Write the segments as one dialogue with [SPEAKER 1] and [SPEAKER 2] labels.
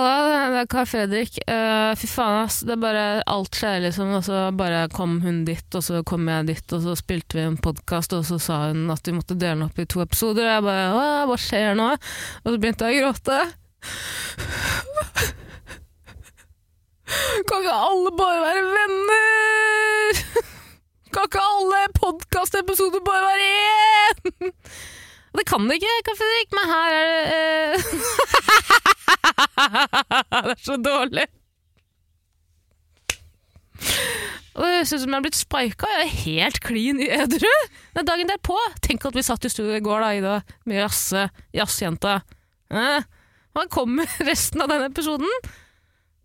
[SPEAKER 1] eh, Carl Fredrik, eh, fy faen ass, det er bare alt skjer liksom, og så bare kom hun dit, og så kom jeg dit, og så spilte vi en podcast, og så sa hun at vi måtte dele den opp i to episoder, og jeg bare, hva, hva skjer nå? Og så begynte jeg å gråte. Kan ikke alle bare være venner? Kan ikke alle podcastepisoder bare være én? Og det kan det ikke, Carl Fredrik, men her er det eh, det er så dårlig. Og det ser ut som jeg har blitt spika. Jeg er helt klin i edru. Det er dagen derpå. Tenk at vi satt i studio i går, da, Ida, med jazze, jazzjenta. Eh, Hva kommer resten av denne episoden?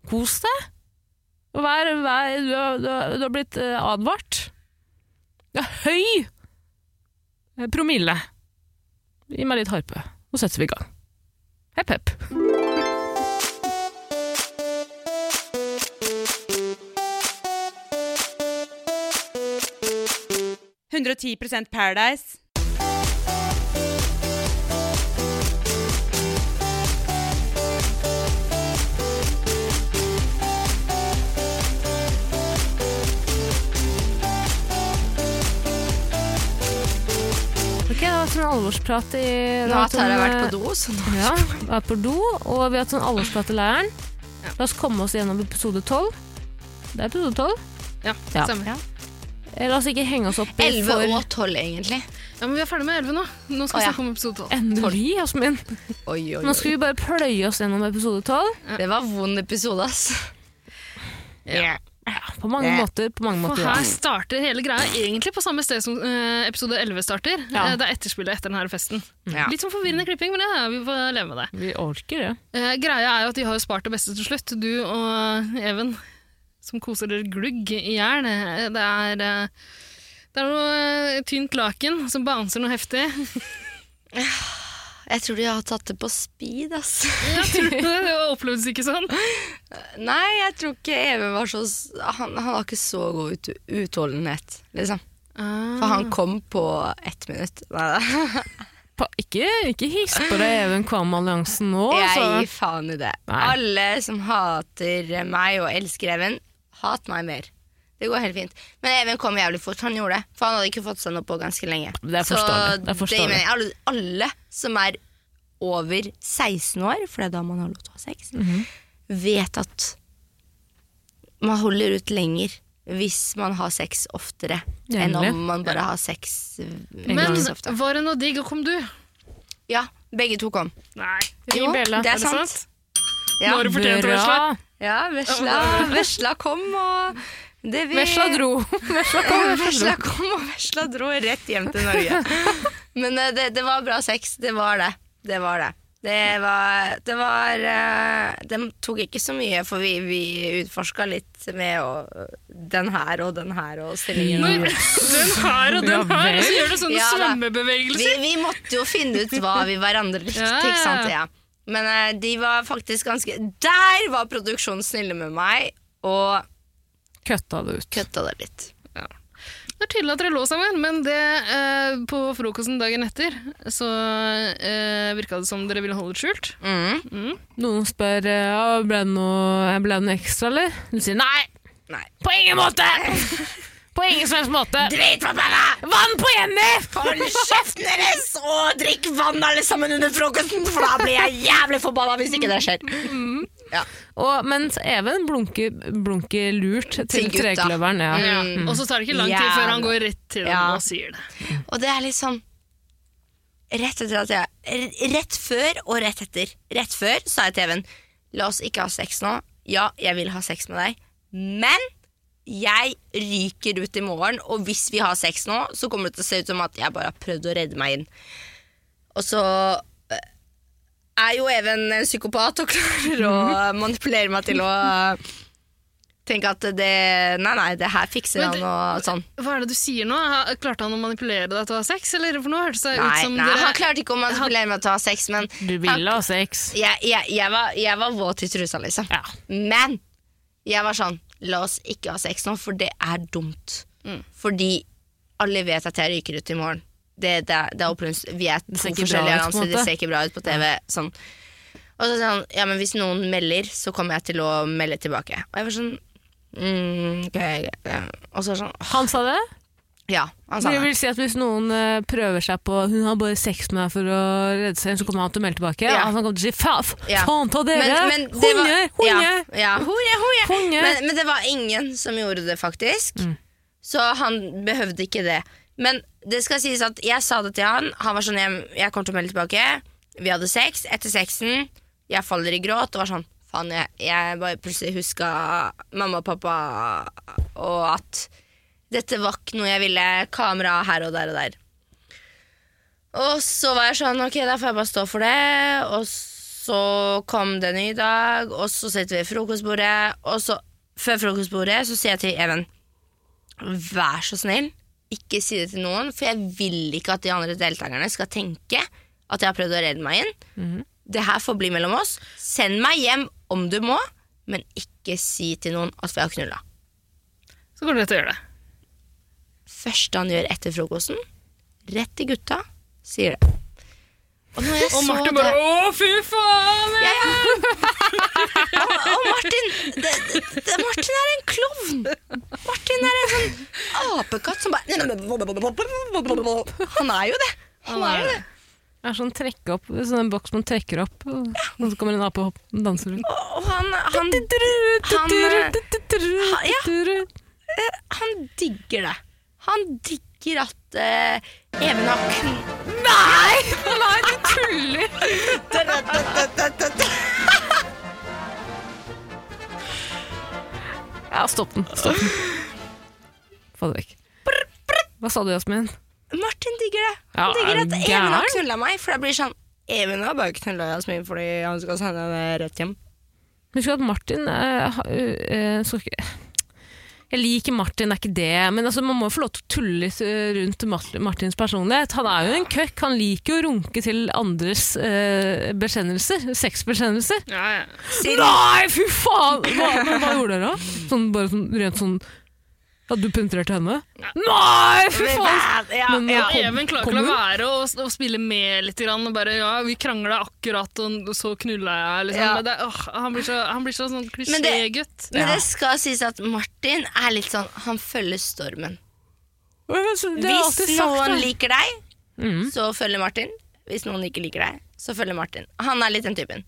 [SPEAKER 1] Kos deg. Vær, vær, du, har, du, har, du har blitt eh, advart. Det er høy eh, promille. Gi meg litt harpe, så setter vi i gang. Hepp, hepp.
[SPEAKER 2] Nei. 110 Paradise.
[SPEAKER 1] Ok, det var sånn alvorsprat i eh,
[SPEAKER 3] Nå har jeg vært på do, så nå
[SPEAKER 1] Ja, vært på do, og vi har hatt sånn alvorsprat i leiren. La oss komme oss gjennom episode 12. Det er episode 12.
[SPEAKER 3] ja,
[SPEAKER 1] Ja.
[SPEAKER 3] samme.
[SPEAKER 1] Eh, La oss ikke henge oss opp i
[SPEAKER 3] 11
[SPEAKER 1] for
[SPEAKER 3] og 12, egentlig.
[SPEAKER 4] Ja, men vi er ferdig med 11 nå. Nå skal
[SPEAKER 3] Å,
[SPEAKER 4] vi
[SPEAKER 3] ja.
[SPEAKER 4] snakke om episode 12.
[SPEAKER 1] Endelig, Jasmin.
[SPEAKER 3] Oi, oi,
[SPEAKER 1] Nå skal vi bare pløye oss gjennom episode 12.
[SPEAKER 3] Det var vond episode, ass.
[SPEAKER 1] Ja, på mange måter. På mange
[SPEAKER 4] For
[SPEAKER 1] måter ja.
[SPEAKER 4] her starter hele greia egentlig på samme sted som eh, episode 11 starter.
[SPEAKER 1] Ja.
[SPEAKER 4] Eh, det er etterspillet etter denne festen.
[SPEAKER 3] Mm. Ja.
[SPEAKER 4] Litt sånn forvirrende klipping, men ja, vi får leve med det.
[SPEAKER 1] Vi orker det.
[SPEAKER 4] Eh, greia er jo at de har jo spart det beste til slutt. Du og Even, som koser dere glugg i hjel. Eh, Det er, eh, det er noe eh, tynt laken som bouncer noe heftig.
[SPEAKER 3] Jeg tror de har tatt det på speed, ass.
[SPEAKER 4] Jeg tror det, det opplevdes ikke sånn.
[SPEAKER 3] Nei, jeg tror ikke Even var så s- Han, han har ikke så god ut, utholdenhet, liksom. For han kom på ett minutt. Nei da.
[SPEAKER 1] Pa, ikke ikke hiss på deg, Even Kvam-alliansen nå.
[SPEAKER 3] Jeg
[SPEAKER 1] altså.
[SPEAKER 3] gir faen i det.
[SPEAKER 1] Nei.
[SPEAKER 3] Alle som hater meg og elsker Even, hat meg mer. Det går helt fint. Men Even kom jævlig fort. Han gjorde det. For han hadde ikke fått seg noe på ganske lenge.
[SPEAKER 1] Det er
[SPEAKER 3] Så
[SPEAKER 1] forståelig. Det er forståelig.
[SPEAKER 3] mener jeg, alle, alle som er over 16 år, for det er da man har lov til å ha sex,
[SPEAKER 1] Mhm.
[SPEAKER 3] vet at man holder ut lenger hvis man har sex oftere enn
[SPEAKER 1] Gjerne.
[SPEAKER 3] om man bare har sex eh,
[SPEAKER 4] Men
[SPEAKER 3] ikke så ofte.
[SPEAKER 4] var det noe digg, og kom du?
[SPEAKER 3] Ja, begge to kom.
[SPEAKER 4] Nei.
[SPEAKER 3] Jo, det er,
[SPEAKER 4] Er det
[SPEAKER 3] sant.
[SPEAKER 4] sant?
[SPEAKER 3] Ja.
[SPEAKER 4] Når- fortjent å være slett.
[SPEAKER 3] Ja, vesla, vesla kom og det vi,
[SPEAKER 1] Vesla dro.
[SPEAKER 3] Vesla kom, vesla kom og vesla dro rett hjem til Norge. Men eh, det, det var bra sex, det var det. Det var det. Det var, det var eh, De tok ikke så mye, for vi, vi utforska litt med å, den her og den her og stillingen.
[SPEAKER 4] Når den her og
[SPEAKER 1] Ja
[SPEAKER 4] den her,
[SPEAKER 1] vel.
[SPEAKER 4] og så gjør du sånne
[SPEAKER 3] Ja da. Vi,
[SPEAKER 4] svømmebevegelser.
[SPEAKER 3] vi måtte jo finne ut hva vi hverandre likte,
[SPEAKER 4] Ja, ja,
[SPEAKER 3] ikke sant?
[SPEAKER 4] ja.
[SPEAKER 3] Ja. Men eh, de var faktisk ganske Der var produksjonen snille med meg, og
[SPEAKER 1] Køtta det ut.
[SPEAKER 3] kutta det litt.
[SPEAKER 4] Det er tydelig at dere lå sammen, men det, eh, på frokosten dagen etter så eh, virka det som dere ville holde det skjult.
[SPEAKER 3] Mm.
[SPEAKER 1] Noen spør eh, «Ja, ble det noe, ble det noe ekstra, eller? Du sier nei.
[SPEAKER 3] Nei.
[SPEAKER 1] På ingen måte! På ingen som helst måte.
[SPEAKER 3] Drit på meg!
[SPEAKER 1] Vann på Jenny!
[SPEAKER 3] Hold kjeften deres og drikk vann alle sammen under frokosten, for da blir jeg jævlig forbanna hvis ikke det skjer.
[SPEAKER 1] Og mens Even blunker, blunker lurt til
[SPEAKER 3] Til gutta.
[SPEAKER 1] trekløveren. Ja.
[SPEAKER 4] Og så tar det ikke lang tid
[SPEAKER 3] Jævla.
[SPEAKER 4] før han går rett til
[SPEAKER 3] Ja.
[SPEAKER 4] dem og sier det.
[SPEAKER 3] Og det er litt sånn Rett etter at jeg Rett før og rett etter. Rett før sa jeg til Even La oss ikke ha sex nå. Ja, jeg vil ha sex med deg, men jeg ryker ut i morgen, og hvis vi har sex nå, så kommer det til å se ut som at jeg bare har prøvd å redde meg inn. Og så eh, er jo Even en psykopat og klarer å manipulere meg til å eh, tenke at det Nei, nei, det her fikser
[SPEAKER 4] Men det-
[SPEAKER 3] han og sånn.
[SPEAKER 4] Hva er det du sier nå? Ha- Klarte han å manipulere deg til å ha sex, eller for nå hørtes det ut
[SPEAKER 3] Nei,
[SPEAKER 4] som
[SPEAKER 3] nei
[SPEAKER 4] dere
[SPEAKER 3] han klarte ikke å manipulere meg til å ha sex, men
[SPEAKER 1] Du ville ha sex.
[SPEAKER 3] jeg, jeg, jeg, var, jeg var våt i trusa, liksom.
[SPEAKER 1] Ja.
[SPEAKER 3] Men jeg var sånn La oss ikke ha sex nå, for det er dumt.
[SPEAKER 1] Mm.
[SPEAKER 3] Fordi alle vet at jeg ryker ut i morgen. Det, det, er- det er opplevelse- Vi er
[SPEAKER 1] ser ikke bra
[SPEAKER 3] to forskjellige
[SPEAKER 1] ut, på en
[SPEAKER 3] annonser,
[SPEAKER 1] måte.
[SPEAKER 3] det ser ikke bra ut på TV. Sånn. Og så sa han ja, men hvis noen melder, så kommer jeg til å melde tilbake. Og jeg var sånn mm, ok, ok, ok. Og så var det sånn
[SPEAKER 1] Han sa det?
[SPEAKER 3] Ja, han sa
[SPEAKER 1] det
[SPEAKER 3] det.
[SPEAKER 1] vil si at hvis noen eh, prøver seg på Hun har bare sex med deg for å redde seg, så kommer han til å melde tilbake.
[SPEAKER 3] Ja.
[SPEAKER 1] Og han kommer til å si fa, f-
[SPEAKER 3] Ja.
[SPEAKER 1] faen ta dere!
[SPEAKER 3] men det var-
[SPEAKER 1] Hunde! Hunde!
[SPEAKER 3] Ja, ja. Hunje, hunje.
[SPEAKER 1] Hunde!
[SPEAKER 3] Men, men det var ingen som gjorde det, faktisk. Så han behøvde ikke det. Men det skal sies at jeg sa det til han. Han var sånn Jeg, jeg kommer til å melde tilbake. Vi hadde sex. Etter sexen, jeg faller i gråt og var sånn Faen, jeg, jeg bare plutselig huska mamma og pappa, og at dette var ikke noe jeg ville. Kamera her og der og der. Og så var jeg sånn, ok, da får jeg bare stå for det. Og så kom det en ny dag, og så sitter vi ved frokostbordet. Og så, før frokostbordet, så sier jeg til Even, vær så snill, ikke si det til noen, for jeg vil ikke at de andre deltakerne skal tenke at jeg har prøvd å redde meg inn. Det her får bli mellom oss. Send meg hjem om du må, men ikke si til noen at vi har knulla.
[SPEAKER 4] Så går det rett å gjøre det.
[SPEAKER 3] Første han gjør etter frokosten, rett til gutta, sier det. Og, når jeg
[SPEAKER 4] Og
[SPEAKER 3] så
[SPEAKER 4] Marte
[SPEAKER 3] det-
[SPEAKER 4] bare Å, fy faen!
[SPEAKER 3] Ja, ja. Og, og Martin det, det, det, Martin er en klovn. Martin er en sånn apekatt som bare Han er jo det. Han er jo det.
[SPEAKER 1] Det er sånn trekke opp, sånn en boks man trekker opp, og så kommer en ape opp og danser rundt.
[SPEAKER 3] Og og han, han, Han, eh, ha- ja.
[SPEAKER 1] Ja,
[SPEAKER 3] han digger det. Han digger at eh, Even har kun... Nei!
[SPEAKER 1] nei, du tuller! Ja, stopp den. Stopp den. Få det vekk. Hva sa du, Jasmin?
[SPEAKER 3] Martin digger det.
[SPEAKER 1] Ja,
[SPEAKER 3] Han digger
[SPEAKER 1] er
[SPEAKER 3] at
[SPEAKER 1] du
[SPEAKER 3] Even har
[SPEAKER 1] gæren?
[SPEAKER 3] knulla meg, for det blir sånn Even har bare knulla Jasmin fordi han skal sende henne rett hjem.
[SPEAKER 1] Husk at Martin eh, ha- eh, skal ikke jeg liker Martin, det er ikke det, men altså, man må jo få lov til å tulle litt eh, rundt Mart- Martins personlighet. Han er jo en køkk, han liker jo å runke til andres eh, bekjennelser, sexbekjennelser.
[SPEAKER 4] Ja, ja.
[SPEAKER 3] Siden-
[SPEAKER 1] Nei, fy faen! Hva, men hva gjorde dere da? Sånn, bare sånn, rent sånn At du penetrerte henne? Nei, fy faen!
[SPEAKER 3] Ja,
[SPEAKER 1] Men, eh,
[SPEAKER 3] ja.
[SPEAKER 1] Kom-
[SPEAKER 4] Even klarer ikke å
[SPEAKER 1] kom
[SPEAKER 4] la
[SPEAKER 1] hun?
[SPEAKER 4] være å, å spille med litt. Grann, og bare, ja, 'Vi krangla akkurat, og så knulla jeg.' Liksom.
[SPEAKER 3] Ja.
[SPEAKER 4] Men Det, åh, han blir så, han blir så sånn
[SPEAKER 3] Men det-
[SPEAKER 4] klisjégutt.
[SPEAKER 3] Men det skal sies at Martin er litt sånn Han følger stormen.
[SPEAKER 1] Det er
[SPEAKER 3] Hvis
[SPEAKER 1] alltid sagt. altså.
[SPEAKER 3] noen
[SPEAKER 1] da.
[SPEAKER 3] liker deg,
[SPEAKER 1] Mhm.
[SPEAKER 3] så følger Martin. Hvis noen ikke liker deg, så følger Martin. Han er litt den typen.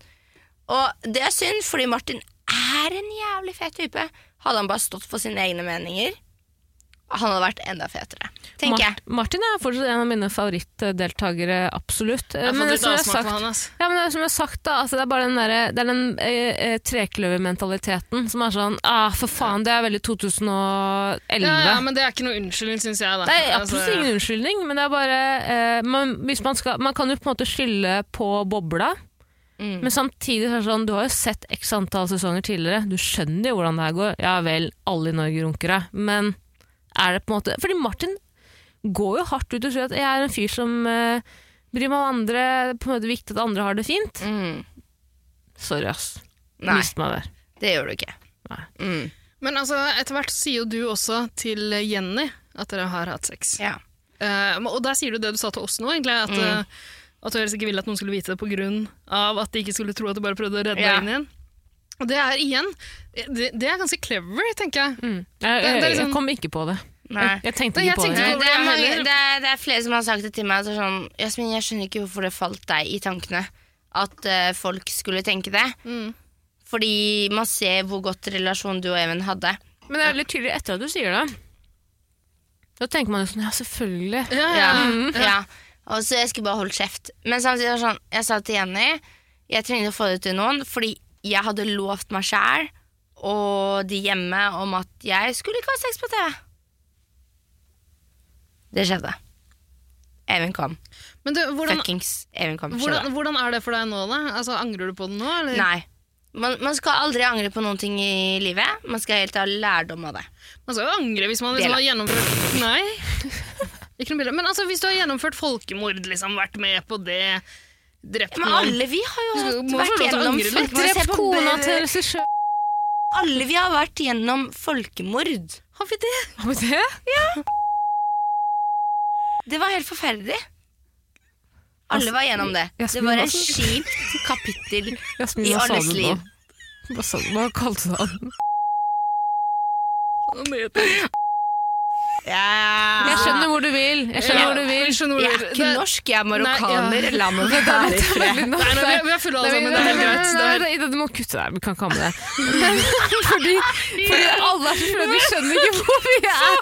[SPEAKER 3] Og det er synd, fordi Martin er en jævlig fet type. Hadde han bare stått for sine egne meninger, han hadde vært enda fetere. Tenker jeg.
[SPEAKER 1] Mart Martin er fortsatt en av mine favorittdeltakere, absolutt. Eh,
[SPEAKER 4] Jeg har
[SPEAKER 1] Men det
[SPEAKER 4] fått litt
[SPEAKER 1] som jeg har
[SPEAKER 4] avsmak
[SPEAKER 1] sagt
[SPEAKER 4] på han. ass.
[SPEAKER 1] Ja, men det er som jeg har sagt da, altså, det er bare den, der, det er den eh, eh, trekløvermentaliteten som er sånn, ah, for faen, det er veldig 2011.
[SPEAKER 4] Ja, ja, men det er ikke noe unnskyldning, syns jeg. Da.
[SPEAKER 1] det er
[SPEAKER 4] Altså,
[SPEAKER 1] absolutt ingen unnskyldning, men det er bare eh, man, hvis man, skal, man kan jo på en måte skylde på bobla,
[SPEAKER 3] Mm.
[SPEAKER 1] men samtidig så er det sånn, du har jo sett x antall sesonger tidligere, du skjønner jo hvordan det her går. Ja vel, alle i Norge runker deg, men er det på en måte Fordi Martin går jo hardt ut og sier at jeg er en fyr som eh, bryr meg om andre, det er på en måte viktig at andre har det fint.
[SPEAKER 3] Mm.
[SPEAKER 1] Sorry, ass.
[SPEAKER 3] Nei,
[SPEAKER 1] Mist meg der.
[SPEAKER 3] det gjør du ikke.
[SPEAKER 1] Nei.
[SPEAKER 3] Mm.
[SPEAKER 4] Men altså, etter hvert så sier jo du også til Jenny at dere har hatt sex.
[SPEAKER 3] Ja.
[SPEAKER 4] Eh, og der sier du det du sa til oss nå, egentlig. At, eh, at du helst ikke ville at noen skulle vite det på grunn av at de ikke skulle tro at du bare prøvde å redde
[SPEAKER 3] Ja.
[SPEAKER 4] deg inn igjen. Og det er igjen det, det er ganske clever, tenker jeg.
[SPEAKER 1] Mm. Jeg,
[SPEAKER 4] Mm. Det- det er
[SPEAKER 1] jeg, jeg
[SPEAKER 4] liksom-
[SPEAKER 1] kom ikke på det.
[SPEAKER 3] Nei.
[SPEAKER 1] Jeg tenkte
[SPEAKER 4] Nei, jeg
[SPEAKER 1] ikke på
[SPEAKER 4] tenkte
[SPEAKER 1] det.
[SPEAKER 4] ikke
[SPEAKER 1] Jeg-
[SPEAKER 4] på
[SPEAKER 3] Det er,
[SPEAKER 4] Jeg
[SPEAKER 3] mange,
[SPEAKER 4] heller.
[SPEAKER 3] det, er, det er flere som har sagt det til meg. Så sånn, Jasmin, jeg skjønner ikke hvorfor det falt deg i tankene at eh, folk skulle tenke det.
[SPEAKER 4] Mm.
[SPEAKER 3] Fordi man ser hvor godt relasjon du og Even hadde.
[SPEAKER 1] Men det er litt tydelig etter at du sier det. Da tenker man jo sånn, ja, selvfølgelig.
[SPEAKER 4] Ja, Mm. ja.
[SPEAKER 3] Ja. Ja. Og så jeg skulle bare holdt kjeft. Men samtidig var det sånn, jeg sa til Jenny jeg trengte å få det ut til noen, fordi jeg hadde lovt meg sjæl og de hjemme om at jeg skulle ikke ha sex på TV. Det skjedde. Even kom.
[SPEAKER 4] Men du, hvordan,
[SPEAKER 3] Fuckings Even kom. skjedde.
[SPEAKER 4] hvordan, hvordan er det for deg nå, da? Altså, angrer du på det nå? Eller?
[SPEAKER 3] Nei. Man, man skal aldri angre på noen ting i livet. Man skal helt ta lærdom av det.
[SPEAKER 4] Man skal jo angre hvis man
[SPEAKER 3] Del
[SPEAKER 4] liksom
[SPEAKER 3] av-
[SPEAKER 4] har gjennomført Nei. Ikke noe bilde. Men altså, hvis du har gjennomført folkemord, liksom, vært med på det, drept
[SPEAKER 3] Men
[SPEAKER 4] noen
[SPEAKER 3] alle vi har jo
[SPEAKER 4] Du skal-
[SPEAKER 3] hatt-
[SPEAKER 4] må få
[SPEAKER 3] vært
[SPEAKER 4] lov til å
[SPEAKER 3] gjennom
[SPEAKER 4] angre litt.
[SPEAKER 3] folkemord. Se
[SPEAKER 1] Drept
[SPEAKER 3] på-
[SPEAKER 1] kona til regissør.
[SPEAKER 3] Alle vi har vært gjennom folkemord.
[SPEAKER 4] Har vi det?
[SPEAKER 1] Har vi det?
[SPEAKER 3] Det var helt forferdelig. Alle var gjennom det. Det
[SPEAKER 1] Jasmin,
[SPEAKER 3] var
[SPEAKER 1] hva
[SPEAKER 3] et
[SPEAKER 1] så-
[SPEAKER 3] kjipt kapittel
[SPEAKER 1] Jasmin,
[SPEAKER 3] i
[SPEAKER 1] hva sa
[SPEAKER 3] alles
[SPEAKER 1] du
[SPEAKER 3] liv.
[SPEAKER 1] nå? Hva, sa, du- hva kalte du han?
[SPEAKER 4] Han heter-
[SPEAKER 3] Ja.
[SPEAKER 1] Jeg skjønner hvor du vil. Jeg skjønner
[SPEAKER 4] Ah. Ja,
[SPEAKER 1] hvor du vil.
[SPEAKER 4] jeg skjønner hvor
[SPEAKER 3] Jeg
[SPEAKER 4] du
[SPEAKER 3] er
[SPEAKER 4] vil.
[SPEAKER 3] ikke
[SPEAKER 4] Det-
[SPEAKER 3] norsk, jeg er
[SPEAKER 4] Nei,
[SPEAKER 3] marokkaner. La meg være i fred.
[SPEAKER 1] Veldig nok.
[SPEAKER 4] Nei, nei, vi er- vi er fulle
[SPEAKER 1] Nei,
[SPEAKER 4] alle sammen,
[SPEAKER 1] men-
[SPEAKER 4] sånn, det er helt greit. Det
[SPEAKER 1] Nei,
[SPEAKER 4] er-
[SPEAKER 1] nei, nei, Du må kutte deg, vi kan ikke ha med det. Fordi, fordi alle er så fulle, de skjønner ikke hvor vi er.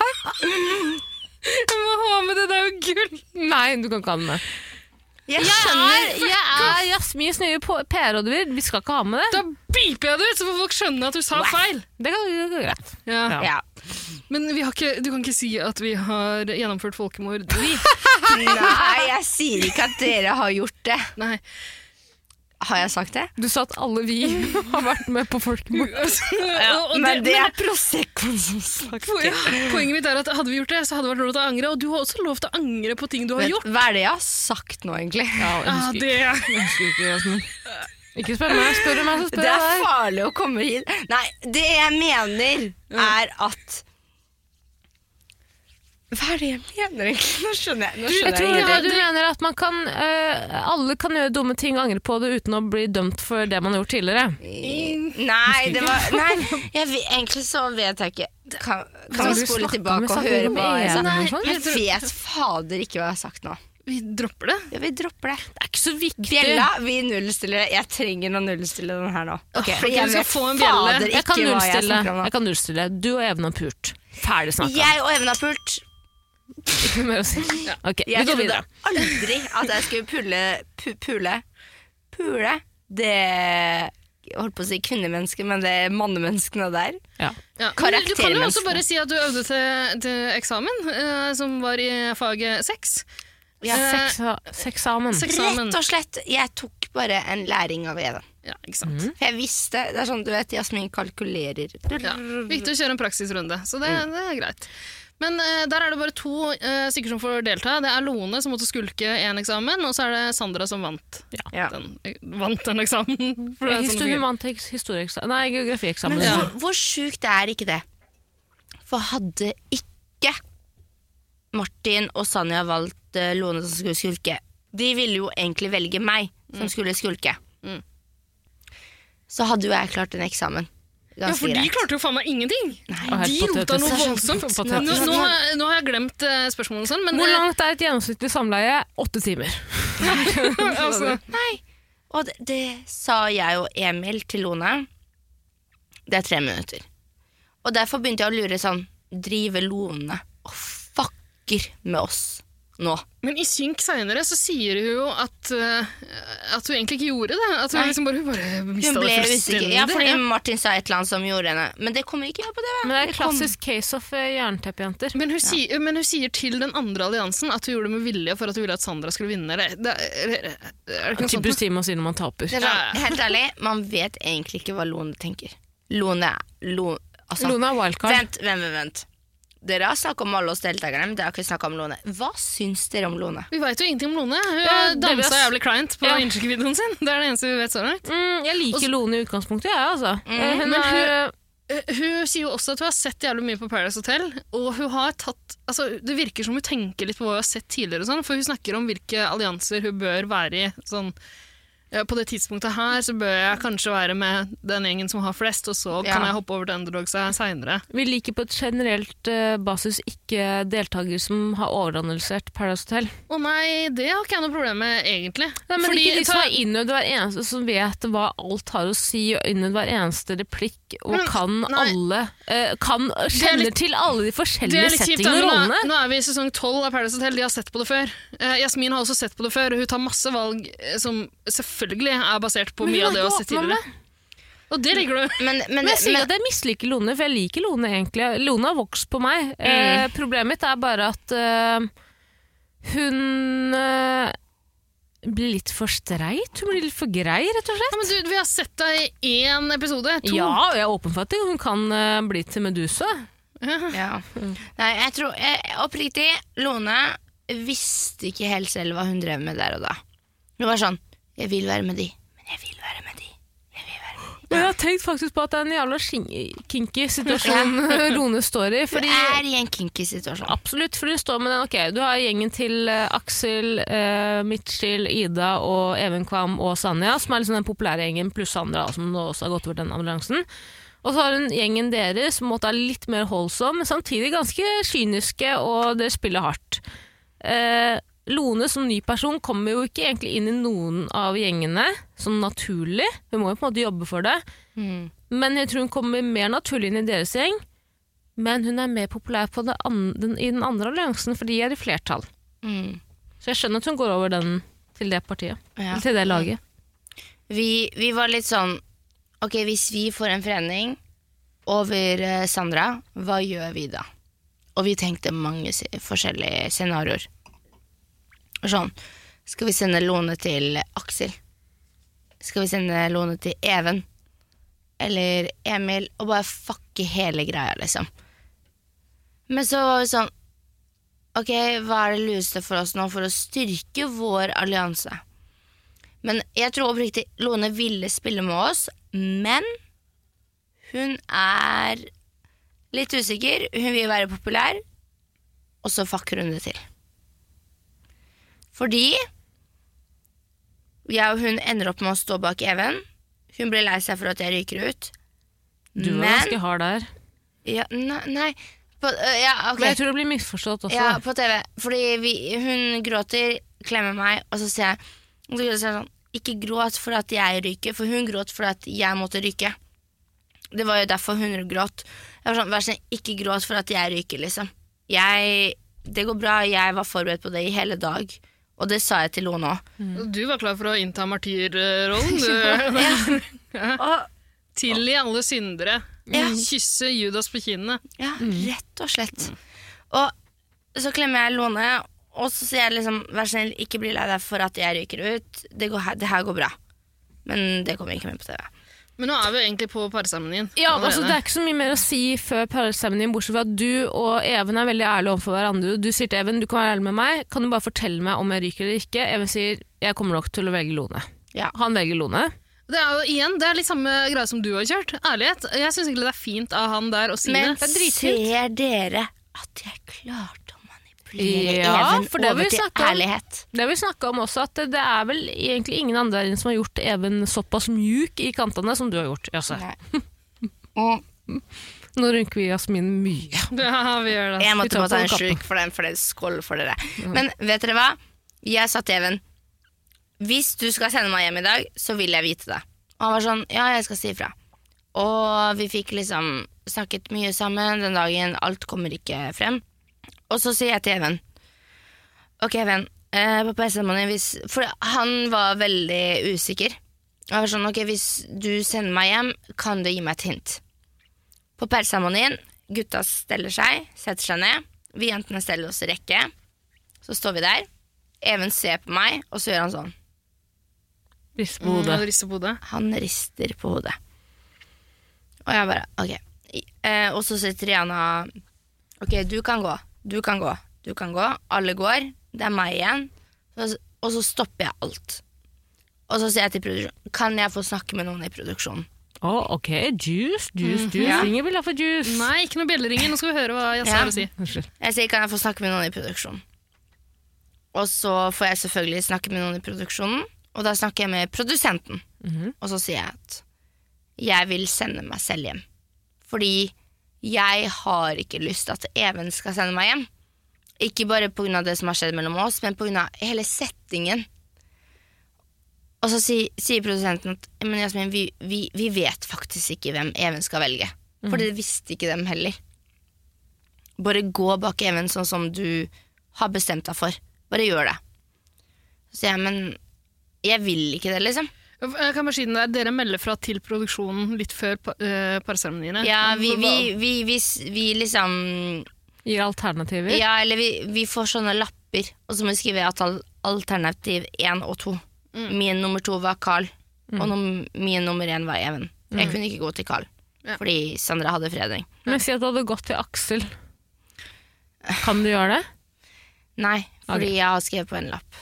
[SPEAKER 4] Jeg må ha med det, det er jo gull!
[SPEAKER 1] Nei, du kan ikke ha med det.
[SPEAKER 3] Jeg
[SPEAKER 1] Jeg
[SPEAKER 3] skjønner.
[SPEAKER 1] er, jeg er Jasmins nye på- PR-rådgiver, vi skal ikke ha med det.
[SPEAKER 4] Da biper jeg det ut, så får folk skjønne at du sa
[SPEAKER 3] Wow.
[SPEAKER 4] feil!
[SPEAKER 1] Det kan det går greit.
[SPEAKER 4] Ja.
[SPEAKER 3] Ja.
[SPEAKER 4] Men vi har ikke, du kan ikke si at vi har gjennomført folkemord. Vi.
[SPEAKER 3] Nei, jeg sier ikke at dere har gjort det.
[SPEAKER 4] Nei.
[SPEAKER 3] Har jeg sagt det?
[SPEAKER 1] Du sa at alle vi har vært med på folkemord.
[SPEAKER 4] Altså, og- og
[SPEAKER 3] Men
[SPEAKER 4] det-
[SPEAKER 3] det er Proseccoen som snakker.
[SPEAKER 4] Ja, poenget mitt er at hadde vi gjort det, så hadde det vært lov til å angre. Og du har også lov til å angre på ting du har
[SPEAKER 3] Vet-
[SPEAKER 4] gjort.
[SPEAKER 3] Hva er det jeg har sagt nå, egentlig?
[SPEAKER 1] Ja, jeg
[SPEAKER 4] Ja,
[SPEAKER 1] husker ikke.
[SPEAKER 4] Ah, det
[SPEAKER 1] Jeg husker ikke, Jasmin. Ikke spør meg, spør meg, så spør
[SPEAKER 3] Det
[SPEAKER 1] jeg
[SPEAKER 3] er
[SPEAKER 1] deg.
[SPEAKER 3] farlig å komme hit. Nei, det jeg mener, er at Hva er det jeg mener, egentlig? Nå skjønner jeg. Nå
[SPEAKER 1] Jeg
[SPEAKER 3] skjønner
[SPEAKER 1] tror
[SPEAKER 3] jeg
[SPEAKER 1] ja,
[SPEAKER 3] ingenting.
[SPEAKER 1] du mener at man kan, øh, alle kan gjøre dumme ting og angre på det uten å bli dømt for det man har gjort tidligere.
[SPEAKER 3] Nei, det var Nei, jeg, vet- egentlig så vet jeg ikke. Kan, kan
[SPEAKER 1] Hva
[SPEAKER 3] vi
[SPEAKER 1] du
[SPEAKER 3] spole
[SPEAKER 1] snakker
[SPEAKER 3] tilbake
[SPEAKER 1] om?
[SPEAKER 3] og
[SPEAKER 1] Snakker
[SPEAKER 3] høre
[SPEAKER 1] om
[SPEAKER 3] på hva jeg
[SPEAKER 1] EM
[SPEAKER 3] sa?
[SPEAKER 1] eller noe sånt?
[SPEAKER 3] Jeg vet fader ikke hva jeg har sagt nå.
[SPEAKER 4] Vi dropper det.
[SPEAKER 3] Ja, vi dropper det.
[SPEAKER 1] Det er ikke så viktig.
[SPEAKER 3] Bjella, vi nullstiller det. Jeg trenger å nullstille den her nå.
[SPEAKER 4] Ok,
[SPEAKER 3] For jeg
[SPEAKER 4] du skal
[SPEAKER 3] vet
[SPEAKER 4] få en bjelle.
[SPEAKER 3] fader
[SPEAKER 1] Jeg kan
[SPEAKER 3] ikke hva jeg
[SPEAKER 1] nullstille.
[SPEAKER 3] snakker om
[SPEAKER 1] Jeg
[SPEAKER 3] nå.
[SPEAKER 1] kan nullstille. Du og Even har pult. Ferdig snakka.
[SPEAKER 3] Jeg og Even har pult.
[SPEAKER 1] Ikke mer å si. Ok, vi går
[SPEAKER 3] Jeg trodde
[SPEAKER 1] videre.
[SPEAKER 3] aldri at jeg skulle pulle pu, Pule Pule det Jeg holdt på å si kvinnemennesker, men det er mannemenskene der.
[SPEAKER 1] Ja.
[SPEAKER 4] Ja. Men Du kan jo også
[SPEAKER 3] Karaktermenneskene.
[SPEAKER 4] bare si at du øvde til, til eksamen, eh, som var i faget sex.
[SPEAKER 1] Ja,
[SPEAKER 4] Eh,
[SPEAKER 1] seksa- Seksamen.
[SPEAKER 4] Seksamen.
[SPEAKER 3] Rett og slett, jeg tok bare en læring av Even.
[SPEAKER 4] Ja, ikke sant.
[SPEAKER 3] For jeg visste Det er sånn, du vet, Jasmin kalkulerer.
[SPEAKER 4] Ja. Viktig å kjøre en praksisrunde, så det, det er greit. Men eh, der er det bare to eh, stykker som får delta. Det er Lone som måtte skulke én eksamen, og så er det Sandra som vant
[SPEAKER 3] Ja.
[SPEAKER 4] den, eh, vant den eksamen. For det er sånn det fungerer.
[SPEAKER 1] Historiemantekst, historieeksamen Nei, geografieksamen.
[SPEAKER 3] Men
[SPEAKER 1] Ja.
[SPEAKER 3] hvor, hvor sjukt er ikke det? For hadde ikke Martin og Sanja valgt eh, Lone som skulle skulke De ville jo egentlig velge meg som skulle skulke.
[SPEAKER 4] Mm.
[SPEAKER 3] Så hadde jo jeg klart en eksamen.
[SPEAKER 4] ja,
[SPEAKER 3] Ganske
[SPEAKER 4] for de
[SPEAKER 3] greit.
[SPEAKER 4] klarte jo faen meg ingenting!
[SPEAKER 1] Og helt
[SPEAKER 4] De rota
[SPEAKER 1] patetisk.
[SPEAKER 4] noe voldsomt.
[SPEAKER 1] Patetisk.
[SPEAKER 4] Nå, nå, har jeg- nå har jeg glemt eh, spørsmålet og sånn, men
[SPEAKER 1] Hvor
[SPEAKER 4] eh,
[SPEAKER 1] langt er et gjennomsnittlig samleie? Åtte timer.
[SPEAKER 4] altså,
[SPEAKER 3] Og det, det sa jeg og Emil til Lone. Det er tre minutter. Og derfor begynte jeg å lure sånn Driver Lone og fucker med oss nå?
[SPEAKER 4] Men i Synk seinere så sier hun jo at, eh, at hun egentlig ikke gjorde det. At hun
[SPEAKER 3] Nei.
[SPEAKER 4] liksom bare, hun bare mista
[SPEAKER 3] Hun ble
[SPEAKER 4] det
[SPEAKER 3] usikker.
[SPEAKER 4] fullstendig.
[SPEAKER 3] Ja, fordi Martin sa et eller annet som gjorde henne Men det kommer ikke jeg på TV.
[SPEAKER 1] Men det er
[SPEAKER 3] kom-
[SPEAKER 1] klassisk case of eh, jernteppejenter.
[SPEAKER 4] Men hun, sier, men hun sier til den andre alliansen at hun gjorde det med vilje for at hun ville at Sandra skulle vinne. Eller, det, er, er det ikke noe sånt?
[SPEAKER 1] Typisk time å si når man taper.
[SPEAKER 3] Det er sånn, helt ærlig, man vet egentlig ikke hva Lone tenker. Lone, Lone
[SPEAKER 4] sånn.
[SPEAKER 3] altså,
[SPEAKER 1] Lone er wildcard.
[SPEAKER 3] Vent, vent, vent, vent. Dere har snakket om alle oss deltakerne, men dere har ikke snakket om Lone. Hva syns dere om Lone?
[SPEAKER 4] Vi veit jo ingenting om Lone. Hun
[SPEAKER 1] Ja, det vil jeg
[SPEAKER 4] dansa
[SPEAKER 1] s-
[SPEAKER 4] jævlig kleint på
[SPEAKER 1] Ja.
[SPEAKER 4] innsjekkevideoen sin. Det er det eneste vi vet så langt.
[SPEAKER 1] Mm, jeg liker Lone i utgangspunktet, jeg, altså. Eh, Hun
[SPEAKER 4] Men
[SPEAKER 1] er,
[SPEAKER 4] Eh, Hun sier jo også at hun har sett jævlig mye på Paradise Hotel, og hun har tatt altså, Det virker som hun tenker litt på hva hun har sett tidligere, og sånn, for hun snakker om hvilke allianser hun bør være i. Sånn, eh, på det tidspunktet her så bør jeg kanskje være med den gjengen som har flest, og så
[SPEAKER 3] Ja.
[SPEAKER 4] kan jeg hoppe over til underdogs seinere.
[SPEAKER 1] vi liker på et generelt eh, basis ikke deltakere som har overanalysert Paradise Hotel.
[SPEAKER 4] Å nei, det har ikke jeg noe problem med, egentlig.
[SPEAKER 1] Nei, men
[SPEAKER 4] Fordi-
[SPEAKER 1] ikke de som
[SPEAKER 4] ta-
[SPEAKER 1] er innøvd hver eneste, som vet hva alt har å si, og innøvd hver eneste replikk, og
[SPEAKER 4] Men-
[SPEAKER 1] kan
[SPEAKER 4] nei.
[SPEAKER 1] alle eh, Kan kjenner
[SPEAKER 4] litt-
[SPEAKER 1] til alle de
[SPEAKER 4] det er
[SPEAKER 1] forskjellige
[SPEAKER 4] litt kjipt, da,
[SPEAKER 1] settingene og
[SPEAKER 4] men nå,
[SPEAKER 1] rollene.
[SPEAKER 4] nå er vi i sesong 12 av Paradise Hotel, de har sett på det før. Eh, Jasmin har også sett på det før, og hun tar masse valg eh, som selvfølgelig er basert på
[SPEAKER 1] Men hun
[SPEAKER 4] mye
[SPEAKER 1] er
[SPEAKER 4] av det hun har
[SPEAKER 1] ikke
[SPEAKER 4] sett
[SPEAKER 1] åpen om
[SPEAKER 4] tidligere. Og det ligger du
[SPEAKER 3] Men, men,
[SPEAKER 1] Men jeg sier
[SPEAKER 3] men-
[SPEAKER 1] at jeg misliker Lone, for jeg liker Lone egentlig. Lone har vokst på meg. Eh,
[SPEAKER 3] Mm.
[SPEAKER 1] problemet mitt er bare at eh, hun eh, blir litt for streit. Hun blir litt for grei, rett og slett.
[SPEAKER 4] ja, men du, Vi har sett deg i én episode. To.
[SPEAKER 1] Ja, og jeg er åpen for at hun kan eh, bli til Medusa.
[SPEAKER 3] Ja. Nei, jeg tror jeg, Oppriktig, Lone visste ikke helt selv hva hun drev med der og da. Hun var sånn Jeg vil være med de, men jeg vil være med de. Jeg vil være med de.
[SPEAKER 1] Og jeg har tenkt faktisk på at det er en jævla skin- kinky situasjon Lone står i.
[SPEAKER 3] Du
[SPEAKER 1] Fordi,
[SPEAKER 3] er i en kinky situasjon.
[SPEAKER 1] absolutt, for du står med den. Ok, du har gjengen til eh, Aksel, eh, Mitchell, Ida og Even Kvam og Sanja, som er liksom den populære gjengen, pluss Sandra, da, som nå også har gått over den ambulansen. Og så har hun gjengen deres, som på en måte er litt mer holdsom, men samtidig ganske kyniske, og dere spiller hardt. Eh, Lone som ny person kommer jo ikke egentlig inn i noen av gjengene sånn naturlig. Hun må jo på en måte jobbe for det. Mm. Men jeg tror hun kommer mer naturlig inn i deres gjeng. Men hun er mer populær på det an den, i den andre alliansen, for de er i flertall.
[SPEAKER 3] Mm.
[SPEAKER 1] Så jeg skjønner at hun går over den til det partiet.
[SPEAKER 3] Ja.
[SPEAKER 1] Til det laget.
[SPEAKER 3] Vi, vi var litt sånn Ok, hvis vi får en forening over eh, Sandra, hva gjør vi da? Og vi tenkte mange se- forskjellige scenarioer. Og Sånn. Skal vi sende Lone til Aksel? Skal vi sende Lone til Even? Eller Emil? Og bare fucke hele greia, liksom. Men så var vi sånn Ok, hva er det lureste for oss nå for å styrke vår allianse? Men jeg tror oppriktig Lone ville spille med oss, men hun er litt usikker. Hun vil være populær, og så fucker hun det til. Fordi jeg og hun ender opp med å stå bak Even. Hun blir lei seg for at jeg ryker ut.
[SPEAKER 1] Du var ganske hard der.
[SPEAKER 3] ja, Nei, nei på, ja, ok.
[SPEAKER 1] Men jeg tror det blir misforstått også.
[SPEAKER 3] Ja, på TV. Fordi vi, hun gråter, klemmer meg, og så sier jeg og så sier jeg sånn, Ikke gråt for at jeg ryker, for hun gråt for at jeg måtte ryke. Det var jo derfor hun gråt. Jeg var sånn, Vær så snill, ikke gråt for at jeg ryker, liksom. Jeg, det går bra, jeg var forberedt på det i hele dag. Og det sa jeg til Lone òg.
[SPEAKER 4] Du var klar for å innta martyrrollen. Du. Tilgi alle syndere.
[SPEAKER 3] Ja.
[SPEAKER 4] Kysse Judas på kinnet.
[SPEAKER 3] Ja, rett og slett. Mm. Og så klemmer jeg Lone, og så sier jeg liksom Vær snill, ikke bli lei deg for at jeg ryker ut. Det, går, her- det her går bra. Men det kommer ikke med på TV.
[SPEAKER 4] Men nå er vi jo egentlig på parseremonien.
[SPEAKER 1] Ja,
[SPEAKER 4] allerede.
[SPEAKER 1] altså Det er ikke så mye mer å si før parseremonien, bortsett fra at du og Even er veldig ærlige overfor hverandre. Du sier til Even du kan være ærlig med meg, kan du bare fortelle meg om jeg ryker eller ikke? Even sier jeg kommer nok til å velge Lone.
[SPEAKER 3] Ja.
[SPEAKER 1] Han velger Lone.
[SPEAKER 4] Det er jo igjen, det er litt samme greie som du har kjørt. Ærlighet. Jeg syns egentlig det er fint av han der å si
[SPEAKER 3] Men
[SPEAKER 4] det.
[SPEAKER 3] ser dere at jeg klarte å manipulere
[SPEAKER 1] Ja,
[SPEAKER 3] Even
[SPEAKER 1] for det har vi
[SPEAKER 3] over til
[SPEAKER 1] snakket om.
[SPEAKER 3] ærlighet?
[SPEAKER 1] Det har vi snakka om også, at det- det er vel egentlig ingen andre her inne som har gjort Even såpass mjuk i kantene som du har gjort. Jasse.
[SPEAKER 3] Nei. Mm.
[SPEAKER 1] Nå rynker vi Jasmin mye.
[SPEAKER 4] Ja, vi gjør det.
[SPEAKER 3] Jeg
[SPEAKER 1] Vi
[SPEAKER 3] måtte
[SPEAKER 1] tar
[SPEAKER 3] bare ta
[SPEAKER 1] på
[SPEAKER 3] en
[SPEAKER 1] kappa.
[SPEAKER 3] slurk for den, for det er skål for dere. Men vet dere hva? Jeg sa til Even Hvis du skal sende meg hjem i dag, så vil jeg vite det. Og han var sånn Ja, jeg skal si ifra. Og vi fikk liksom snakket mye sammen den dagen. Alt kommer ikke frem. Og så sier jeg til Even Ok, Even. eh, På PC-en hvis For han var veldig usikker. Og jeg var sånn Ok, hvis du sender meg hjem, kan du gi meg et hint? På perseremonien, gutta steller seg, setter seg ned. Vi jentene steller oss i rekke. Så står vi der. Even ser på meg, og så gjør han sånn.
[SPEAKER 1] Rist på
[SPEAKER 4] Mm,
[SPEAKER 1] hodet.
[SPEAKER 4] rister på hodet.
[SPEAKER 3] Han rister på hodet. Og jeg bare OK. I- Eh, og så sier Triana OK, du kan gå. Du kan gå. Du kan gå. Alle går. Det er meg igjen. Så, og så stopper jeg alt. Og så sier jeg til produksjonen Kan jeg få snakke med noen i produksjonen.
[SPEAKER 1] Å, ok. Juice, juice, juice.
[SPEAKER 3] Mm. Ja.
[SPEAKER 1] Ingen vil ha for juice.
[SPEAKER 4] Nei, ikke noe bjelleringer. Nå skal vi høre hva Jasse
[SPEAKER 3] Ja.
[SPEAKER 4] har å si.
[SPEAKER 1] Unnskyld.
[SPEAKER 3] Jeg sier, kan jeg få snakke med noen i produksjonen? Og så får jeg selvfølgelig snakke med noen i produksjonen, og da snakker jeg med produsenten. Og så sier jeg at jeg vil sende meg selv hjem. Fordi jeg har ikke lyst til at Even skal sende meg hjem. Ikke bare pga. det som har skjedd mellom oss, men pga. hele settingen. Og så si, sier produsenten at men Jasmin, vi, vi, vi vet faktisk ikke hvem Even skal velge. For det visste ikke dem heller bare gå bak Even sånn som du har bestemt deg for. Bare gjør det. Så sier jeg, men jeg vil ikke det, liksom.
[SPEAKER 4] Jeg Eh, kan bare si den der, Dere melder fra til produksjonen litt før pa- eh, parseremoniene.
[SPEAKER 3] Ja, vi, vi, vi, vi, vi liksom
[SPEAKER 1] Gir alternativer.
[SPEAKER 3] Ja, eller vi, vi får sånne lapper, og så må vi skrive at al- alternativ én og to.
[SPEAKER 1] Mm.
[SPEAKER 3] Min nummer to var Carl, og num min nummer én var Even.
[SPEAKER 1] Mm.
[SPEAKER 3] Jeg kunne ikke gå til Carl,
[SPEAKER 4] Ja.
[SPEAKER 3] fordi Sandra hadde fredning.
[SPEAKER 1] Men si at du hadde gått til Aksel. Kan du gjøre det?
[SPEAKER 3] Nei, fordi
[SPEAKER 1] Ok.
[SPEAKER 3] jeg har skrevet på en lapp.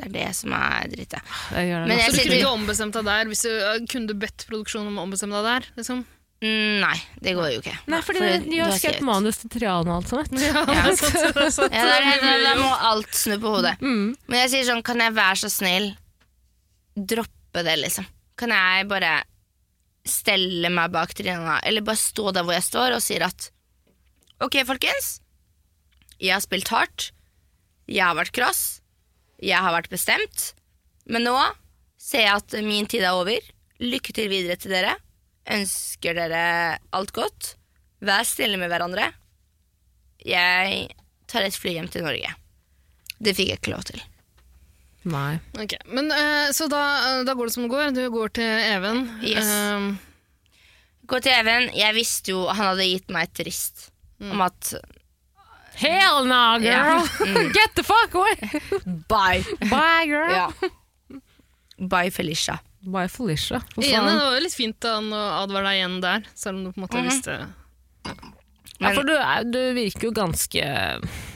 [SPEAKER 3] Det er det som er drittet.
[SPEAKER 1] Jeg gjør det.
[SPEAKER 3] Men jeg
[SPEAKER 4] Så du kunne
[SPEAKER 3] sitter
[SPEAKER 4] ikke ombestemt deg der? Hvis du, eh, kunne du bedt produksjonen om å ombestemme deg der? Liksom?
[SPEAKER 3] Mm, Nei, det går jo ikke.
[SPEAKER 1] Nei, fordi de
[SPEAKER 3] du
[SPEAKER 1] har skrevet manus til Triana og alt sånt.
[SPEAKER 3] Mm.
[SPEAKER 4] Ja, det er sant, det er sant.
[SPEAKER 3] Ja, da, da, da må alt snu på hodet. Men jeg sier sånn, kan jeg være så snill droppe det, liksom? Kan jeg bare stelle meg bak Trina, eller bare stå der hvor jeg står og sier at Ok, folkens. Jeg har spilt hardt. Jeg har vært krass. Jeg har vært bestemt. Men nå ser jeg at min tid er over. Lykke til videre til dere. Ønsker dere alt godt. Vær snille med hverandre. Jeg tar et fly hjem til Norge. Det fikk jeg ikke lov til.
[SPEAKER 1] Nei.
[SPEAKER 4] Ok, men eh, Så da, eh, da går det som det går. Du går til Even.
[SPEAKER 3] Yes.
[SPEAKER 4] Eh,
[SPEAKER 3] Gå til Even. Jeg visste jo han hadde gitt meg et rist om at
[SPEAKER 1] Hell no, girl!
[SPEAKER 3] Ja.
[SPEAKER 1] Get the fuck away!
[SPEAKER 3] Bye!
[SPEAKER 1] Bye, girl!
[SPEAKER 3] Ja. Bye, Felicia.
[SPEAKER 1] Bye, Felicia. For
[SPEAKER 4] igjen,
[SPEAKER 1] faen.
[SPEAKER 4] det var jo litt fint da, han å advare deg igjen der, selv om du på en måte
[SPEAKER 3] Mhm.
[SPEAKER 4] visste
[SPEAKER 1] Ja, for du, er, du virker jo ganske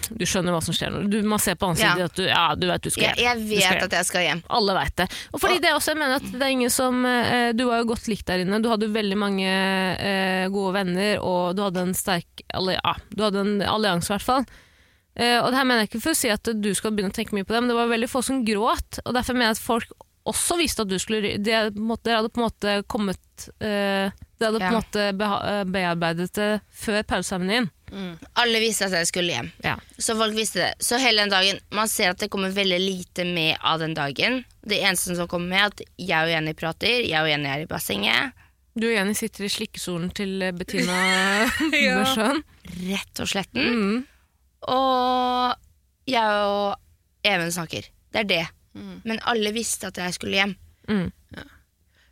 [SPEAKER 1] Du skjønner hva som skjer nå. Du, man ser på ansiktet
[SPEAKER 3] Ja.
[SPEAKER 1] at du, ja, du vet du skal
[SPEAKER 3] Jeg, jeg
[SPEAKER 1] hjem. Du skal
[SPEAKER 3] vet
[SPEAKER 1] hjem.
[SPEAKER 3] at jeg skal hjem.
[SPEAKER 1] Alle veit det. Og fordi det er også, jeg mener at det er ingen som eh, Du var jo godt likt der inne. Du hadde jo veldig mange eh, gode venner, og du hadde en sterk alli ja, Du hadde en allianse, i hvert fall. Eh, og det her mener jeg ikke for å si at du skal begynne å tenke mye på det, men det var veldig få som gråt. Og derfor mener jeg at folk også visste at du skulle ry- Det på en måte- dere hadde på en måte kommet eh, Dere hadde på en
[SPEAKER 3] Ja.
[SPEAKER 1] måte beha- eh, bearbeidet det før pauseseremonien.
[SPEAKER 3] Alle visste at jeg skulle hjem.
[SPEAKER 1] Ja.
[SPEAKER 3] Så folk visste det. Så hele den dagen, Man ser at det kommer veldig lite med av den dagen. Det eneste som kommer med, er at jeg og Jenny prater, jeg og Jenny er i bassenget.
[SPEAKER 1] Du og Jenny sitter i slikkesolen til eh, Bettina Børsøen.
[SPEAKER 3] Rett og sletten. Og jeg og Even snakker. Det er det. Men alle visste at jeg skulle hjem.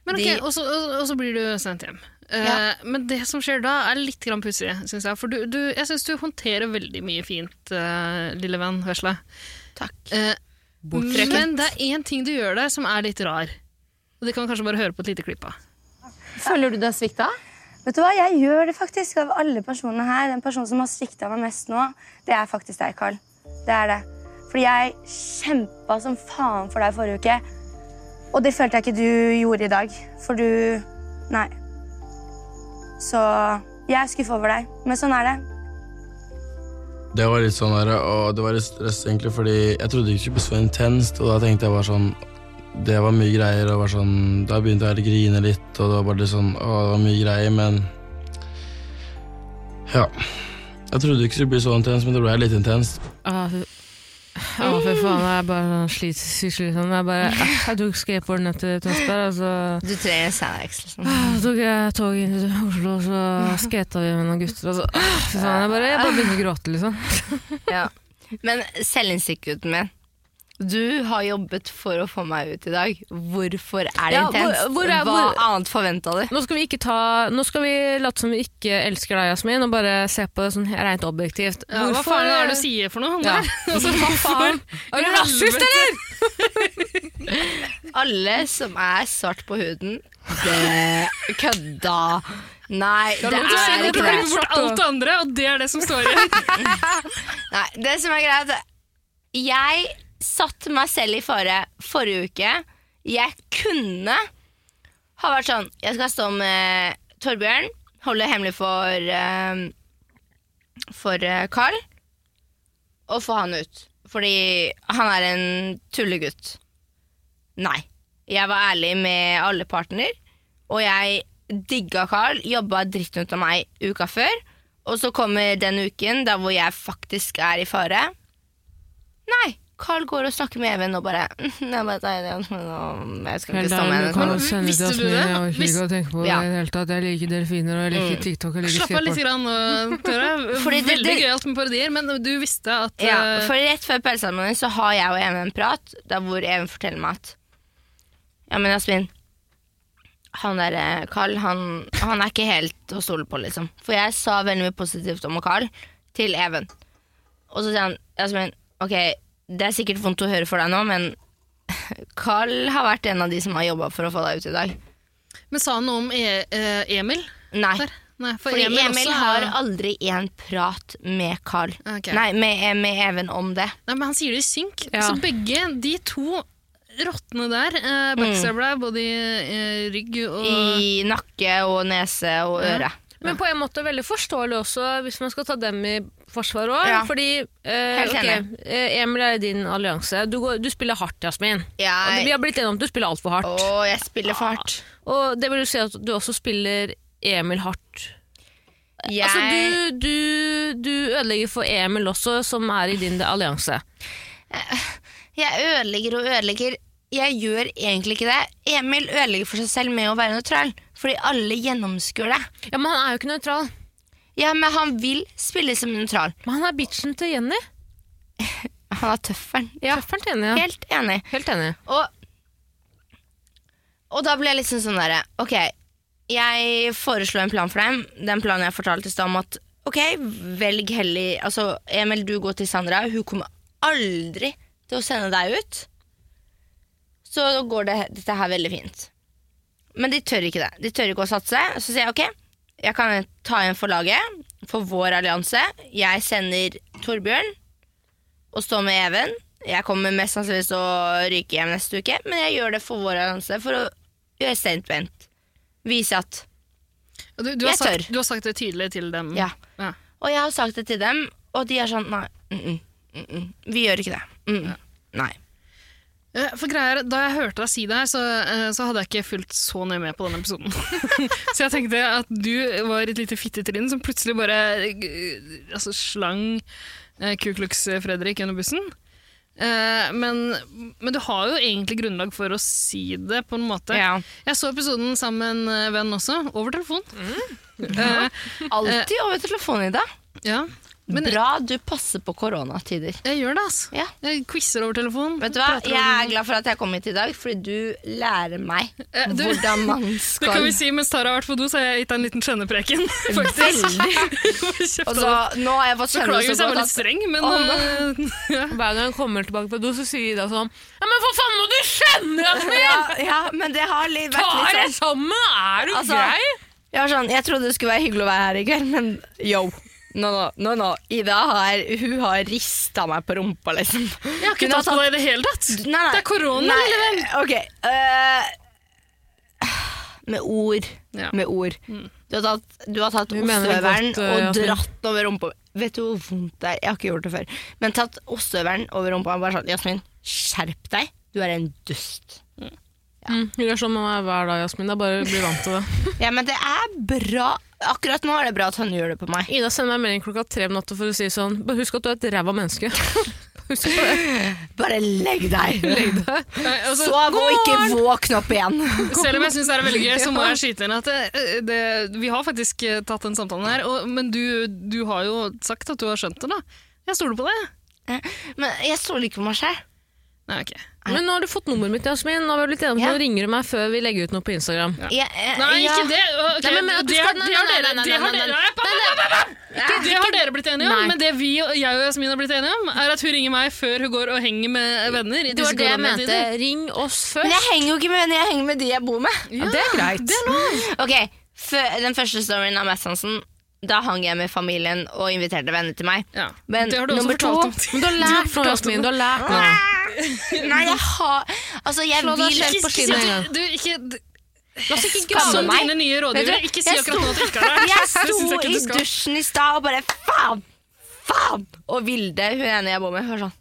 [SPEAKER 4] Men ok,
[SPEAKER 3] De-
[SPEAKER 4] og, så, og, og så blir du sendt hjem. Eh,
[SPEAKER 3] Ja.
[SPEAKER 4] Men det som skjer da, er litt grann pussig, syns jeg. For du, du, jeg syns du håndterer veldig mye fint, eh, lille venn Vesle.
[SPEAKER 3] Takk.
[SPEAKER 4] Eh,
[SPEAKER 1] Bortsett.
[SPEAKER 4] men det er én ting du gjør der som er litt rar. Og det kan vi kanskje bare høre på et lite klipp av.
[SPEAKER 1] Føler du deg svikta?
[SPEAKER 5] Vet du hva, Jeg gjør det faktisk av alle personene her. Den personen som har svikta meg mest nå, det er faktisk deg, Carl. Det er det. Fordi jeg kjempa som faen for deg forrige uke. Og det følte jeg ikke du gjorde i dag. For du Nei. Så jeg er skuffa over deg. Men sånn er det.
[SPEAKER 6] Det var litt sånn der, og det var litt stress egentlig, fordi jeg trodde ikke det ble så intenst, og da tenkte jeg bare sånn, det var mye greier, og bare sånn, da begynte jeg å grine litt, og det var bare litt sånn, å, det var mye greier, men, ja, jeg trodde ikke det skulle bli så intenst, men det ble litt intenst.
[SPEAKER 1] Å, Ah, fy Ah,
[SPEAKER 4] Mm.
[SPEAKER 1] faen. Jeg er bare sånn slit- sykt slitsom. Jeg bare eh, Jeg tok skateboarden ned til Tønsberg, og så
[SPEAKER 3] Du trenger en Sanax. Liksom.
[SPEAKER 1] ah,
[SPEAKER 4] Mm.
[SPEAKER 1] tok jeg toget inn til Oslo, og så skata vi med noen gutter, og så ah, Fy faen. Jeg bare, jeg bare begynner å gråte, liksom.
[SPEAKER 3] Ja. Men selvinnsikten min Du har jobbet for å få meg ut i dag. Hvorfor er det
[SPEAKER 1] Ja, hvor-
[SPEAKER 3] intenst?
[SPEAKER 1] hvor er-
[SPEAKER 3] Hva
[SPEAKER 1] hvor-
[SPEAKER 3] annet forventa du?
[SPEAKER 1] Nå skal vi ikke ta Nå skal vi late som vi ikke elsker deg, Jasmin, og bare se på det sånn rent objektivt.
[SPEAKER 4] Ja, hva faen er det du sier for noe?
[SPEAKER 1] Ja.
[SPEAKER 4] der? Altså, hva faen?
[SPEAKER 1] Er du rasist, eller?!
[SPEAKER 3] Alle som er svart på huden Det kødda! Nei, det
[SPEAKER 4] Du ser at
[SPEAKER 3] er
[SPEAKER 4] du
[SPEAKER 3] ikke
[SPEAKER 4] klipper
[SPEAKER 3] det.
[SPEAKER 4] bort alt det andre, og det er det som står igjen.
[SPEAKER 3] Nei, det som er greit Jeg satte meg selv i fare forrige uke. Jeg kunne ha vært sånn Jeg skal stå med Torbjørn, holde hemmelig for eh, For eh, Carl, og få han ut. Fordi han er en tullegutt. Nei. Jeg var ærlig med alle partner, og jeg digga Carl, jobba dritten ut av meg uka før. Og så kommer den uken der hvor jeg faktisk er i fare. Nei, Carl går og snakker med Even og bare Jeg, bare, nei, det- nå- jeg skal ikke stå med henne.
[SPEAKER 4] Men visste du det?
[SPEAKER 1] Jeg orker
[SPEAKER 4] Visst- Mm.
[SPEAKER 1] ikke å tenke på det
[SPEAKER 3] Ja.
[SPEAKER 1] i det hele tatt. Jeg liker delfiner, og jeg liker TikTok, og jeg liker
[SPEAKER 4] Slapp av litt,
[SPEAKER 1] skateboard.
[SPEAKER 4] grann, nå, Tara.
[SPEAKER 3] Fordi det-
[SPEAKER 4] Veldig
[SPEAKER 3] det-
[SPEAKER 4] gøyalt med parodier, men du visste at
[SPEAKER 3] Ja,
[SPEAKER 4] eh,
[SPEAKER 3] for rett før pelsseremonien så har jeg og Even en prat der hvor Even forteller meg at Ja, men Jasmin, han der eh, Carl, han, han er ikke helt å stole på, liksom. For jeg sa veldig mye positivt om Carl til Even. Og så sier han Jasmin, ok, det er sikkert vondt å høre for deg nå, men Carl har vært en av de som har jobba for å få deg ut i dag.
[SPEAKER 4] Men sa han noe om e eh, Emil?
[SPEAKER 3] Nei,
[SPEAKER 4] Der? Nei, for
[SPEAKER 3] Fordi
[SPEAKER 4] Emil,
[SPEAKER 3] Emil,
[SPEAKER 4] også
[SPEAKER 3] har
[SPEAKER 4] er,
[SPEAKER 3] aldri en prat med Carl.
[SPEAKER 4] Ah, Ok.
[SPEAKER 3] Nei, med, med Even om det.
[SPEAKER 4] Nei, men han sier det i synk.
[SPEAKER 1] Ja.
[SPEAKER 4] Så begge de to rottene der eh, backstabber deg både i eh, rygg og
[SPEAKER 3] Mm. I nakke og nese og
[SPEAKER 4] Ja.
[SPEAKER 3] øre.
[SPEAKER 1] Men på en måte veldig forståelig også, hvis man skal ta dem i forsvar òg.
[SPEAKER 3] Ja.
[SPEAKER 1] Fordi eh,
[SPEAKER 3] Helt
[SPEAKER 1] ok,
[SPEAKER 3] enig.
[SPEAKER 1] eh, Emil er i din allianse. Du, går, du spiller hardt, Jasmin. Og det- Vi
[SPEAKER 3] Jeg,
[SPEAKER 1] har blitt enige om at du spiller altfor hardt.
[SPEAKER 3] å, jeg spiller for hardt.
[SPEAKER 1] Og det vil jo si at du også spiller Emil hardt.
[SPEAKER 3] Jeg,
[SPEAKER 1] Altså, du, du, du ødelegger for Emil også, som er i din allianse.
[SPEAKER 3] jeg ødelegger og ødelegger. Jeg gjør egentlig ikke det. Emil ødelegger for seg selv med å være nøytral, fordi alle gjennomskuer det.
[SPEAKER 1] Ja, Men han er jo ikke nøytral.
[SPEAKER 3] Ja, men han vil spille som nøytral.
[SPEAKER 1] Men han er bitchen til Jenny.
[SPEAKER 3] Han er tøfferen.
[SPEAKER 1] Ja. Tøfferen til Jenny, ja.
[SPEAKER 3] Helt enig.
[SPEAKER 1] Helt enig.
[SPEAKER 3] Og, og da ble jeg liksom sånn derre Ok, jeg foreslo en plan for dem. Den planen jeg fortalte i stad om at ok, velg hellig Altså, Emil, du går til Sandra. Hun kommer aldri til å sende deg ut. Så går det, dette her veldig fint. Men de tør ikke det. De tør ikke å satse. Så sier jeg ok, jeg kan ta igjen for laget, for vår allianse. Jeg sender Torbjørn og stå med Even. Jeg kommer mest sannsynligvis til å ryke hjem neste uke, men jeg gjør det for vår allianse, for å gjøre statement. Vise at
[SPEAKER 4] Og du, du, har
[SPEAKER 3] Jeg
[SPEAKER 4] sagt,
[SPEAKER 3] tør.
[SPEAKER 4] du har sagt det tydelig til dem.
[SPEAKER 3] Ja.
[SPEAKER 4] Ja.
[SPEAKER 3] Og jeg har sagt det til dem, og de er sånn Nei, mm -mm, mm -mm, vi gjør ikke det. Mm -mm, nei.
[SPEAKER 4] Eh, For greier, Da jeg hørte deg si det her, så, eh, så hadde jeg ikke fulgt så nøye med på denne episoden. så jeg tenkte at du var et lite fittetrinn som plutselig bare eh, altså, slang eh, Ku Klux Fredrik under bussen. Eh, Men, men du har jo egentlig grunnlag for å si det, på en måte.
[SPEAKER 3] Ja.
[SPEAKER 4] Jeg så episoden sammen med en eh, venn også, over telefon. Eh,
[SPEAKER 3] Alltid over telefonen, Ida.
[SPEAKER 4] ja. Men
[SPEAKER 3] Bra du passer på koronatider.
[SPEAKER 4] jeg gjør det, altså.
[SPEAKER 3] Ja.
[SPEAKER 4] Jeg quizer over telefon.
[SPEAKER 3] Vet du hva?
[SPEAKER 4] prater
[SPEAKER 3] Jeg
[SPEAKER 4] over-
[SPEAKER 3] er glad for at jeg kom hit i dag, fordi du lærer meg
[SPEAKER 4] Eh, du-
[SPEAKER 3] hvordan man
[SPEAKER 4] Det kan
[SPEAKER 3] skal
[SPEAKER 4] vi si, mens Tara har vært på do, så har jeg gitt deg en liten skjønnepreken. faktisk. Kjeft av
[SPEAKER 3] Og
[SPEAKER 4] deg.
[SPEAKER 3] så, Nå har jeg fått kjenne
[SPEAKER 4] Beklager
[SPEAKER 3] det
[SPEAKER 4] hvis
[SPEAKER 3] så
[SPEAKER 4] jeg var
[SPEAKER 3] godt
[SPEAKER 4] litt
[SPEAKER 3] at
[SPEAKER 4] streng, men
[SPEAKER 3] Å,
[SPEAKER 4] eh, ja.
[SPEAKER 1] Hver gang han kommer tilbake på do, så sier Ida sånn Ja, men for faen må du skjønne, Jasmin!
[SPEAKER 3] ja, ja, men det har li- vært
[SPEAKER 1] Ta
[SPEAKER 3] litt sånn
[SPEAKER 1] deg sammen! Er du
[SPEAKER 3] Altså,
[SPEAKER 1] grei?
[SPEAKER 3] Jeg, var sånn, jeg trodde det skulle være hyggelig å være her i kveld, men yo. No, no, no, no. Ida har, hun har rista meg på rumpa, liksom.
[SPEAKER 4] Jeg har ikke
[SPEAKER 3] Hun har
[SPEAKER 4] tatt på deg i det hele tatt.
[SPEAKER 3] Nei, nei.
[SPEAKER 4] Det er korona,
[SPEAKER 3] Nei,
[SPEAKER 4] lille venn.
[SPEAKER 3] Ok. eh, med ord.
[SPEAKER 4] Ja. Mm.
[SPEAKER 3] Med ord. Du har tatt, du har tatt
[SPEAKER 1] Du mener det
[SPEAKER 3] ostehøvelen
[SPEAKER 1] godt, eh,
[SPEAKER 3] og
[SPEAKER 1] Jasmin.
[SPEAKER 3] dratt over rumpa. Vet du hvor vondt det er? Jeg har ikke gjort det før. Men tatt ostehøvelen over rumpa og bare sånn Jasmin, skjerp deg. Du er en dust.
[SPEAKER 1] Mm, Hun gjør sånn med meg hver dag, Jasmin. Jeg bare blir vant til det.
[SPEAKER 3] Ja, men det er bra. Akkurat nå er det bra at han gjør det på meg.
[SPEAKER 1] Ida sender meg en melding klokka tre om natta for å si sånn Bare husk at du er et ræva menneske. husk på det.
[SPEAKER 3] Bare legg deg.
[SPEAKER 4] Nei, altså,
[SPEAKER 3] Sov og ikke våkn opp igjen.
[SPEAKER 4] selv om jeg syns det er veldig gøy, så må jeg skyte inn at det, det, vi har faktisk eh, tatt den samtalen her. Og, men du, du har jo sagt at du har skjønt det, da. Jeg stoler på det.
[SPEAKER 3] Men jeg stoler ikke på meg sjøl.
[SPEAKER 4] Nei, ok.
[SPEAKER 1] Men nå har du fått nummeret mitt, Jasmin. Nå har vi blitt enige om at
[SPEAKER 3] Ja.
[SPEAKER 1] nå ringer du meg før vi legger ut noe på Instagram.
[SPEAKER 4] Nei, ikke det. Ok,
[SPEAKER 1] Nei, men- men at du
[SPEAKER 4] det,
[SPEAKER 1] skal-
[SPEAKER 4] har-
[SPEAKER 1] nei,
[SPEAKER 4] det har
[SPEAKER 1] nei,
[SPEAKER 4] dere
[SPEAKER 1] nei, nei,
[SPEAKER 4] det har
[SPEAKER 1] nei, nei,
[SPEAKER 4] dere- Nei, Det har dere blitt enige om,
[SPEAKER 1] Nei.
[SPEAKER 4] men det vi og jeg og Jasmin har blitt enige om, er at hun ringer meg før hun går og henger med venner. i
[SPEAKER 1] Det
[SPEAKER 4] disse
[SPEAKER 1] var det jeg mente.
[SPEAKER 4] koronatider.
[SPEAKER 1] Ring oss
[SPEAKER 3] Men jeg
[SPEAKER 1] først.
[SPEAKER 3] henger jo ikke med venner, jeg henger med de jeg bor med.
[SPEAKER 1] Ja, det er greit.
[SPEAKER 3] Ok, fø- Den første storyen av Mads Hansen, da hang jeg med familien og inviterte venner til meg.
[SPEAKER 4] Ja.
[SPEAKER 3] Men
[SPEAKER 4] det har du også
[SPEAKER 3] nummer to-
[SPEAKER 4] fortalt om.
[SPEAKER 1] Men du har lært nå,
[SPEAKER 4] fortalt
[SPEAKER 1] Jasmin.
[SPEAKER 4] om
[SPEAKER 1] Du har lært nå.
[SPEAKER 3] Nei, jeg har Altså, jeg
[SPEAKER 1] Slå deg
[SPEAKER 3] vil
[SPEAKER 1] selv på
[SPEAKER 3] ikke
[SPEAKER 1] skinnet.
[SPEAKER 3] si-
[SPEAKER 1] en gang.
[SPEAKER 4] Du, ikke, d-
[SPEAKER 3] Jeg skammer
[SPEAKER 4] som
[SPEAKER 3] meg.
[SPEAKER 4] dine nye
[SPEAKER 3] Vet
[SPEAKER 4] rådgivere,
[SPEAKER 3] du,
[SPEAKER 4] ikke si
[SPEAKER 3] jeg
[SPEAKER 4] akkurat
[SPEAKER 3] sto-
[SPEAKER 4] nå at du ikke har lært.
[SPEAKER 3] Jeg
[SPEAKER 4] Det synes
[SPEAKER 3] sto
[SPEAKER 4] ikke
[SPEAKER 3] i
[SPEAKER 4] du skal.
[SPEAKER 3] dusjen i stad og bare faen, faen! Og Vilde, hun ene jeg bor med, hører sånn.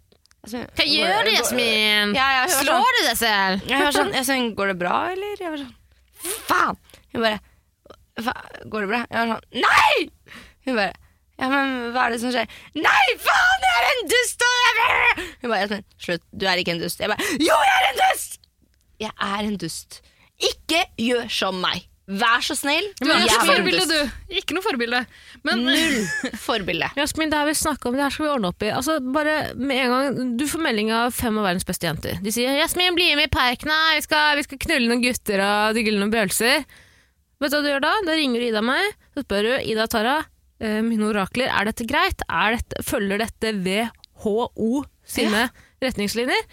[SPEAKER 3] Altså,
[SPEAKER 1] Hva gjør du, Jasmin?
[SPEAKER 3] Ja, ja, hun var sånn-
[SPEAKER 1] Slår du deg selv?
[SPEAKER 3] Jeg var sånn, jeg sånn, går det bra, eller? Jeg var sånn, faen! Hun bare, «Hva, går det bra? Jeg var sånn, nei! Hun bare, ja, men hva er det som skjer? Nei, faen, jeg er en dust! og jeg blir-» Hun bare, «Jasmin, slutt, du er ikke en dust. Jeg bare, jo, jeg er en dust! Jeg er en dust. Ikke gjør som meg. Vær så snill.
[SPEAKER 4] Du er ikke
[SPEAKER 3] jeg
[SPEAKER 4] noe forbilde, du. Ikke noe forbilde. Men
[SPEAKER 1] Mm.
[SPEAKER 3] Null forbilde.
[SPEAKER 1] Jasmin, det her vi snakket om, det her skal vi ordne opp i. Altså, bare med en gang, Du får melding av fem av verdens beste jenter. De sier 'Jasmin, bli med i parken, her. vi skal, vi skal knulle noen gutter og digge noen pølser'. Vet du hva du gjør da? Da ringer du Ida meg, så spør du 'Ida Tara, eh, mine orakler, er dette greit? Er dette, følger dette WHO sine retningslinjer?'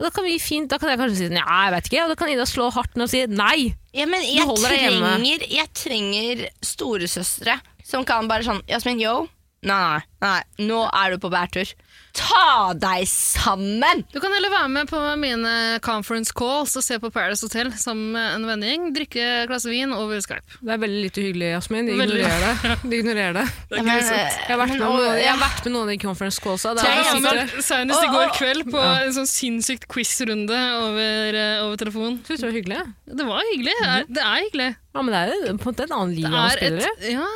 [SPEAKER 1] Og da kan, vi fint, da kan jeg kanskje si sånn, ja, jeg vet ikke, og da kan Ida slå hardt ned og si nei.
[SPEAKER 3] Ja, men
[SPEAKER 1] Du
[SPEAKER 3] jeg
[SPEAKER 1] holder deg hjemme.
[SPEAKER 3] trenger, jeg trenger storesøstre som kan bare sånn Jasmin, yo. Nei, nei, nei, nå er du på bærtur. Ta deg sammen!
[SPEAKER 4] Du kan heller være med på mine conference calls og se på Paradise Hotel sammen med en vennegjeng. Drikke et glass vin over Skype.
[SPEAKER 1] Det er veldig lite hyggelig, Jasmin. De
[SPEAKER 4] Veldig.
[SPEAKER 1] ignorerer det. De ignorerer det.
[SPEAKER 3] Ja, men,
[SPEAKER 1] Jeg har vært med,
[SPEAKER 3] men,
[SPEAKER 1] noen-
[SPEAKER 3] å,
[SPEAKER 1] jeg
[SPEAKER 3] ja.
[SPEAKER 1] har vært med noen i conference callsa. Det
[SPEAKER 3] Tre
[SPEAKER 1] er
[SPEAKER 3] jenter.
[SPEAKER 1] sikkert-
[SPEAKER 4] Senest i går kveld på en sånn sinnssykt quiz-runde over, eh, over telefon.
[SPEAKER 1] Jeg synes det var hyggelig.
[SPEAKER 4] Det var hyggelig. Det er, det er hyggelig.
[SPEAKER 1] Ja, men det er jo på en måte en annen
[SPEAKER 4] Det
[SPEAKER 1] liv han
[SPEAKER 4] er
[SPEAKER 1] spiller i.
[SPEAKER 4] et Ja.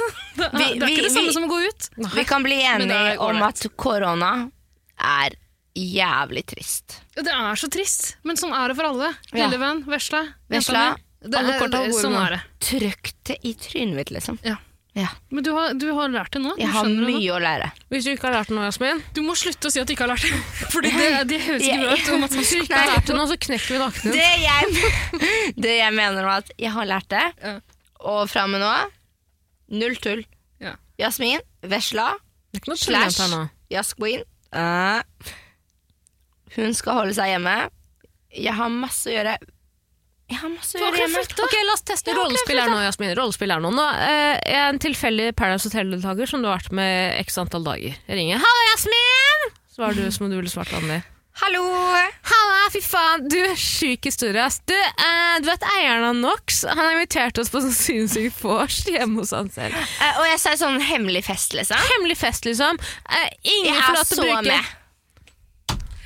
[SPEAKER 4] Det er,
[SPEAKER 3] Vi-
[SPEAKER 4] det er
[SPEAKER 3] vi-
[SPEAKER 4] ikke det samme
[SPEAKER 3] vi-
[SPEAKER 4] som å gå ut.
[SPEAKER 3] Vi kan bli
[SPEAKER 4] Men det
[SPEAKER 3] enige
[SPEAKER 4] er
[SPEAKER 3] om
[SPEAKER 4] ålreit.
[SPEAKER 3] at korona er jævlig trist.
[SPEAKER 4] Det er så trist, men sånn er det for alle.
[SPEAKER 3] Ja.
[SPEAKER 4] Lille venn, vesle,
[SPEAKER 3] Vesle,
[SPEAKER 4] jenta mi. Det
[SPEAKER 3] alle
[SPEAKER 4] er-
[SPEAKER 3] kort av
[SPEAKER 4] det-
[SPEAKER 3] gode
[SPEAKER 4] Sånn
[SPEAKER 3] nå.
[SPEAKER 4] er det.
[SPEAKER 3] Trykk det i trynet mitt, liksom.
[SPEAKER 4] Ja.
[SPEAKER 3] Ja.
[SPEAKER 4] Men du har, du har lært det nå. Du
[SPEAKER 3] Jeg har
[SPEAKER 4] skjønner det nå.
[SPEAKER 3] mye å lære.
[SPEAKER 1] Hvis du ikke har lært noe, Jasmin,
[SPEAKER 4] Du må slutte å si at du ikke har lært det. Fordi det, det høres ikke bra ut. om at man
[SPEAKER 1] hvis du ikke
[SPEAKER 3] Nei.
[SPEAKER 1] har lært det nå, så knekker vi nakken din.
[SPEAKER 3] Det jeg, det jeg mener nå, at jeg har lært det,
[SPEAKER 4] Ja.
[SPEAKER 3] og fra og med nå null tull.
[SPEAKER 4] Ja.
[SPEAKER 3] Jasmin, vesla,
[SPEAKER 1] Det er ikke noe tullent
[SPEAKER 3] slash
[SPEAKER 1] her nå.
[SPEAKER 3] jazzqueen. Eh, hun skal holde seg hjemme. Jeg har masse å gjøre. Jeg har masse å
[SPEAKER 1] Du har
[SPEAKER 3] gjøre
[SPEAKER 1] ikke
[SPEAKER 3] hjemme.
[SPEAKER 1] flyttet. Ok, La oss teste rollespill her nå, Jasmin. Rollespill her nå. nå eh, jeg er en tilfeldig Paradise Hotel-deltaker som du har vært med x antall dager. Jeg ringer 'Hallo, Jasmin!' Svarer du som om du ville svart Anni.
[SPEAKER 3] Hallo!
[SPEAKER 1] Halla, fy faen, du er sjuk historie, ass. Du, eh, du vet eieren av NOx? Han har invitert oss på sånn sinnssykt vors hjemme hos han selv.
[SPEAKER 3] Eh, og jeg sa sånn hemmelig fest, liksom.
[SPEAKER 1] Hemmelig fest, liksom. Eh, ingen
[SPEAKER 3] Jeg
[SPEAKER 1] får
[SPEAKER 3] er
[SPEAKER 1] lov til
[SPEAKER 3] så
[SPEAKER 1] å bruke
[SPEAKER 3] med.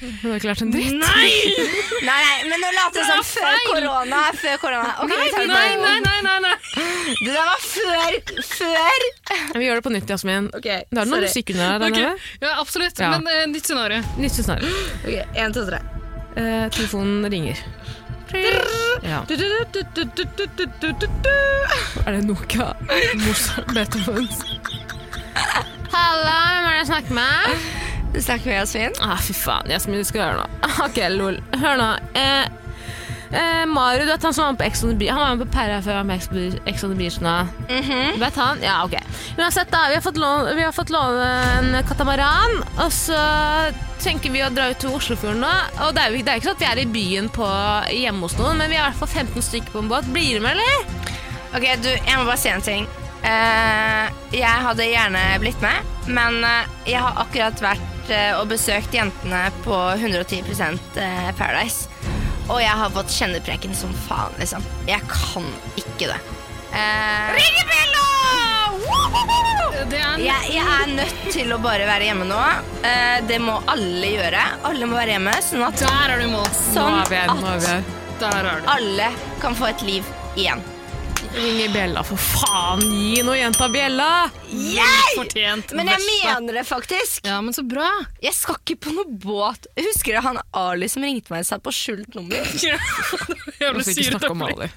[SPEAKER 1] Hun har ikke lært en dritt.
[SPEAKER 3] Nei, nei, men nå later det som før korona. Før korona. Ok, vi tar det på
[SPEAKER 4] Nei,
[SPEAKER 3] en
[SPEAKER 4] nei,
[SPEAKER 3] gang.
[SPEAKER 4] nei, nei, nei.
[SPEAKER 3] Det der var før, før.
[SPEAKER 1] Vi gjør det på nytt, Jasmin.
[SPEAKER 3] Ok,
[SPEAKER 1] Det er noe musikk under her.
[SPEAKER 4] Ok,
[SPEAKER 1] Okay.
[SPEAKER 4] Ja, absolutt.
[SPEAKER 1] Ja.
[SPEAKER 4] Men eh, nytt scenario.
[SPEAKER 1] Nytt snart.
[SPEAKER 3] en, to, tre.
[SPEAKER 1] Eh, telefonen ringer. Ja. Er det Noka? Mozart Beethovens? Halla, hvem er det jeg snakker med?
[SPEAKER 3] Du snakker med Jasmin?
[SPEAKER 1] Ah, fy faen, Jasmin, du skal høre nå. Ok, lol. Hør nå. Eh, eh, Mario, du vet han som var med på Ex on the Beach? Han var med på Perra før han var med på Ex on the- Ex on the Beach nå. Du Vet han? Ja, ok. Uansett, da. Vi har fått låne, vi har fått låne en katamaran. Og så tenker vi å dra ut til Oslofjorden nå. Og det er jo ikke- det er jo ikke sånn at vi er i byen på, hjemme hos noen, men vi er i hvert fall 15 stykker på en båt. Blir du med, eller?
[SPEAKER 3] Ok, du, jeg må bare si en ting. Eh, jeg hadde gjerne blitt med, men eh, jeg har akkurat vært eh, og besøkt jentene på 110 eh, Paradise. Og jeg har fått kjennepreken som faen, liksom. Jeg kan ikke det. Uh,
[SPEAKER 4] Det er en,
[SPEAKER 3] Jeg, jeg er nødt til å bare være hjemme nå. Eh, det må alle gjøre. Alle må være hjemme, sånn at,
[SPEAKER 4] Der er du i mål.
[SPEAKER 3] sånn
[SPEAKER 1] er vi her, nå er vi
[SPEAKER 3] at
[SPEAKER 1] her.
[SPEAKER 4] Der er du.
[SPEAKER 3] alle kan få et liv igjen.
[SPEAKER 1] Ring i bjella, for faen. Gi nå jenta bjella!
[SPEAKER 4] Fortjent.
[SPEAKER 3] Men jeg
[SPEAKER 4] Vesla.
[SPEAKER 3] mener det faktisk.
[SPEAKER 4] Ja, men så bra.
[SPEAKER 3] Jeg skal ikke på noe båt. Husker du han Ali som ringte meg og sa på skjult nummer?
[SPEAKER 1] La
[SPEAKER 4] Jævlig
[SPEAKER 1] oss ikke
[SPEAKER 4] syret
[SPEAKER 1] snakke om
[SPEAKER 4] opp.
[SPEAKER 1] Ali.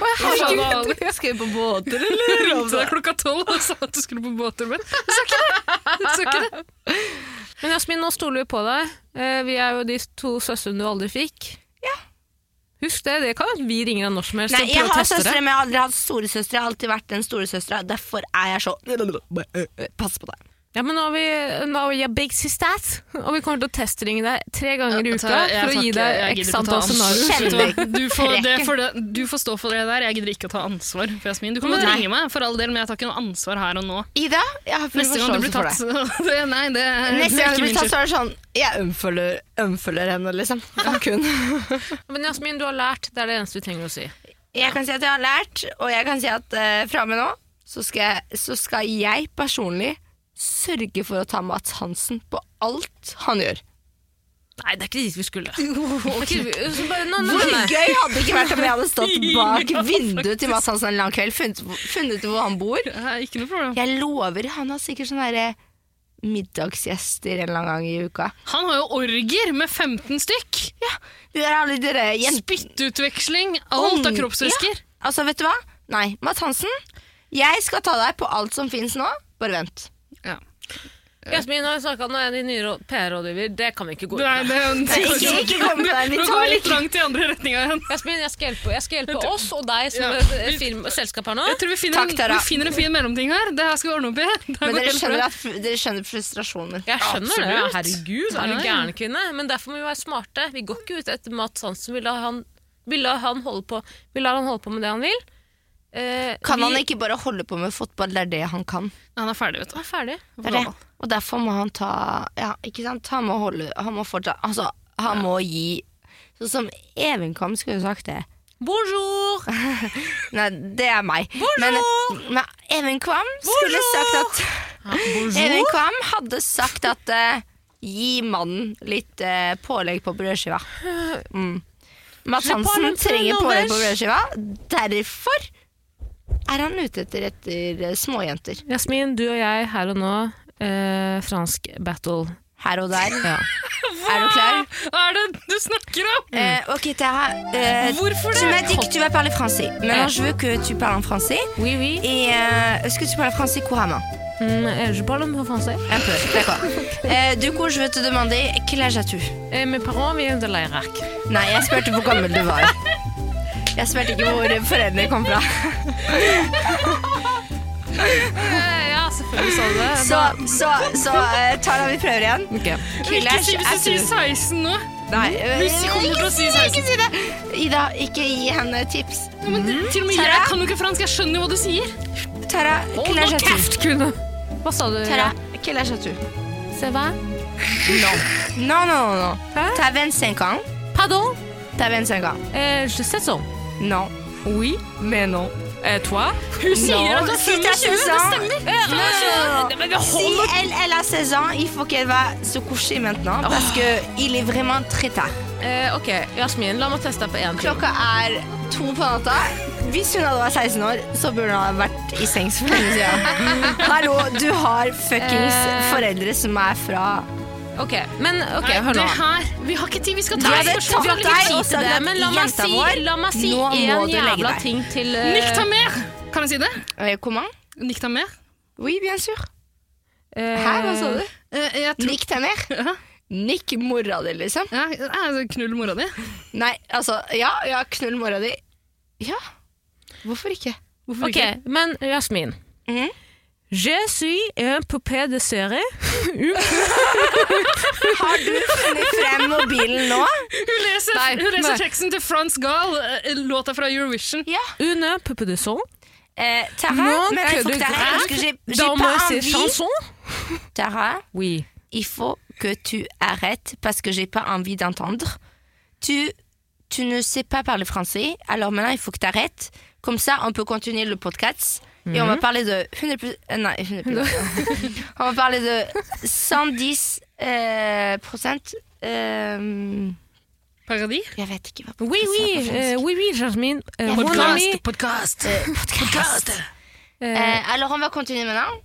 [SPEAKER 4] Herregud.
[SPEAKER 3] Skal vi på båter,
[SPEAKER 4] Jeg
[SPEAKER 3] eller?
[SPEAKER 4] ringte deg klokka tolv og sa at du skulle på båttur, men du sa ikke det. Du sa ikke det.
[SPEAKER 1] Men Jasmin, nå stoler vi på deg. Eh, Vi er jo de to søstrene du aldri fikk. Husk det. Det kan være at vi ringer deg når som helst
[SPEAKER 3] Nei,
[SPEAKER 1] og
[SPEAKER 3] jeg
[SPEAKER 1] prøver å
[SPEAKER 3] har
[SPEAKER 1] teste
[SPEAKER 3] søstre,
[SPEAKER 1] det.
[SPEAKER 3] men jeg har aldri hatt storesøstre. Jeg har alltid vært den storesøstera. Derfor er jeg så Pass på deg.
[SPEAKER 1] Ja, men nå har vi, nå har vi ja, big sisters, og vi kommer til å testringe deg tre ganger i
[SPEAKER 4] Jeg
[SPEAKER 1] uka
[SPEAKER 4] tar- jeg
[SPEAKER 1] for å
[SPEAKER 4] tar
[SPEAKER 1] gi
[SPEAKER 4] ikke- jeg
[SPEAKER 1] deg
[SPEAKER 4] gidder
[SPEAKER 1] x
[SPEAKER 4] ikke å ta
[SPEAKER 1] antall
[SPEAKER 4] ansvar.
[SPEAKER 1] scenarioer.
[SPEAKER 4] Vet du hva?
[SPEAKER 3] Kjenner-
[SPEAKER 4] Du får, det for det, du får stå for det der. Jeg gidder ikke å ta ansvar for Jasmin. Du kan godt ringe meg, for all del, men jeg tar ikke noe ansvar her og nå.
[SPEAKER 3] Ida, jeg har full
[SPEAKER 4] Neste gang du blir
[SPEAKER 3] forståelse for
[SPEAKER 4] tatt
[SPEAKER 3] deg.
[SPEAKER 4] så- det, Nei, det, det er
[SPEAKER 3] Neste gang
[SPEAKER 4] ikke
[SPEAKER 3] du blir
[SPEAKER 4] min
[SPEAKER 3] tatt,
[SPEAKER 4] skyld.
[SPEAKER 3] så er det sånn Jeg unfølger, unfølger henne, liksom. Fuck hun.
[SPEAKER 1] Men Jasmin, du har lært. Det er det eneste vi trenger å si.
[SPEAKER 3] Jeg kan si at jeg har lært, og jeg kan si at eh, fra og med nå så skal, jeg, så skal jeg personlig sørge for å ta Mats Hansen på alt han gjør.
[SPEAKER 1] Nei, det er ikke dit vi skulle. Det er ikke- så bare- nå- nå-
[SPEAKER 3] Hvor
[SPEAKER 1] nei.
[SPEAKER 3] gøy hadde det ikke vært om jeg hadde stått bak vinduet til Mats Hansen en lang kveld, funnet, funnet ut hvor han bor?
[SPEAKER 4] Det er Ikke noe problem.
[SPEAKER 3] Jeg lover, han har sikkert sånne derre middagsgjester en eller annen gang i uka.
[SPEAKER 4] Han har jo orger med 15 stykk!
[SPEAKER 3] De der alle de derre jentene
[SPEAKER 4] Spyttutveksling, alt av
[SPEAKER 3] Ung-
[SPEAKER 4] kroppsvæsker.
[SPEAKER 3] Altså, vet du hva? Nei, Mats Hansen, jeg skal ta deg på alt som fins nå. Bare vent.
[SPEAKER 4] Ja.
[SPEAKER 1] Jasmin har snakka om en ny rå- PR-rådgiver. Det kan vi ikke gå ut
[SPEAKER 4] Nei,
[SPEAKER 1] med.
[SPEAKER 4] det,
[SPEAKER 3] Nei, ikke- ikke kom der, vi
[SPEAKER 4] Nå
[SPEAKER 3] tar
[SPEAKER 4] går vi litt langt i andre retninga igjen.
[SPEAKER 1] Jasmin, jeg skal hjelpe, jeg skal hjelpe oss og deg som
[SPEAKER 4] Ja.
[SPEAKER 1] eh, film- selskap her nå.
[SPEAKER 4] Jeg tror vi finner,
[SPEAKER 3] Takk,
[SPEAKER 4] en,
[SPEAKER 3] Tara.
[SPEAKER 4] vi finner en fin mellomting her. Det her skal vi ordne opp i. Det har
[SPEAKER 3] Men
[SPEAKER 4] gått
[SPEAKER 3] dere
[SPEAKER 4] helt
[SPEAKER 3] skjønner,
[SPEAKER 4] bra.
[SPEAKER 3] at, dere skjønner frustrasjonen min.
[SPEAKER 1] Jeg skjønner
[SPEAKER 4] Absolutt.
[SPEAKER 1] det. Herregud, er
[SPEAKER 4] Ja,
[SPEAKER 1] du
[SPEAKER 4] ja.
[SPEAKER 1] gæren kvinne? Men derfor må vi være smarte. Vi går ikke ut etter Mats Hansen. Vi lar han, vi lar han, holde, på, vi lar han holde på med det han vil. Eh,
[SPEAKER 3] Kan
[SPEAKER 1] vi
[SPEAKER 3] han ikke bare holde på med fotball? Det er det han kan.
[SPEAKER 4] Nei, Han er ferdig, vet du.
[SPEAKER 1] er ferdig?
[SPEAKER 3] Det er det. Og derfor må han ta Ja, ikke sant? Han må holde Han må fortsatt Altså, han må gi Sånn som Even Kam skulle jo sagt det.
[SPEAKER 1] Bonjour!
[SPEAKER 3] Nei, det er meg. Men, men Even Kvam skulle sagt at Even Kvam hadde sagt at eh, gi mannen litt eh, pålegg på brødskiva. Mm. Mats
[SPEAKER 1] Je parle
[SPEAKER 3] Hansen
[SPEAKER 1] un peu
[SPEAKER 3] trenger pålegg på
[SPEAKER 1] norvège.
[SPEAKER 3] brødskiva. Derfor er han ute etter, etter eh, småjenter.
[SPEAKER 1] Jasmin, du og jeg her og nå. eh, fransk battle.
[SPEAKER 3] Her og der. Er du klar?
[SPEAKER 4] Hva er det du snakker om?
[SPEAKER 3] Euh, ok, Tara. euh,
[SPEAKER 4] Hvorfor
[SPEAKER 3] Tu
[SPEAKER 4] det?
[SPEAKER 3] m'as dit que tu vas parler français. Maintenant,
[SPEAKER 1] Ouais.
[SPEAKER 3] je veux que tu parles en français.
[SPEAKER 1] Oui, oui.
[SPEAKER 3] Et euh, est-ce que tu parles français couramment
[SPEAKER 1] Mm, eh, je parle en français.
[SPEAKER 3] Un peu, d'accord. Euh, du coup, je veux te demander quel âge as-tu
[SPEAKER 1] Eh, mes parents viennent de l'Irak.
[SPEAKER 3] Nei, jeg spurte hvor gammel du var. Jeg spurte ikke hvor foreldrene kom fra.
[SPEAKER 1] Eh, ja, selvfølgelig sa du det.
[SPEAKER 3] Så, så, så eh, Tara, vi prøver igjen. Quel
[SPEAKER 4] Ikke
[SPEAKER 3] âge
[SPEAKER 4] si hvis du
[SPEAKER 3] as-tu?
[SPEAKER 4] sier 16 nå.
[SPEAKER 3] Nei, øh,
[SPEAKER 4] Hvis de kommer til å si
[SPEAKER 3] ikke
[SPEAKER 4] 16.
[SPEAKER 3] si- ikke si det! Ida, ikke gi henne tips.
[SPEAKER 4] Ja, men det- til og med
[SPEAKER 3] Tara?
[SPEAKER 4] jeg kan jo ikke fransk. Jeg skjønner jo hva du sier.
[SPEAKER 3] Tara, quel âge as-tu?
[SPEAKER 1] kvinne! Hva sa du?
[SPEAKER 3] Tara, quel âge as-tu
[SPEAKER 1] C'est vrai?
[SPEAKER 3] Non, non, non. non.
[SPEAKER 1] Hæ?
[SPEAKER 3] T'as 25 ans.
[SPEAKER 1] Pardon?
[SPEAKER 3] T'as 25 ans.
[SPEAKER 1] Eh, je sais ça.
[SPEAKER 3] Non.
[SPEAKER 1] Oui.
[SPEAKER 3] Mais non. Euh,
[SPEAKER 1] Eh, toi?
[SPEAKER 4] Hun sier at
[SPEAKER 3] Non,
[SPEAKER 4] du er
[SPEAKER 3] si t'as
[SPEAKER 4] 25.
[SPEAKER 3] 16
[SPEAKER 4] Det
[SPEAKER 3] ans. Euh,
[SPEAKER 4] stemmer.
[SPEAKER 3] Non, non, non. Si elle, Oh. elle a 16 ans, il faut qu'elle va se coucher maintenant parce que il est vraiment très tard.
[SPEAKER 1] Eh, ok, Jasmin, la meg teste deg på én ting.
[SPEAKER 3] Klokka er to på natta. Hvis hun hadde vært 16 år, så burde hun ha vært i sengs for lenge siden. Hallo, du har fuckings
[SPEAKER 1] Eh.
[SPEAKER 3] foreldre som er fra
[SPEAKER 1] Ok, men ok,
[SPEAKER 4] Nei,
[SPEAKER 1] hør nå.
[SPEAKER 4] det her Vi har ikke tid. Vi skal
[SPEAKER 3] Du
[SPEAKER 4] ta
[SPEAKER 3] hadde
[SPEAKER 4] et spørsmål. Vi
[SPEAKER 3] tatt
[SPEAKER 1] Vi har
[SPEAKER 4] har
[SPEAKER 1] ikke
[SPEAKER 3] deg.
[SPEAKER 1] tid til det,
[SPEAKER 3] Isabel,
[SPEAKER 1] men la meg
[SPEAKER 3] jenta
[SPEAKER 1] si,
[SPEAKER 3] vår,
[SPEAKER 1] la meg si
[SPEAKER 3] nå
[SPEAKER 1] en
[SPEAKER 3] må du legge
[SPEAKER 1] jævla
[SPEAKER 3] deg.
[SPEAKER 1] ting til
[SPEAKER 4] ikke-
[SPEAKER 1] eh,
[SPEAKER 4] Nikk ta mer! Kan jeg si det?
[SPEAKER 3] Eh, Comment?
[SPEAKER 4] Nikk ta mer?
[SPEAKER 3] Oui, bien sûr.
[SPEAKER 1] eh,
[SPEAKER 3] Hæ, hva sa du?
[SPEAKER 4] Eh, Jeg tror
[SPEAKER 3] Nikk ta mer.
[SPEAKER 4] Ja.
[SPEAKER 3] Nikk mora di, liksom.
[SPEAKER 4] Ja, eh, Knull mora di.
[SPEAKER 3] Nei, altså, ja, ja, knull mora di. Ja. Hvorfor ikke?
[SPEAKER 4] Hvorfor
[SPEAKER 1] Ok,
[SPEAKER 4] ikke?
[SPEAKER 1] men Jasmin.
[SPEAKER 3] Mhm.
[SPEAKER 1] Je suis un poupée de serie.
[SPEAKER 3] Har du funnet frem mobilen nå?
[SPEAKER 4] Hun leser,
[SPEAKER 1] Nei,
[SPEAKER 4] hun leser
[SPEAKER 1] nei.
[SPEAKER 4] teksten til Frans Gahl, eh, låta fra Eurovision.
[SPEAKER 3] Ja.
[SPEAKER 1] Une poupée de son.
[SPEAKER 3] Euh, Tara,
[SPEAKER 1] Non,
[SPEAKER 3] mais là, il
[SPEAKER 1] que
[SPEAKER 3] faut
[SPEAKER 1] de
[SPEAKER 3] que t'arrêtes
[SPEAKER 1] grave.
[SPEAKER 3] parce que j'ai j'ai
[SPEAKER 1] Dans moi,
[SPEAKER 3] pas
[SPEAKER 1] c'est
[SPEAKER 3] envie.
[SPEAKER 1] chanson.
[SPEAKER 3] Tara,
[SPEAKER 1] Oui.
[SPEAKER 3] il faut que tu arrêtes parce que j'ai pas envie d'entendre. Tu, tu ne sais pas parler français, alors maintenant il faut que t'arrêtes. Comme ça, on peut continuer le podcast et on
[SPEAKER 1] Mhm.
[SPEAKER 3] va parler de 100 plus- euh, non, 100 plus- on va parler de 110 euh, procent, euh,
[SPEAKER 4] Paradis.
[SPEAKER 3] jeg vet ikke hva
[SPEAKER 1] Oui,
[SPEAKER 3] podcast er
[SPEAKER 1] oui,
[SPEAKER 3] på
[SPEAKER 1] eh,
[SPEAKER 3] fransk.
[SPEAKER 1] oui, oui, Jasmin. Eh,
[SPEAKER 3] Ja,
[SPEAKER 1] mon
[SPEAKER 3] podcast.
[SPEAKER 1] ami.
[SPEAKER 4] podcast.
[SPEAKER 3] Euh, podcast.
[SPEAKER 1] eh,
[SPEAKER 3] Euh, alors on va continuer maintenant.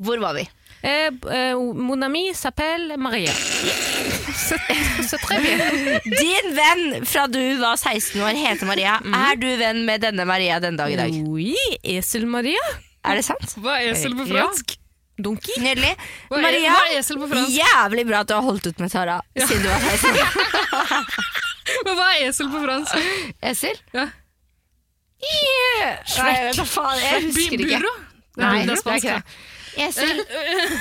[SPEAKER 3] Hvor var vi?
[SPEAKER 1] Eh, eh, mon ami s'appelle Maria. C'est c'est très bien.
[SPEAKER 3] Din venn fra du var 16 år heter Maria. Er du venn med denne Maria den dag i dag?
[SPEAKER 1] Oui, Esel Maria.
[SPEAKER 3] Er det sant?
[SPEAKER 4] Hva er esel på
[SPEAKER 1] Eh, ja.
[SPEAKER 4] fransk?
[SPEAKER 1] Donkey.
[SPEAKER 3] Oh. Nydelig.
[SPEAKER 4] Hva, er,
[SPEAKER 3] Maria,
[SPEAKER 4] hva er esel på fransk?
[SPEAKER 3] jævlig bra at du har holdt ut med Tara siden du var 16 år.
[SPEAKER 4] Men hva er esel på fransk?
[SPEAKER 3] Esel?
[SPEAKER 4] Ja.
[SPEAKER 3] Yeah. Nei, jeg vet da faen, jeg husker ikke.
[SPEAKER 4] Burro?
[SPEAKER 3] Nei,
[SPEAKER 4] det er
[SPEAKER 3] det er
[SPEAKER 4] spansk.
[SPEAKER 3] ikke det. Esel?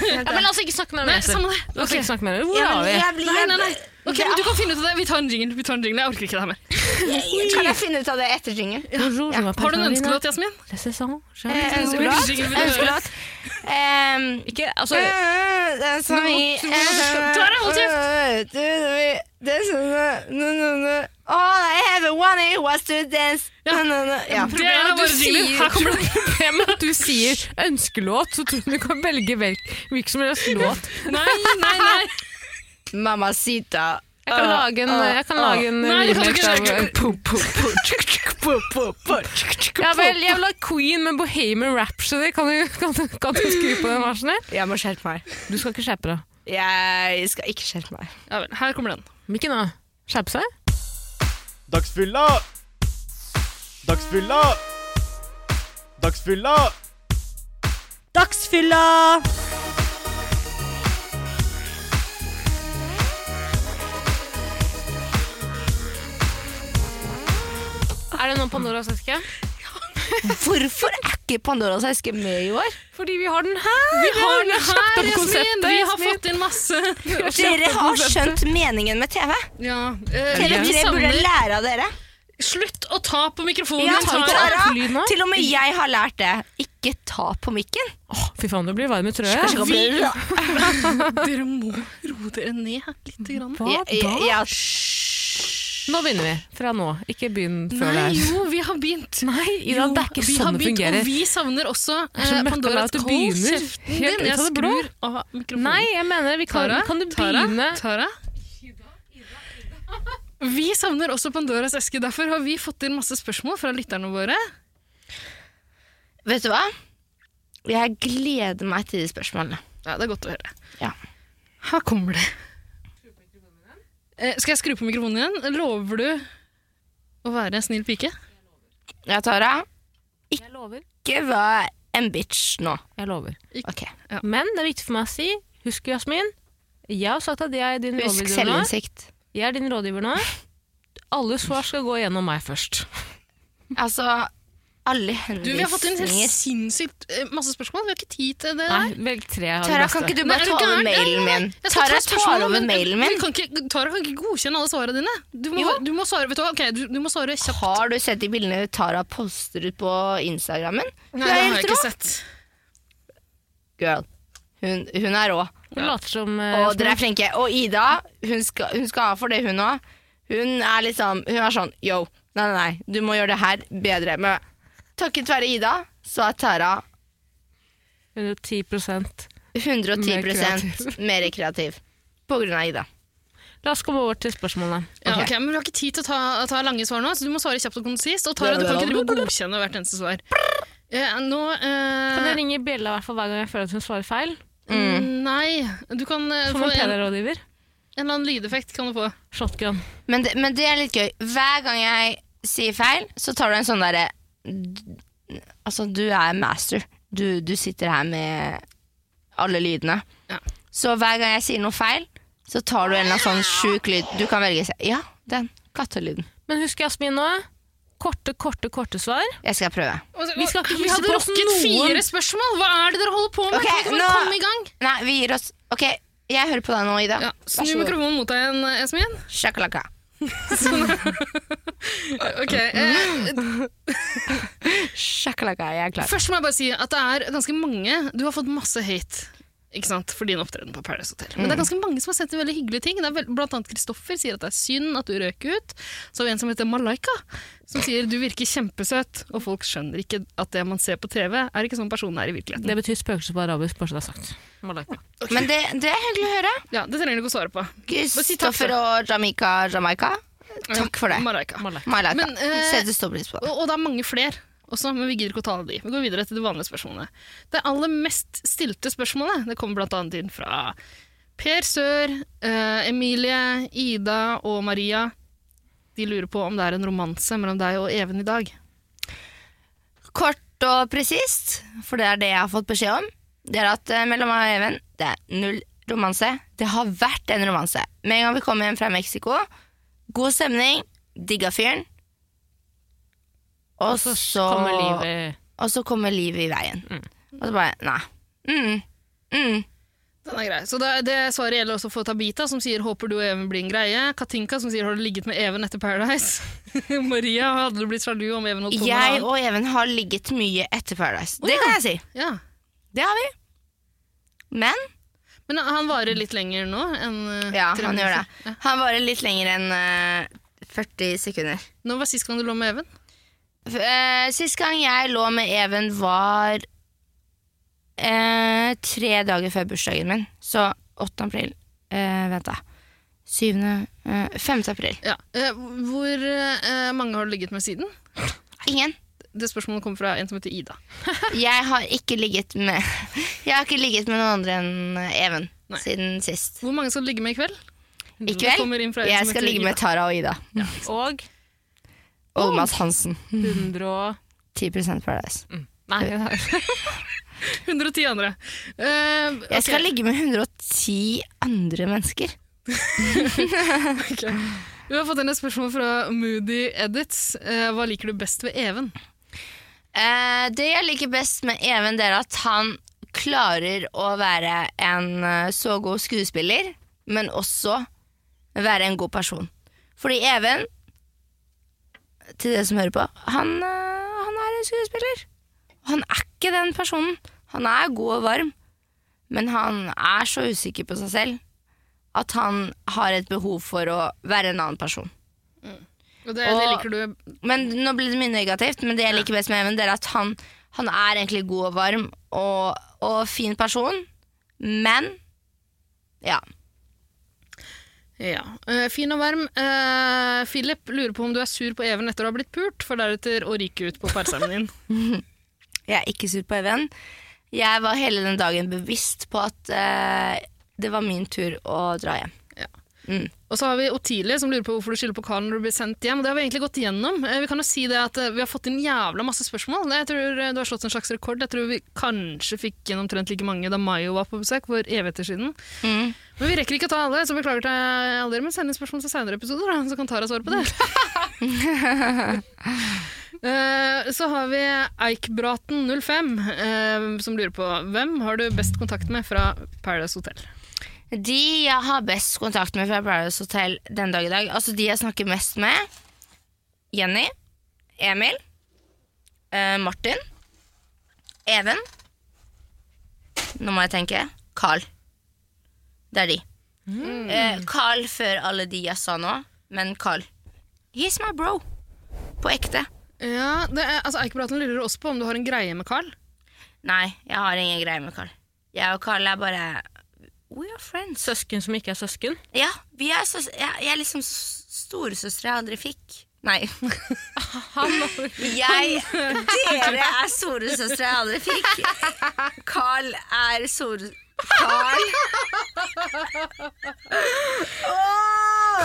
[SPEAKER 1] Ja, men la oss ikke snakke mer
[SPEAKER 4] da. Nei, samme det.
[SPEAKER 1] La oss
[SPEAKER 4] Ok.
[SPEAKER 1] ikke snakke mer om det. Hvor
[SPEAKER 3] Ja,
[SPEAKER 1] er
[SPEAKER 3] men
[SPEAKER 1] vi?
[SPEAKER 3] jeg blir-
[SPEAKER 4] Nei, nei, nei. Ok,
[SPEAKER 3] Det-
[SPEAKER 4] men Du kan finne ut av det. Vi tar en jingle. Vi tar en jingle. Jeg orker ikke det her mer.
[SPEAKER 3] Kan jeg finne ut av det etter jingelen?
[SPEAKER 1] Bonjour, je m'appelle
[SPEAKER 4] Har du en
[SPEAKER 1] Marina.
[SPEAKER 4] ønskelåt, Jasmin?
[SPEAKER 1] Det ser sånn.
[SPEAKER 3] Eh,
[SPEAKER 1] Skjønner.
[SPEAKER 3] Ønskelåt?
[SPEAKER 4] jingle vil du høre?
[SPEAKER 3] Ønskelåt? Ehm,
[SPEAKER 1] Ikke, altså,
[SPEAKER 3] Øh, Det er så mye
[SPEAKER 4] Tara, hold kjeft!
[SPEAKER 3] Det er sånn no, no, no. All I ever wanted was to dance
[SPEAKER 4] Ja.
[SPEAKER 3] no, no, no. Ja.
[SPEAKER 4] Det er
[SPEAKER 1] Problemet
[SPEAKER 4] våre jingler. Her kommer det.
[SPEAKER 1] problemet er at du sier ønskelåt, så tror du du kan velge vel- hvilken som helst låt.
[SPEAKER 4] Nei, nei, nei.
[SPEAKER 3] Mamacita
[SPEAKER 1] Jeg kan lage en, Ah. jeg kan lage en
[SPEAKER 4] Nei, du kan
[SPEAKER 1] remix
[SPEAKER 4] ikke
[SPEAKER 1] av- Ja vel, jeg vil ha Queen med Bohemian Rhapsody. Kan du, kan, du- kan du skru på den versen der?
[SPEAKER 3] Jeg må skjerpe meg
[SPEAKER 1] Du skal ikke skjerpe deg.
[SPEAKER 3] Jeg skal ikke skjerpe meg
[SPEAKER 4] Ja vel, her kommer den.
[SPEAKER 1] Mikken, da? Skjerpe seg?
[SPEAKER 7] Dagsfylla! Dagsfylla! Dagsfylla!
[SPEAKER 2] Dagsfylla!
[SPEAKER 1] Er det noen Pandoras eske?
[SPEAKER 3] Hvorfor er ikke Pandoras eske med i år?
[SPEAKER 1] Fordi vi har den her!
[SPEAKER 4] Vi har
[SPEAKER 1] vi
[SPEAKER 4] den
[SPEAKER 1] kjøpt opp
[SPEAKER 4] her, Jasmin!
[SPEAKER 1] konseptet,
[SPEAKER 4] Vi har
[SPEAKER 1] Jasmin.
[SPEAKER 4] fått inn masse.
[SPEAKER 3] Dere har skjønt meningen med TV.
[SPEAKER 4] Ja. eh, vi
[SPEAKER 3] TV3 burde
[SPEAKER 4] samler-
[SPEAKER 3] lære av dere.
[SPEAKER 4] Slutt å ta på mikrofonen!
[SPEAKER 3] Ja,
[SPEAKER 4] ta
[SPEAKER 1] ikke
[SPEAKER 3] Tara,
[SPEAKER 1] opp lyden nå.
[SPEAKER 3] til og med jeg har lært det. Ikke ta på mikken.
[SPEAKER 1] Åh, fy faen, du blir varm i trøya.
[SPEAKER 3] Kanskje
[SPEAKER 1] Vi-
[SPEAKER 3] det kan bli-
[SPEAKER 4] Dere må roe dere ned litt. Grann.
[SPEAKER 1] Hva
[SPEAKER 3] Jeg-
[SPEAKER 1] da?
[SPEAKER 3] jeg- jeg-
[SPEAKER 1] Nå begynner vi. Fra nå. Ikke begynn før det
[SPEAKER 4] Nei,
[SPEAKER 1] er
[SPEAKER 4] jo, vi har begynt.
[SPEAKER 1] Nei, Ida, det er ikke
[SPEAKER 4] vi har
[SPEAKER 1] sånn det
[SPEAKER 4] begynt,
[SPEAKER 1] fungerer.
[SPEAKER 4] Og vi savner også
[SPEAKER 1] er så
[SPEAKER 4] eh,
[SPEAKER 1] møkka
[SPEAKER 4] Pandoras
[SPEAKER 1] at du
[SPEAKER 4] Hold
[SPEAKER 1] begynner
[SPEAKER 4] kjeften
[SPEAKER 1] helt
[SPEAKER 4] din.
[SPEAKER 1] ut
[SPEAKER 4] Jeg
[SPEAKER 1] av det blå.
[SPEAKER 4] skrur av mikrofonen.
[SPEAKER 1] Nei, jeg mener vi kan,
[SPEAKER 4] Tara,
[SPEAKER 1] kan du
[SPEAKER 4] Tara,
[SPEAKER 1] begynne
[SPEAKER 4] Tara? Vi savner også Pandoras eske. Derfor har vi fått inn masse spørsmål fra lytterne våre.
[SPEAKER 3] Vet du hva? Jeg gleder meg til de spørsmålene.
[SPEAKER 4] Ja, Det er godt å høre.
[SPEAKER 3] Ja.
[SPEAKER 4] Her kommer det. Eh, skal jeg skru på mikrofonen igjen? Lover du å være en snill pike?
[SPEAKER 3] Ja, Tara.
[SPEAKER 1] Jeg lover.
[SPEAKER 3] Ikke vær en bitch nå.
[SPEAKER 1] Jeg lover.
[SPEAKER 3] Ok.
[SPEAKER 1] Men det er viktig for meg å si, husk Jasmin, jeg har sagt at jeg er din
[SPEAKER 3] Husk
[SPEAKER 1] rådgiver nå.
[SPEAKER 3] selvinnsikt.
[SPEAKER 1] Jeg er din rådgiver nå. Alle svar skal gå gjennom meg først.
[SPEAKER 3] Altså, alle
[SPEAKER 4] Du, Vi har fått inn helt
[SPEAKER 3] henvisninger
[SPEAKER 4] sinnssykt eh, masse spørsmål. Vi har ikke tid til det. der.
[SPEAKER 1] Nei, vel tre av de
[SPEAKER 3] Tara, kan
[SPEAKER 1] beste.
[SPEAKER 3] ikke du
[SPEAKER 4] Nei,
[SPEAKER 3] bare
[SPEAKER 4] er du
[SPEAKER 3] ta over
[SPEAKER 4] gæren?
[SPEAKER 3] mailen
[SPEAKER 4] Nei, nei,
[SPEAKER 3] min?
[SPEAKER 4] jeg skal
[SPEAKER 3] Tara
[SPEAKER 4] ta
[SPEAKER 3] tar
[SPEAKER 4] spørsmålet,
[SPEAKER 3] over
[SPEAKER 4] men
[SPEAKER 3] mailen
[SPEAKER 4] du
[SPEAKER 3] min.
[SPEAKER 4] Kan ikke, Tara kan ikke godkjenne alle svarene dine. Du må,
[SPEAKER 3] Jo.
[SPEAKER 4] du må svare, vet du, hva? Ok, du, du må svare kjapt.
[SPEAKER 3] Har du sett de bildene Tara poster ut på Instagrammen? Hun
[SPEAKER 4] Nei, det
[SPEAKER 3] er
[SPEAKER 4] har
[SPEAKER 3] helt
[SPEAKER 4] jeg
[SPEAKER 3] rå.
[SPEAKER 4] ikke sett.
[SPEAKER 3] Girl. Hun, hun er rå.
[SPEAKER 1] Hun later som eh, Jasmin.
[SPEAKER 3] Og dere er flinke. Og Ida, hun skal, hun skal ha for det, hun òg. Hun er liksom Hun er sånn yo, nei, nei, nei, du må gjøre det her bedre. Men takket være Ida, så er Tara
[SPEAKER 1] 110
[SPEAKER 3] 110
[SPEAKER 1] Mer kreativ.
[SPEAKER 3] mer kreativ. På grunn av Ida.
[SPEAKER 1] La oss komme over til spørsmålene.
[SPEAKER 4] Ja,
[SPEAKER 3] Ok.
[SPEAKER 4] ok, men vi har ikke tid til å ta, ta lange svar nå, så du må svare kjapt og konsist. Og Tara, du kan ikke drive og godkjenne hvert eneste svar. Eh, nå
[SPEAKER 1] Kan jeg
[SPEAKER 4] eh,
[SPEAKER 1] ringe bjella i hvert fall hver gang jeg føler at hun svarer feil?
[SPEAKER 4] Nei. Du kan eh,
[SPEAKER 1] Som
[SPEAKER 4] få
[SPEAKER 1] en
[SPEAKER 4] en, en
[SPEAKER 1] PD-rådgiver.
[SPEAKER 4] eller annen lydeffekt. kan du få.
[SPEAKER 1] Shotgun.
[SPEAKER 3] Men det, men det er litt gøy. Hver gang jeg sier feil, så tar du en sånn derre d- Altså, du er master. Du, du sitter her med alle lydene.
[SPEAKER 4] Ja.
[SPEAKER 3] Så hver gang jeg sier noe feil, så tar du en eller annen sånn sjuk lyd. Du kan velge se- Ja, den kattelyden.
[SPEAKER 1] Men husk Jasmin nå. Korte, korte, korte svar.
[SPEAKER 3] Jeg skal prøve.
[SPEAKER 1] Vi skal ikke
[SPEAKER 4] vi
[SPEAKER 1] hilse
[SPEAKER 4] hadde
[SPEAKER 1] på
[SPEAKER 4] rukket
[SPEAKER 1] noen.
[SPEAKER 4] fire spørsmål! Hva er det dere holder på med?
[SPEAKER 3] Ok,
[SPEAKER 4] Kan vi ikke bare
[SPEAKER 3] nå-
[SPEAKER 4] komme i gang?
[SPEAKER 3] Nei, vi gir oss. Ok, jeg hører på deg nå, Ida.
[SPEAKER 4] Ja,
[SPEAKER 3] Vær
[SPEAKER 4] snu
[SPEAKER 3] så god.
[SPEAKER 4] mikrofonen mot deg igjen, Esmin.
[SPEAKER 3] Sjakalaka.
[SPEAKER 4] Ok, eh,
[SPEAKER 3] Sjakalaka, jeg er klar.
[SPEAKER 4] Først må jeg bare si at det er ganske mange Du har fått masse hate ikke sant, for din opptreden på Paradise Hotel. Men det er ganske mange som har sett veldig hyggelige ting. Det er vel, blant annet Kristoffer sier at det er synd at du røk ut. Så har vi en som heter Malaika, som sier du virker kjempesøt, og folk skjønner ikke at det man ser på TV, er ikke sånn personen er i virkeligheten.
[SPEAKER 1] Det betyr spøkelse på arabisk, bare så det er sagt. Malaika.
[SPEAKER 3] Men det, det er hyggelig å høre.
[SPEAKER 4] Ja, det trenger du ikke å svare på. si takk for-
[SPEAKER 3] Kristoffer og Jamaica Jamaica. Takk for det.
[SPEAKER 4] Malaika.
[SPEAKER 1] Malaika.
[SPEAKER 3] My life.
[SPEAKER 4] Men, eh,
[SPEAKER 3] Setter stor pris på det.
[SPEAKER 4] Og, og det er mange flere også, men vi gidder ikke å ta de. Vi går videre til de vanlige spørsmålene. Det aller mest stilte spørsmålet det kommer bl.a. inn fra Per Sør, eh, Emilie, Ida og Maria. De lurer på om det er en romanse mellom deg og Even i dag.
[SPEAKER 3] Kort og presist, for det er det jeg har fått beskjed om, det er at eh, mellom meg og Even, det er null romanse. Det har vært en romanse. Med en gang vi kom hjem fra Mexico, god stemning, digga fyren. Og så, Mm.
[SPEAKER 1] Kommer livet
[SPEAKER 3] og så kommer livet i veien. Og så bare Nei. Mm. Mm.
[SPEAKER 4] Den er grei. Så det, det svaret gjelder også for Tabita, som sier 'håper du og Even blir en greie'. Katinka, som sier 'har du ligget med Even etter Paradise'? Maria, hadde du blitt sjalu om Even holdt på med
[SPEAKER 3] Jeg
[SPEAKER 4] en annen?
[SPEAKER 3] og Even har ligget mye etter Paradise. Det kan jeg si.
[SPEAKER 4] Ja.
[SPEAKER 3] Det har vi. Men
[SPEAKER 4] Men han varer litt lenger nå enn eh,
[SPEAKER 3] Ja,
[SPEAKER 4] tre
[SPEAKER 3] han gjør
[SPEAKER 4] minutter.
[SPEAKER 3] det. Han varer litt lenger enn eh, 40 sekunder.
[SPEAKER 4] Når var sist gang du lå med Even?
[SPEAKER 3] F eh, sist gang jeg lå med Even, var eh, tre dager før bursdagen min. Så 8. april eh, Vent, da. 7. Eh, 5. april.
[SPEAKER 4] Ja. eh, Hvor eh, mange har du ligget med siden?
[SPEAKER 3] Ingen.
[SPEAKER 4] Det spørsmålet kommer fra en som heter Ida.
[SPEAKER 3] Jeg har ikke ligget med Jeg har ikke ligget med noen andre enn Even
[SPEAKER 4] Nei.
[SPEAKER 3] siden sist.
[SPEAKER 4] Hvor mange skal du ligge med i kveld?
[SPEAKER 3] I
[SPEAKER 4] Det liksom kommer inn fra
[SPEAKER 3] kveld
[SPEAKER 4] en
[SPEAKER 3] jeg
[SPEAKER 4] som
[SPEAKER 3] skal
[SPEAKER 4] heter
[SPEAKER 3] ligge med
[SPEAKER 4] Ida.
[SPEAKER 3] Tara og Ida.
[SPEAKER 4] liksom.
[SPEAKER 1] og
[SPEAKER 3] Og Mads Hansen.
[SPEAKER 1] 100 og
[SPEAKER 3] 10 Paradise.
[SPEAKER 4] Mm.
[SPEAKER 1] Nei, det
[SPEAKER 4] 110 andre. Eh, ok.
[SPEAKER 3] Jeg skal ligge med 110 andre mennesker.
[SPEAKER 4] Ok. Vi har fått inn et spørsmål fra Moody Edits. Eh, hva liker du best ved Even?
[SPEAKER 3] Eh, det jeg liker best med Even, det er at han klarer å være en eh, så god skuespiller, men også være en god person. Fordi Even, til dere som hører på, han, eh, han er en skuespiller. Og Han er ikke den personen. Han er god og varm, men han er så usikker på seg selv at han har et behov for å være en annen person.
[SPEAKER 4] Og det, det
[SPEAKER 3] Og-
[SPEAKER 4] liker du
[SPEAKER 3] Men nå ble det mye negativt, men det jeg liker best med Even, det er at han, han er egentlig god og varm og, og fin person, men ja.
[SPEAKER 4] ja. Eh, Fin og varm. Eh, Philip lurer på om du er sur på Even etter å ha blitt pult, for deretter å ryke ut på parseremonien.
[SPEAKER 3] Jeg er ikke sur på Even. Jeg var hele den dagen bevisst på at eh, det var min tur å dra hjem.
[SPEAKER 4] Og så har vi Ottilie som lurer på hvorfor du skylder på Karen når du blir sendt hjem. Og det har vi egentlig gått gjennom. Eh, Vi kan jo si det at eh, vi har fått inn jævla masse spørsmål. Jeg tror eh, du har slått en slags rekord. Jeg tror vi kanskje fikk inn omtrent like mange da Mayo var på besøk for evigheter siden. Men vi rekker ikke å ta alle, så beklager til alle dere. Men send inn spørsmål til senere episoder, da, så kan Tara svare på det. Eh, Så har vi Eikbraten05 eh, som lurer på hvem har du best kontakt med fra Paradise Hotel?
[SPEAKER 3] De jeg har best kontakt med fra Paradise Hotel den dag i dag, altså de jeg snakker mest med, Jenny, Emil, eh, Martin, Even, nå må jeg tenke, Carl. Det er de. Eh, Carl før alle de jeg sa nå, men Carl. He's my bro. På ekte.
[SPEAKER 4] Ja, det er, altså Eikebraten lurer også på om du har en greie med Carl.
[SPEAKER 3] Nei, jeg har ingen greie med Carl. Jeg og Carl er bare We are friends.
[SPEAKER 1] Søsken som ikke er søsken.
[SPEAKER 3] Ja, vi er søs jeg, jeg er liksom s- storesøstre jeg aldri fikk. Nei. jeg, dere er storesøstre jeg aldri fikk. Carl er store... Carl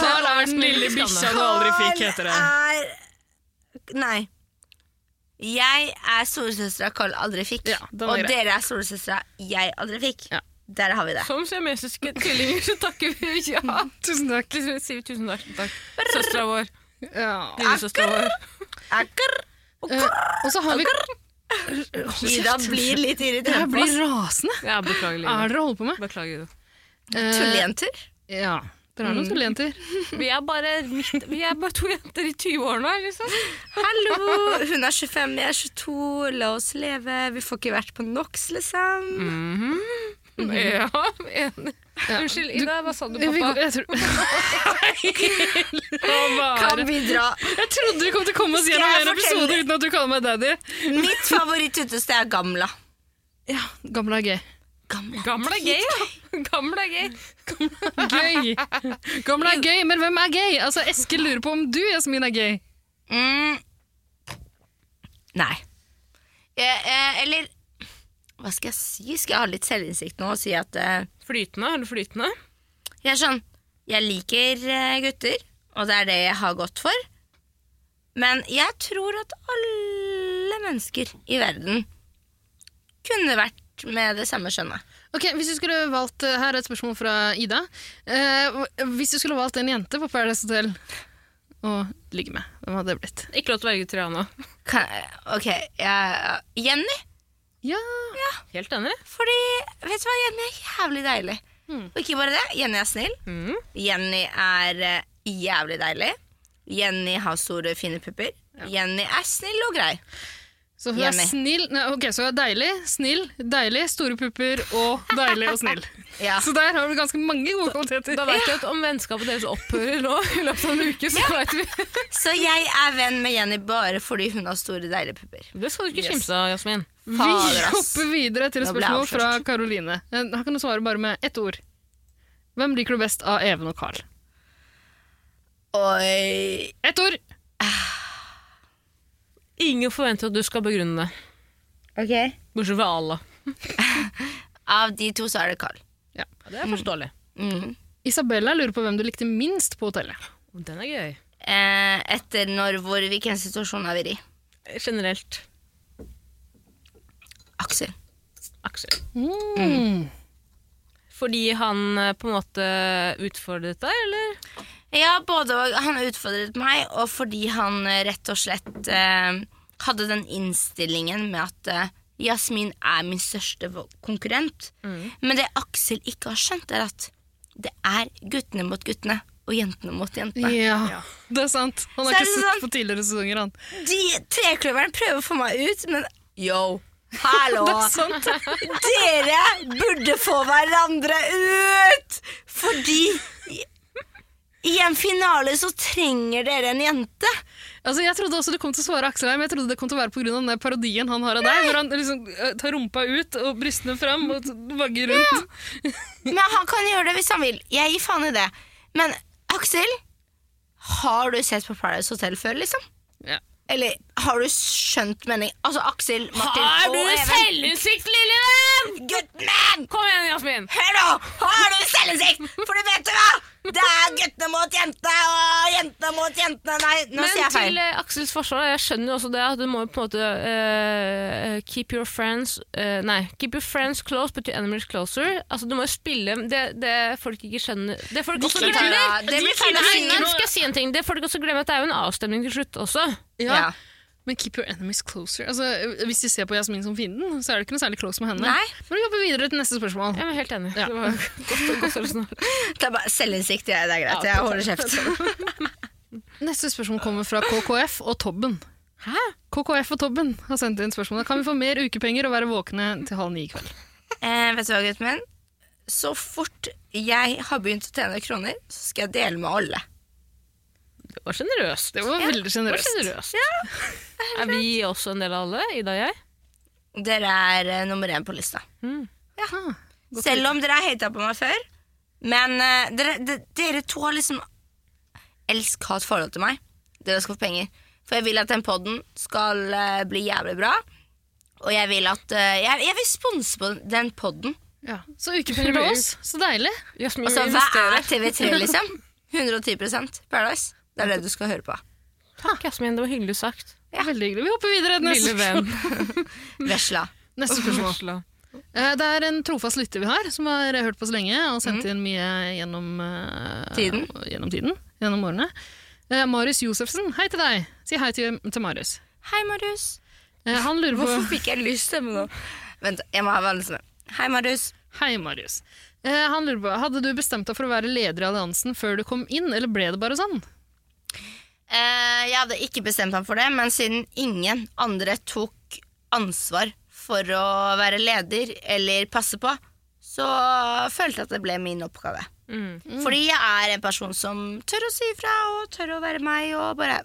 [SPEAKER 4] Carl er den lille bikkja du aldri fikk, heter det.
[SPEAKER 3] Carl er Nei. Jeg er storesøstera Carl aldri fikk,
[SPEAKER 4] Ja, den er
[SPEAKER 3] og
[SPEAKER 4] grei.
[SPEAKER 3] dere er storesøstera jeg aldri fikk.
[SPEAKER 4] Ja.
[SPEAKER 3] Der har vi det.
[SPEAKER 1] Som siamesiske tvillinger så takker vi ja.
[SPEAKER 4] Tusen takk.
[SPEAKER 1] Tusen- Sier vi tusen takk. takk. Søstera vår.
[SPEAKER 4] Liksom, Ja.
[SPEAKER 1] Lillesøstera vår.
[SPEAKER 3] Akker.
[SPEAKER 4] Eh, og så har vi
[SPEAKER 3] Ida blir litt irritert.
[SPEAKER 4] Jeg
[SPEAKER 3] på
[SPEAKER 4] blir
[SPEAKER 3] oss.
[SPEAKER 4] rasende.
[SPEAKER 1] Ja, beklager,
[SPEAKER 4] Hva
[SPEAKER 1] Line.
[SPEAKER 4] er det dere holder på med?
[SPEAKER 1] Beklager, Ida.
[SPEAKER 4] Eh,
[SPEAKER 3] Tullejenter.
[SPEAKER 4] Ja. Dere er noen tullejenter.
[SPEAKER 1] Vi er bare, midt, vi er bare to jenter i 20-årene, liksom.
[SPEAKER 3] Hallo! Hun er 25, jeg er 22. La oss leve. Vi får ikke vært på NOX, liksom.
[SPEAKER 1] Ja, enig. Unnskyld, Ida, hva sa Mm-hmm. du,
[SPEAKER 4] Vi,
[SPEAKER 1] pappa?
[SPEAKER 4] jeg, tror,
[SPEAKER 3] Kan vi dra?
[SPEAKER 4] jeg trodde vi kom til å komme oss
[SPEAKER 3] Skal jeg
[SPEAKER 4] gjennom en
[SPEAKER 3] fortelle-
[SPEAKER 4] episode uten at du kaller meg daddy.
[SPEAKER 3] Mitt favorittutested er Gamla.
[SPEAKER 4] Ja, Gamle er gøy.
[SPEAKER 3] Gamla.
[SPEAKER 1] Gammel er gay, ja. Gammel er gay.
[SPEAKER 4] Gøy! Gamle er gøy, men hvem er gøy? Altså, Eskil lurer på om du, Jasmin, er gøy.
[SPEAKER 3] Mm. Nei. Eh, eh, eller hva skal jeg si? Skal jeg ha litt selvinnsikt nå og si at eh,
[SPEAKER 1] Flytende, er du flytende?
[SPEAKER 3] jeg er sånn Jeg liker eh, gutter, og det er det jeg har gått for. Men jeg tror at alle mennesker i verden kunne vært med det samme skjønnet.
[SPEAKER 4] Ok, hvis du skulle valgt, eh, Her er et spørsmål fra Ida. Eh, hvis du skulle valgt en jente på Paradise Hotel å ligge med, hvem hadde det blitt?
[SPEAKER 1] Ikke lov til å velge Triana.
[SPEAKER 3] Kan, ok, jeg, Jenny.
[SPEAKER 4] Ja,
[SPEAKER 1] Helt enig.
[SPEAKER 3] Fordi, vet du hva, Jenny er jævlig deilig.
[SPEAKER 4] Hmm.
[SPEAKER 3] Og ikke bare det, Jenny er snill. Jenny er eh, jævlig deilig. Jenny har store, fine pupper. Jenny er snill og grei.
[SPEAKER 4] Så hun
[SPEAKER 3] Jenny.
[SPEAKER 4] er snill nei, Ok, så hun er deilig, snill, deilig, store pupper og deilig og snill.
[SPEAKER 3] Ja.
[SPEAKER 4] Så der har du ganske mange gode kvaliteter.
[SPEAKER 1] Da vet vi at om vennskapet deres opphører nå i løpet av en uke, så vet vi
[SPEAKER 3] Så jeg er venn med Jenny bare fordi hun har store, deilige pupper.
[SPEAKER 1] Det skal du ikke kimse av, Jasmin.
[SPEAKER 4] Vi
[SPEAKER 3] Fader, ass.
[SPEAKER 4] hopper videre til et
[SPEAKER 3] Da ble jeg
[SPEAKER 4] spørsmål fra
[SPEAKER 3] avslørt.
[SPEAKER 4] Karoline. Eh, Her kan du svare bare med ett ord. Hvem liker du best av Even og Carl?
[SPEAKER 3] Oi.
[SPEAKER 4] Ett ord!
[SPEAKER 1] Ingen forventer at du skal begrunne det.
[SPEAKER 3] Ok.
[SPEAKER 1] Bortsett fra Allah.
[SPEAKER 3] Av de to så er det Carl.
[SPEAKER 1] Det er forståelig.
[SPEAKER 3] Mhm.
[SPEAKER 4] Isabella lurer på hvem du likte minst på hotellet.
[SPEAKER 1] Mm. Den er gøy.
[SPEAKER 3] Eh, etter når, hvor, hvilken situasjon er vi i?
[SPEAKER 1] Generelt.
[SPEAKER 3] Aksel.
[SPEAKER 1] Aksel. Fordi han eh, på en måte utfordret deg, eller?
[SPEAKER 3] Ja, både og. Han utfordret meg, og fordi han eh, rett og slett eh, hadde den innstillingen med at eh, Jasmin er min største vo- konkurrent. Men det Aksel ikke har skjønt, er at det er guttene mot guttene og jentene mot jentene.
[SPEAKER 4] Ja, det er sant. Han har
[SPEAKER 3] Så er
[SPEAKER 4] ikke
[SPEAKER 3] det
[SPEAKER 4] sett
[SPEAKER 3] sant.
[SPEAKER 4] på tidligere sesonger, han.
[SPEAKER 3] De trekløverne prøver å få meg ut, men yo, hallo!
[SPEAKER 4] Det er sant.
[SPEAKER 3] Dere burde få hverandre ut! Fordi i- i en finale så trenger dere en jente.
[SPEAKER 4] Altså, jeg trodde også du kom til å svare Aksel her, men jeg trodde det kom til å være pga. den der parodien han har av deg, hvor han liksom eh, tar rumpa ut og brystene fram og t- vagger rundt.
[SPEAKER 3] Men han kan gjøre det hvis han vil. Jeg gir faen i det. Men Aksel, har du sett på Paradise Hotel før, liksom?
[SPEAKER 4] Ja.
[SPEAKER 3] Eller har du skjønt mening? Altså, Aksel, Martin
[SPEAKER 1] Har du
[SPEAKER 3] og Even.
[SPEAKER 1] selvinnsikt, lille venn?!
[SPEAKER 3] Guttmann!
[SPEAKER 1] Kom igjen, Jasmin!
[SPEAKER 3] Hør nå! Har du selvinnsikt? For du vet du hva? Det er guttene mot jentene og jentene mot jentene. Nei, nå
[SPEAKER 1] Men
[SPEAKER 3] sier jeg
[SPEAKER 1] til
[SPEAKER 3] feil.
[SPEAKER 1] eh, Aksels forsvar, jeg skjønner jo også det at du må jo på en måte eh, Keep your friends eh, Nei, keep your friends close betyr enemies closer. Altså, du må jo spille det, det folk ikke skjønner Det folk også
[SPEAKER 3] Ikke
[SPEAKER 1] glemmer
[SPEAKER 3] Tara, Det blir feil å
[SPEAKER 1] Nei,
[SPEAKER 3] si.
[SPEAKER 1] nå skal jeg si en ting. Det folk også glemmer, at det er jo en avstemning til slutt også.
[SPEAKER 4] Ja. Men keep your enemies closer. Altså, hvis de ser på Jasmin som fienden, så er det ikke noe særlig close med henne.
[SPEAKER 3] Nei.
[SPEAKER 4] Men vi hopper videre til neste spørsmål.
[SPEAKER 1] Jeg er helt enig.
[SPEAKER 4] Ja.
[SPEAKER 1] Det var godt, godt resonert.
[SPEAKER 3] Det er bare selvinnsikt. Ja, det er greit.
[SPEAKER 1] Ja,
[SPEAKER 3] Jeg holder kjeft.
[SPEAKER 4] Neste spørsmål kommer fra KKF og Tobben.
[SPEAKER 1] Hæ?
[SPEAKER 4] KKF og Tobben har sendt inn spørsmål. Kan vi få mer ukepenger og være våkne til halv ni i kveld?
[SPEAKER 3] Eh, vet du hva, gutten min? Så fort jeg har begynt å tjene kroner, så skal jeg dele med alle.
[SPEAKER 1] Det var sjenerøst.
[SPEAKER 4] Det var veldig
[SPEAKER 1] Det var
[SPEAKER 4] sjenerøst.
[SPEAKER 1] sjenerøst. Er vi også en del av alle? Ida og jeg?
[SPEAKER 3] Dere er eh, nummer én på lista.
[SPEAKER 4] Ah, godt å
[SPEAKER 3] Selv om dere har hata på meg før. Men eh, dere, de, dere to har liksom elsk-hat forhold til meg. Dere skal få penger. For jeg vil at den poden skal eh, bli jævlig bra. Og jeg vil at eh, jeg, jeg vil sponse på den poden.
[SPEAKER 4] vite. ja. Så ukepenger til oss. Så deilig.
[SPEAKER 1] Jasmin
[SPEAKER 3] Altså,
[SPEAKER 1] vil
[SPEAKER 3] hva
[SPEAKER 1] investere.
[SPEAKER 3] er TV3, liksom? 110 Paradise. Det er det du skal høre på.
[SPEAKER 1] Takk, Jasmin. Det var hyggelig sagt.
[SPEAKER 4] Veldig hyggelig. Vi hopper videre til
[SPEAKER 1] Lille
[SPEAKER 4] neste
[SPEAKER 1] venn.
[SPEAKER 4] spørsmål.
[SPEAKER 3] Vesla.
[SPEAKER 4] Neste spørsmål. Eh, Det er en trofast lytter vi har, som har hørt på oss lenge og sendt inn mye gjennom eh,
[SPEAKER 3] Mhm. Tiden.
[SPEAKER 4] Gjennom, tiden, gjennom årene. Eh, Marius Josefsen, hei til deg. Si hei til, til Marius.
[SPEAKER 3] Hei, Marius.
[SPEAKER 4] Eh, han lurer på
[SPEAKER 3] Hvorfor fikk jeg lyst stemme nå? Vent, jeg må ha vanlig stemme. Hei, Marius.
[SPEAKER 4] Hei, Marius. Eh, han lurer på, Hadde du bestemt deg for å være leder i alliansen før du kom inn, eller ble det bare sånn?
[SPEAKER 3] Eh, jeg hadde ikke bestemt ham for det, men siden ingen andre tok ansvar for å være leder eller passe på, så følte jeg at det ble min oppgave.
[SPEAKER 1] Mm.
[SPEAKER 3] Fordi jeg er en person som tør å si ifra og tør å være meg og bare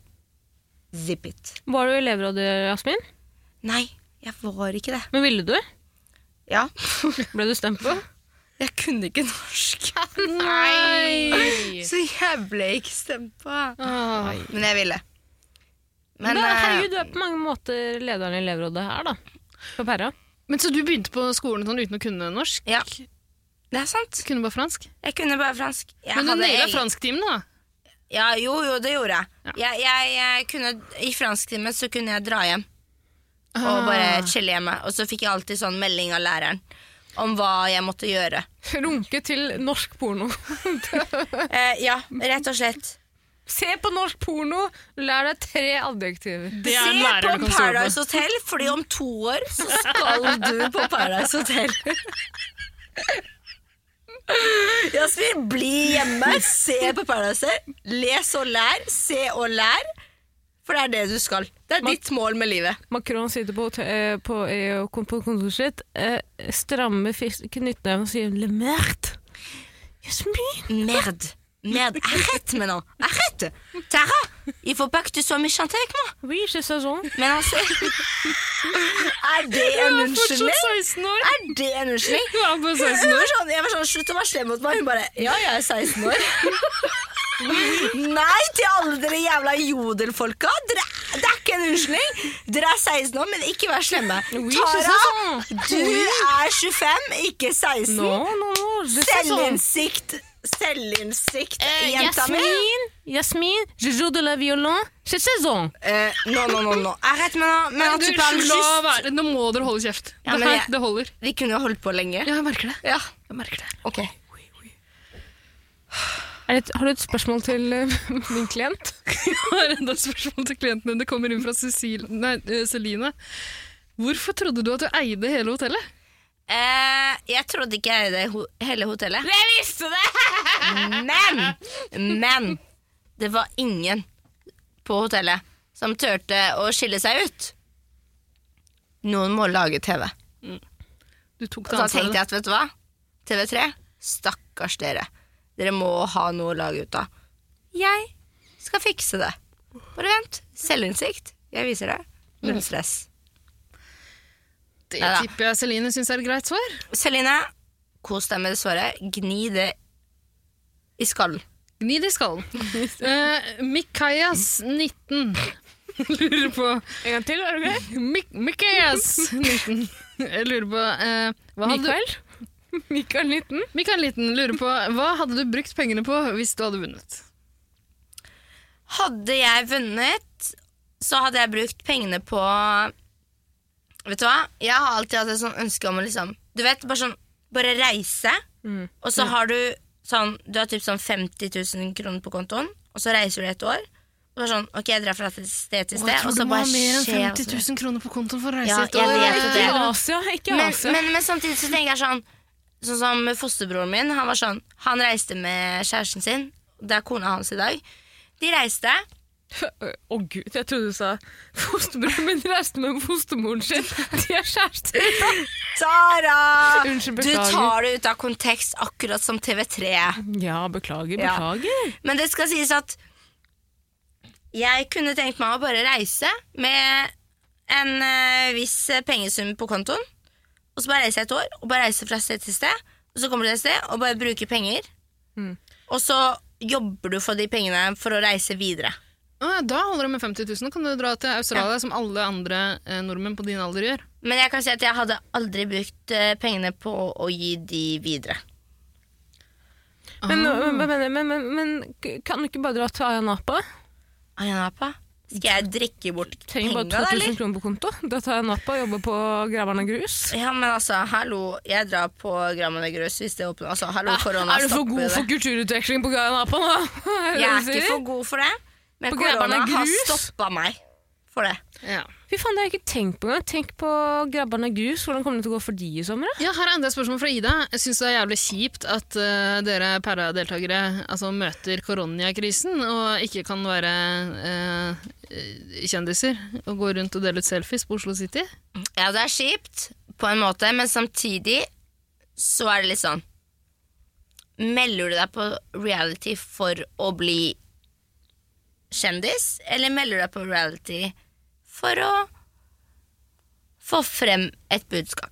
[SPEAKER 3] zip it.
[SPEAKER 1] Var du i elevrådet, Jasmin?
[SPEAKER 3] Nei, jeg var ikke det.
[SPEAKER 1] Men ville du?
[SPEAKER 3] Ja,
[SPEAKER 1] Ble du stemt på?
[SPEAKER 3] jeg kunne ikke norsk,
[SPEAKER 4] Nei!
[SPEAKER 3] så jeg ble ikke stemt på.
[SPEAKER 4] Ah,
[SPEAKER 3] Men jeg ville. Men,
[SPEAKER 1] Men, da,
[SPEAKER 3] eh,
[SPEAKER 1] herregud, du er på mange måter lederen i elevrådet her, da. På pæra.
[SPEAKER 4] men Så du begynte på skolen sånn uten å kunne norsk?
[SPEAKER 3] eh, Ja. det er sant.
[SPEAKER 4] Du kunne bare fransk?
[SPEAKER 3] Jeg kunne bare fransk. Jeg
[SPEAKER 4] Men du
[SPEAKER 3] hadde
[SPEAKER 4] naila
[SPEAKER 3] egen-
[SPEAKER 4] fransktimen, da.
[SPEAKER 3] Ja, jo, jo, det gjorde jeg. Jeg, jeg, jeg kunne, I fransktimen så kunne jeg dra hjem
[SPEAKER 4] Ah.
[SPEAKER 3] og bare chille hjemme. Og så fikk jeg alltid sånn melding av læreren om hva jeg måtte gjøre.
[SPEAKER 1] Runke til norsk porno.
[SPEAKER 3] Eh, ja, rett og slett.
[SPEAKER 1] Se på norsk porno! Lær deg tre adjektiver.
[SPEAKER 4] Det er en
[SPEAKER 3] Se
[SPEAKER 4] lærer du
[SPEAKER 3] på
[SPEAKER 4] kan stole på.
[SPEAKER 3] Paradise Hotel, fordi om to år så skal du på Paradise Hotel. Jasmin, bli hjemme. Se på Paradise Hotel. Les og lær. Se og lær. For det er det du skal. Det er ditt mål med livet.
[SPEAKER 1] Macron sitter på, hotell- eh, på, eh, kom på kontoret sitt, eh, strammer fis- knyttneven og sier 'le merde'. Jasmin!
[SPEAKER 3] Merde. Merde. Arrête maintenant. Arrête. Tara, il faut pas que tu sois méchante avec moi.
[SPEAKER 1] Oui, c'est saison.
[SPEAKER 3] Men altså Er det en unnskyldning?
[SPEAKER 4] Fortsatt 16 år!
[SPEAKER 3] Er det en unnskyldning?
[SPEAKER 4] Du er bare
[SPEAKER 3] Hun
[SPEAKER 4] 16
[SPEAKER 3] hun
[SPEAKER 4] år.
[SPEAKER 3] var sånn, jeg var sånn, slutt å være slem mot meg. Hun bare, ja, jeg er 16 år. Nei til alle dere jævla jodelfolka. Dere, det er ikke en unnskyldning. Dere er 16 år, men ikke vær slemme. Tara, du er 25, ikke 16.
[SPEAKER 1] No, no, no, c'est saison.
[SPEAKER 3] Selvinnsikt. Selvinnsikt,
[SPEAKER 1] Eh,
[SPEAKER 3] jenta mi.
[SPEAKER 1] Jasmin, Jasmin, je joue de la violon, c'est saison.
[SPEAKER 3] Eh, non, non, non, non. Arrête maintenant. Men at
[SPEAKER 4] Du,
[SPEAKER 3] du kan
[SPEAKER 4] la
[SPEAKER 3] just
[SPEAKER 4] være. Nå må dere holde kjeft.
[SPEAKER 3] Ja,
[SPEAKER 4] det,
[SPEAKER 3] men
[SPEAKER 4] her,
[SPEAKER 3] jeg-
[SPEAKER 4] det holder.
[SPEAKER 3] Vi kunne jo holdt på lenge.
[SPEAKER 4] Ja, jeg merker det.
[SPEAKER 3] Ja,
[SPEAKER 4] Jeg merker det.
[SPEAKER 3] ok.
[SPEAKER 1] Er det et, har du et spørsmål til eh, min klient?
[SPEAKER 4] har enda et spørsmål til klienten din. Det kommer inn fra Cecil, nei, eh, Celine. Hvorfor trodde du at du eide hele hotellet?
[SPEAKER 3] Eh, jeg trodde ikke jeg eide ho hele hotellet. Jeg visste det! men, men det var ingen på hotellet som turte å skille seg ut. Noen må lage TV.
[SPEAKER 4] Du tok
[SPEAKER 3] Og
[SPEAKER 4] det
[SPEAKER 3] da
[SPEAKER 4] ansvaret.
[SPEAKER 3] tenkte jeg at, vet du hva? TV3, stakkars dere. Dere må ha noe å lage ut av. Jeg skal fikse det. Bare vent. Selvinnsikt. Jeg viser det. Null stress.
[SPEAKER 4] Det
[SPEAKER 3] Neida.
[SPEAKER 4] tipper jeg Celine syns er et greit svar.
[SPEAKER 3] Celine, kos deg med det svaret. Gni det i skallen.
[SPEAKER 4] Gni det i skallen. Uh, Mikaias 19 lurer på
[SPEAKER 1] En gang til, er det greit?
[SPEAKER 4] Mik Mikaias 19 Jeg lurer på eh, hva hadde
[SPEAKER 1] Mikael? Mikael 19?
[SPEAKER 4] Du, Mikael 19 lurer på Hva hadde du brukt pengene på hvis du hadde vunnet?
[SPEAKER 3] Hadde jeg vunnet, så hadde jeg brukt pengene på Vet du hva? Jeg har alltid hatt et sånt ønske om å liksom Du vet, bare sånn Bare reise, og så har du sånn Du har typ sånn 50 000 kroner på kontoen, og så reiser du et år. Og bare sånn Ok, jeg drar fra sted til
[SPEAKER 4] Å,
[SPEAKER 3] sted, og så bare
[SPEAKER 4] mer enn
[SPEAKER 3] skjer
[SPEAKER 4] 50 000 kroner på kontoen for å reise
[SPEAKER 3] Ja,
[SPEAKER 4] et
[SPEAKER 3] jeg
[SPEAKER 4] år.
[SPEAKER 3] vet
[SPEAKER 1] Ikke
[SPEAKER 3] det.
[SPEAKER 1] i Asia. Ikke altså. i
[SPEAKER 3] men,
[SPEAKER 1] Asia.
[SPEAKER 3] men, men samtidig så tenker jeg sånn Sånn som fosterbroren min Han var sånn Han reiste med kjæresten sin Det er kona hans i dag De reiste
[SPEAKER 1] Å gud, jeg trodde du sa fosterbroren min reiste med fostermoren sin. De er kjærester.
[SPEAKER 3] Tara
[SPEAKER 1] Unnskyld,
[SPEAKER 3] Du
[SPEAKER 1] beklager.
[SPEAKER 3] tar det ut av kontekst Akkurat som TV3
[SPEAKER 1] Ja, beklager,
[SPEAKER 3] Ja. Mm.
[SPEAKER 1] beklager.
[SPEAKER 3] Men det skal sies at Jeg kunne tenkt meg å bare reise Med en eh, viss pengesum på kontoen Og så bare reise et år Og bare reise fra sted til sted Og så kommer du til et sted og bare bruker penger
[SPEAKER 1] Mm.
[SPEAKER 3] Og så jobber du for de pengene For å reise videre
[SPEAKER 4] Ah, da holder det med 50 000. Da kan du dra til Australia som alle andre eh, nordmenn på din alder gjør.
[SPEAKER 3] Men jeg kan si at jeg hadde aldri brukt eh, pengene på å gi de videre.
[SPEAKER 4] Ah.
[SPEAKER 1] Men, men, men, men, men, men kan du ikke bare dra til Ayanapa?
[SPEAKER 3] Ayanapa, skal jeg drikke bort
[SPEAKER 1] Trenger
[SPEAKER 3] penga,
[SPEAKER 1] bare
[SPEAKER 3] da,
[SPEAKER 1] 2000
[SPEAKER 3] eller?
[SPEAKER 1] kroner på konto. Da tar jeg Napa og jobber på Graver'n og Grus.
[SPEAKER 3] Ja, men altså, hallo, jeg drar på Grammen og Grøs hvis det åpner. Altså, hallo, korona,
[SPEAKER 1] er du for
[SPEAKER 3] stopp
[SPEAKER 1] god
[SPEAKER 3] det.
[SPEAKER 1] for kulturutveksling på Graver'n nå? Er det det
[SPEAKER 3] Jeg er
[SPEAKER 1] du
[SPEAKER 3] ikke
[SPEAKER 1] sier?
[SPEAKER 3] for god for det, men
[SPEAKER 1] På
[SPEAKER 3] korona
[SPEAKER 1] Grabberne
[SPEAKER 3] har
[SPEAKER 1] Grus?
[SPEAKER 3] stoppa meg for det.
[SPEAKER 4] Ja.
[SPEAKER 1] Fy faen, det har jeg ikke tenkt på engang. Tenk på Graver'n og Grus. Hvordan kommer det til å gå for de i sommer? da?
[SPEAKER 4] Ja, Her er enda et spørsmål fra Ida. Jeg syns det er jævlig kjipt at eh, dere Perra-deltakere altså, møter koronakrisen og ikke kan være eh, eh, kjendiser og gå rundt og dele ut selfies på Oslo City.
[SPEAKER 3] Ja, det er kjipt på en måte, men samtidig så er det litt sånn Melder du deg på reality for å bli kjendis, eller melder du deg på reality for å få frem et budskap?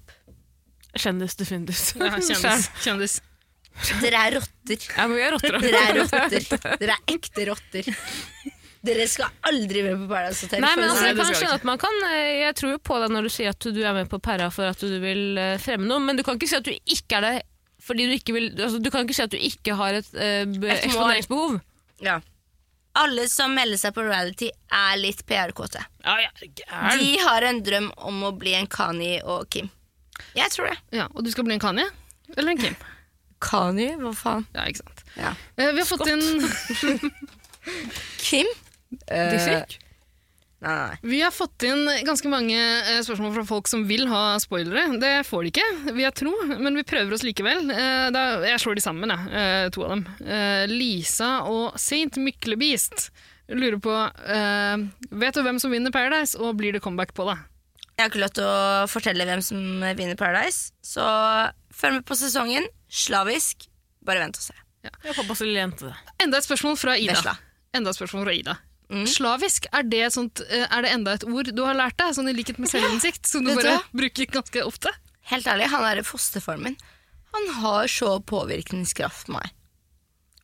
[SPEAKER 1] Kjendis til fundus.
[SPEAKER 4] Ja, kjendis. kjendis.
[SPEAKER 3] Dere er rotter.
[SPEAKER 1] Ja, men vi er rotter. da.
[SPEAKER 3] Dere er rotter. Dere er ekte rotter. Dere skal aldri være på Paradise Hotel.
[SPEAKER 1] Nei, men
[SPEAKER 3] for å
[SPEAKER 1] altså,
[SPEAKER 3] si
[SPEAKER 1] jeg
[SPEAKER 3] det
[SPEAKER 1] kan
[SPEAKER 3] sånn.
[SPEAKER 1] skjønne at man kan eh, Jeg tror jo på deg når du sier at du er med på Perra for at du vil eh, fremme noe, men du kan ikke si at du ikke er det fordi du ikke vil altså, Du kan ikke si at du ikke har et eh, be-
[SPEAKER 3] Et mål.
[SPEAKER 1] eksponeringsbehov.
[SPEAKER 3] ja. Alle som melder seg på reality, er litt PR-kåte.
[SPEAKER 1] Ja, ja, gæren.
[SPEAKER 3] De har en drøm om å bli en Kanye og Kim. Jeg tror det.
[SPEAKER 4] Ja, og du skal bli en Kanye? Eller en Kim?
[SPEAKER 3] Kanye? Hva faen?
[SPEAKER 4] Ja, ikke sant.
[SPEAKER 3] Ja.
[SPEAKER 4] Eh, vi har fått inn
[SPEAKER 3] Kim? Eh,
[SPEAKER 1] Dissik.
[SPEAKER 3] Nei, nei, nei.
[SPEAKER 4] Vi har fått inn ganske mange eh, spørsmål fra folk som vil ha spoilere. Det får de ikke, vil jeg tro, men vi prøver oss likevel. Eh, Da, jeg slår de sammen, jeg, eh, to av dem. Eh, Lisa og Saint Myklebist lurer på eh, Vet du hvem som vinner Paradise, og blir det comeback på det?
[SPEAKER 3] Jeg har ikke lov til å fortelle hvem som vinner Paradise, så følg med på sesongen. Slavisk. Bare vent og se.
[SPEAKER 1] Jeg håper også lille jente det.
[SPEAKER 4] Enda et spørsmål fra Ida.
[SPEAKER 3] Vesla.
[SPEAKER 4] Enda et spørsmål fra Ida.
[SPEAKER 3] Mm.
[SPEAKER 4] Slavisk, er det, et sånt, eh, er det enda et ord du har lært deg, sånn i likhet med selvinnsikt, som du
[SPEAKER 3] Vet du
[SPEAKER 4] bare
[SPEAKER 3] hva?
[SPEAKER 4] bruker ganske ofte?
[SPEAKER 3] Helt ærlig, han er i fosterformen min. Han har så påvirkningskraft på meg.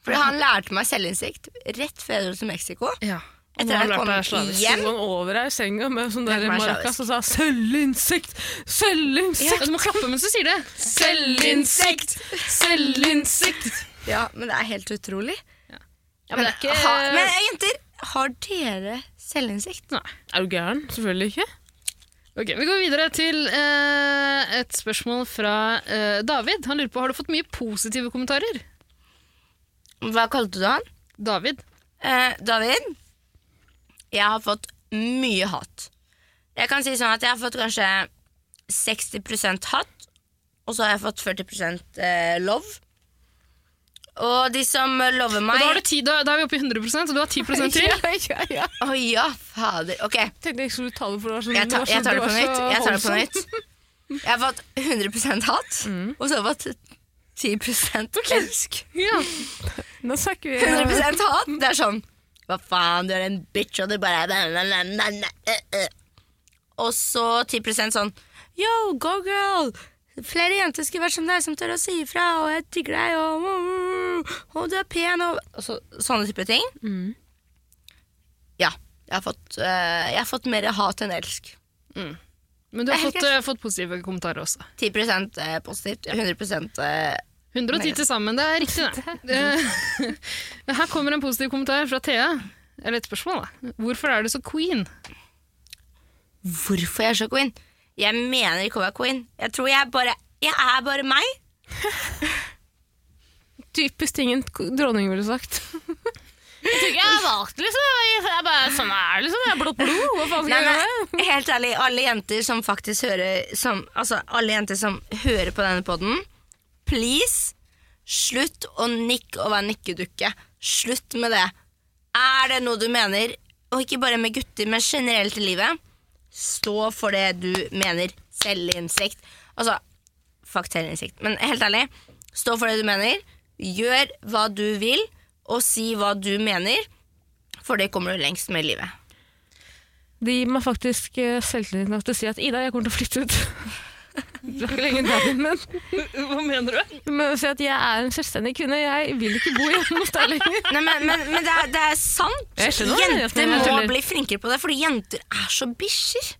[SPEAKER 3] Fordi han lærte meg selvinnsikt rett før jeg dro til Mexico.
[SPEAKER 4] Ja.
[SPEAKER 3] Etter at jeg kom
[SPEAKER 4] slavisk.
[SPEAKER 3] hjem
[SPEAKER 1] Sto han over deg i senga med sånn der
[SPEAKER 3] Lærte meg
[SPEAKER 1] maracas og sa 'selvinnsikt,
[SPEAKER 4] Ja,
[SPEAKER 1] selvinnsikt'.
[SPEAKER 4] du må klappe mens du sier det. Selvinnsikt! Selvinnsikt!
[SPEAKER 3] Ja, men det er helt utrolig.
[SPEAKER 1] Ja, men det er ikke
[SPEAKER 3] ha, men jenter, har dere selvinnsikt?
[SPEAKER 4] Nei.
[SPEAKER 1] Er du gæren? Selvfølgelig ikke.
[SPEAKER 4] Ok, Vi går videre til eh, et spørsmål fra eh, David. Han lurer på har du fått mye positive kommentarer.
[SPEAKER 3] Hva kalte du han?
[SPEAKER 4] David.
[SPEAKER 3] Eh, David, jeg har fått mye hat. Jeg kan si sånn at jeg har fått kanskje 60 hat, og så har jeg fått 40 eh, love. Og de som lover
[SPEAKER 4] Og
[SPEAKER 3] meg
[SPEAKER 4] da, har du ti, da, da er vi oppe i 100 og du har 10 til.
[SPEAKER 1] Ja, ja, ja.
[SPEAKER 3] Å ja, fader. Ok, jeg,
[SPEAKER 1] Tenkte jeg ikke skulle ta det for det var sånn-
[SPEAKER 3] ta,
[SPEAKER 1] var
[SPEAKER 3] jeg
[SPEAKER 1] sånn-
[SPEAKER 3] tar det
[SPEAKER 1] var
[SPEAKER 3] på
[SPEAKER 1] så
[SPEAKER 3] nytt. Jeg tar det på
[SPEAKER 1] holdsomt.
[SPEAKER 3] nytt. Jeg har fått 100 hat,
[SPEAKER 1] Mm.
[SPEAKER 3] og så har jeg fått 10 elsk.
[SPEAKER 4] Ja.
[SPEAKER 1] Nå snakker vi
[SPEAKER 3] 100 hat. Det er sånn Hva faen, du er en bitch, og du bare Og så 10 sånn Yo, go girl! Flere jenter skulle vært som deg, som tør å si ifra, og jeg digger deg, og, og du er pen, og, og så, sånne type ting. Ja. Jeg har, fått, eh, jeg har fått mer hat enn elsk.
[SPEAKER 4] Men du har
[SPEAKER 3] Jeg er helt
[SPEAKER 4] fått, eh, fått positive kommentarer også.
[SPEAKER 3] 10 eh, positivt, 100 eh,
[SPEAKER 4] 110 til sammen, det er riktig, det. Eh, Her kommer en positiv kommentar fra Thea. Eller et spørsmål, da. Hvorfor er du så queen?
[SPEAKER 3] hvorfor jeg er så queen. Jeg mener ikke å være queen. Jeg tror jeg bare Jeg er bare meg.
[SPEAKER 1] Typisk ting en k- dronning ville sagt. Jeg tror ikke jeg er valgt, liksom. Jeg er bare sånn er det, liksom. Jeg er blått blod. Hva faen
[SPEAKER 3] Nei, men helt ærlig, alle jenter som faktisk hører som, Altså, alle jenter som hører på denne podden, please, slutt å nikke og være nikkedukke. Slutt med det. Er det noe du mener, og ikke bare med gutter, men generelt i livet, stå for det du mener. Selvinnsikt. Altså, fuck selvinnsikt, men helt ærlig, stå for det du mener. Gjør hva du vil, og si hva du mener, for det kommer du lengst med i livet.
[SPEAKER 1] Det gir meg faktisk eh, selvtillit nok til å si at Ida, jeg kommer til å flytte ut. Det var ikke lenge dagen, men
[SPEAKER 4] Hva mener du?
[SPEAKER 1] Men å si at jeg er en selvstendig kvinne. Jeg vil ikke bo hjemme hos deg lenger.
[SPEAKER 3] Nei, men, men, men det, er, det er sant.
[SPEAKER 1] Jeg skjønner det, jeg skjønner
[SPEAKER 3] jenter
[SPEAKER 1] det, jeg
[SPEAKER 3] må
[SPEAKER 1] tuller.
[SPEAKER 3] bli flinkere på det, fordi jenter er så bikkjer.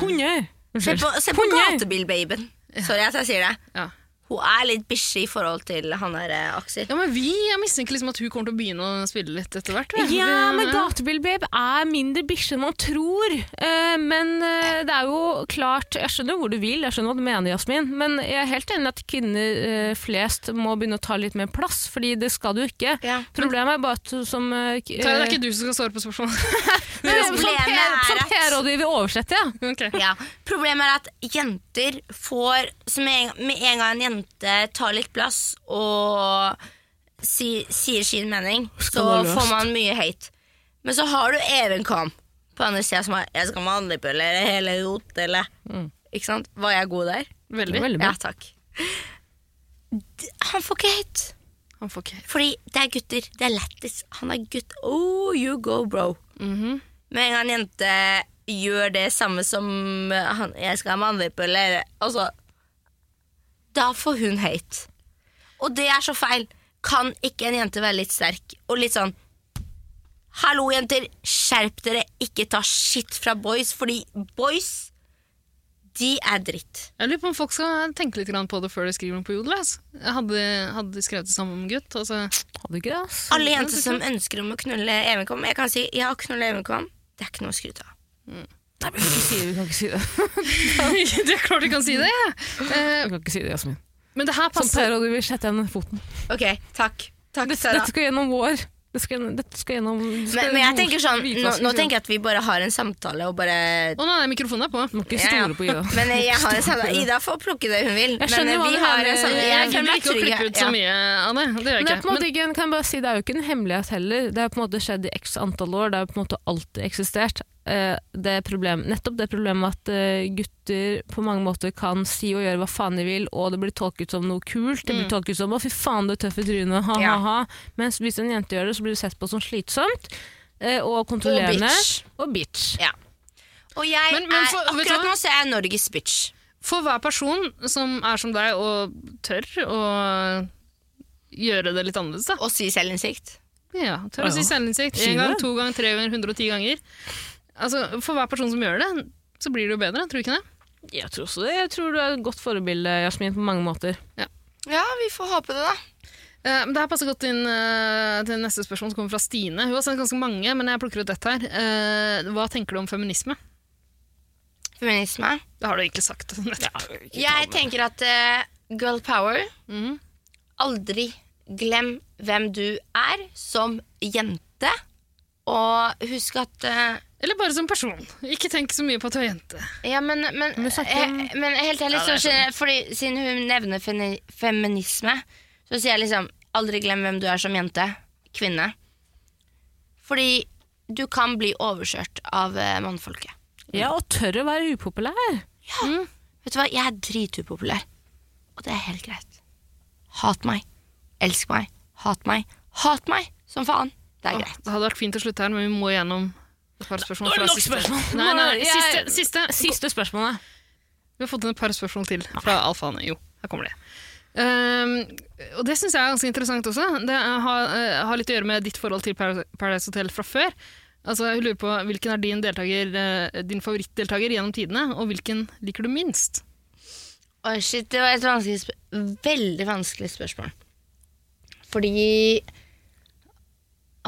[SPEAKER 1] Hunder!
[SPEAKER 3] Se på, se på
[SPEAKER 1] Hunder.
[SPEAKER 3] gatebilbabyen. Sorry at jeg sier det.
[SPEAKER 4] Ja.
[SPEAKER 3] Hun er litt bikkje i forhold til han der eh, Aksel.
[SPEAKER 4] ja, men vi, Jeg mistenker liksom at hun kommer til å begynne å spille litt etter hvert. vel?
[SPEAKER 1] Ja,
[SPEAKER 4] Det-
[SPEAKER 1] men gatebilbabe er mindre bikkje enn man tror. Eh, men eh, det er jo klart Jeg skjønner hvor du vil, jeg skjønner hva du mener, Jasmin. Men jeg er helt enig i at kvinner eh, flest må begynne å ta litt mer plass, fordi det skal du ikke.
[SPEAKER 3] Ja.
[SPEAKER 1] Problemet er bare at du som eh, k-
[SPEAKER 4] Tara, det er ikke du som skal svare på spørsmålet.
[SPEAKER 1] eh, som
[SPEAKER 3] Problemet
[SPEAKER 1] PR-
[SPEAKER 3] er
[SPEAKER 1] Som
[SPEAKER 3] at-
[SPEAKER 1] PR-rådgiver oversetter, ja.
[SPEAKER 4] Ok.
[SPEAKER 3] Ja. Problemet er at jenter får så med en, med en gang en jente tar litt plass og si, sier sin mening, så
[SPEAKER 1] løst.
[SPEAKER 3] får man mye hate. Men så har du Even Kam på andre sida som har 'jeg skal med handlepølle' eller 'hele rot' eller
[SPEAKER 1] Mm.
[SPEAKER 3] Ikke sant? Var jeg god der?
[SPEAKER 4] Veldig.
[SPEAKER 1] Veldig
[SPEAKER 3] Ja,
[SPEAKER 1] bra.
[SPEAKER 3] takk. D- Han får ikke hate.
[SPEAKER 4] Han får ikke
[SPEAKER 3] Fordi det er gutter. Det er lættis. Han er gutt. Oh, you go, bro. Med en gang en jente gjør det samme som eh, han, jeg skal ha med andrepølle, eller altså Da får hun hate. Og det er så feil. Kan ikke en jente være litt sterk og litt sånn Hallo, jenter. Skjerp dere. Ikke ta shit fra boys, fordi boys, de er dritt.
[SPEAKER 4] Jeg lurer på om folk skal tenke litt grann på det før de skriver noe på Jodel. ass. Jeg Hadde, hadde de skrevet det samme om gutt? Altså,
[SPEAKER 1] Hadde ikke det, ass.
[SPEAKER 3] Alle jenter som ønsker om å knulle Evenkom Jeg kan si jeg har knulla Evenkom. Det er ikke noe å skryte av.
[SPEAKER 1] Nei, men vi kan ikke si det, vi kan ikke si det.
[SPEAKER 4] det er klart de kan si det! ja.
[SPEAKER 1] Vi
[SPEAKER 4] Eh,
[SPEAKER 1] kan ikke si det, Jasmin.
[SPEAKER 4] men det her
[SPEAKER 1] Som
[SPEAKER 3] Altså-
[SPEAKER 4] passer
[SPEAKER 1] PR-rådgiver, sett igjen foten.
[SPEAKER 3] Ok, takk. Takk,
[SPEAKER 1] Dette,
[SPEAKER 3] Sara.
[SPEAKER 1] dette skal gjennom vår. Dette skal, gjennom- dette skal gjennom du skal
[SPEAKER 3] Men, men jeg
[SPEAKER 1] gjennom
[SPEAKER 3] tenker sånn,
[SPEAKER 1] vite
[SPEAKER 3] nå,
[SPEAKER 1] hva som
[SPEAKER 3] nå
[SPEAKER 1] skal
[SPEAKER 3] tenker jeg at vi bare har en samtale og bare
[SPEAKER 4] Å nei, mikrofonen er på.
[SPEAKER 1] Må ikke
[SPEAKER 3] Ja, ja.
[SPEAKER 1] stole på Ida.
[SPEAKER 3] Men jeg har en samtale. Ida får plukke det hun vil.
[SPEAKER 1] Jeg
[SPEAKER 3] men eh,
[SPEAKER 1] skjønner hva
[SPEAKER 3] vi
[SPEAKER 1] du
[SPEAKER 3] har
[SPEAKER 1] mener.
[SPEAKER 3] en
[SPEAKER 4] Jeg,
[SPEAKER 3] samtale. Jeg
[SPEAKER 4] gidder
[SPEAKER 3] føler meg
[SPEAKER 4] ikke å
[SPEAKER 3] trygg.
[SPEAKER 4] klippe ut så
[SPEAKER 3] ja.
[SPEAKER 4] mye av det. Det gjør
[SPEAKER 1] Men
[SPEAKER 4] jeg
[SPEAKER 1] det er på en
[SPEAKER 4] ikke. Men
[SPEAKER 1] måte ikke, en- kan jeg bare si, det er jo ikke en hemmelighet heller. Det har på en måte skjedd i x antall år. Det har på en måte alltid eksistert. Eh, Det er problem, nettopp det problemet at eh, gutter på mange måter kan si og gjøre hva faen de vil, og det blir tolket som noe kult. Det blir tolket som 'å, fy faen, du er tøff i trynet', ha, ha,
[SPEAKER 3] Ja.
[SPEAKER 1] ha. Mens hvis en jente gjør det, så blir det sett på som slitsomt eh, og kontrollerende.
[SPEAKER 3] bitch.
[SPEAKER 1] Og bitch.
[SPEAKER 3] Ja. Og jeg
[SPEAKER 4] Men- men for-
[SPEAKER 3] er,
[SPEAKER 4] vet du
[SPEAKER 3] akkurat
[SPEAKER 4] hva?
[SPEAKER 3] nå så er jeg Norges bitch.
[SPEAKER 4] For hver person som er som deg og tør å gjøre det litt annerledes, da.
[SPEAKER 3] Og si selvinnsikt.
[SPEAKER 4] Ja, tør å si
[SPEAKER 1] Ja.
[SPEAKER 4] selvinnsikt.
[SPEAKER 1] Si
[SPEAKER 4] Én gang,
[SPEAKER 1] det.
[SPEAKER 4] to ganger, tre ganger, 110 ganger. Altså, For hver person som gjør det, så blir det jo bedre, tror du ikke det?
[SPEAKER 1] Jeg tror også det. Jeg tror du er et godt forbilde, Jasmin, på mange måter.
[SPEAKER 3] Ja, vi får håpe det, da.
[SPEAKER 4] Eh, men det her passer godt inn eh, til neste spørsmål som kommer fra Stine. Hun har sendt ganske mange, men jeg plukker ut dette her. Eh, hva tenker du om feminisme?
[SPEAKER 3] Feminisme.
[SPEAKER 4] Det har du egentlig sagt. nettopp.
[SPEAKER 3] Jeg tenker at eh, girl power
[SPEAKER 4] Mhm.
[SPEAKER 3] Aldri glem hvem du er som jente. Og husk at eh,
[SPEAKER 4] Eller bare som person. Ikke tenk så mye på at du er jente.
[SPEAKER 3] Ja, men, men,
[SPEAKER 1] Men vi snakker om-
[SPEAKER 3] eh, men helt ærlig, så, skjer- fordi siden hun nevner feni- feminisme, så sier jeg liksom aldri glem hvem du er som jente. Kvinne. Fordi du kan bli overkjørt av eh, mannfolket.
[SPEAKER 1] Ja, og tør å være upopulær.
[SPEAKER 3] Vet du hva, jeg er dritupopulær. Og det er helt greit. Hat meg. Elsk meg. Hat meg. Hat meg som faen. Det er
[SPEAKER 4] Åh,
[SPEAKER 3] greit.
[SPEAKER 4] Det hadde vært fint å slutte her, men vi må gjennom et par spørsmål. fra siste- Nei, nei,
[SPEAKER 1] Jeg-
[SPEAKER 4] siste, siste,
[SPEAKER 1] Siste spørsmålet.
[SPEAKER 4] Vi har fått inn et par spørsmål til fra alfaene. Jo, her kommer det. Ehm, og det syns jeg er ganske interessant også. Det er- har, eh, har litt å gjøre med ditt forhold til Par- Paradise Hotel fra før. Altså, jeg lurer på Hvilken er din, deltaker, eh, din favorittdeltaker gjennom tidene, og hvilken liker du minst?
[SPEAKER 3] Oi, shit, det var et vanskelig sp veldig vanskelig spørsmål. Fordi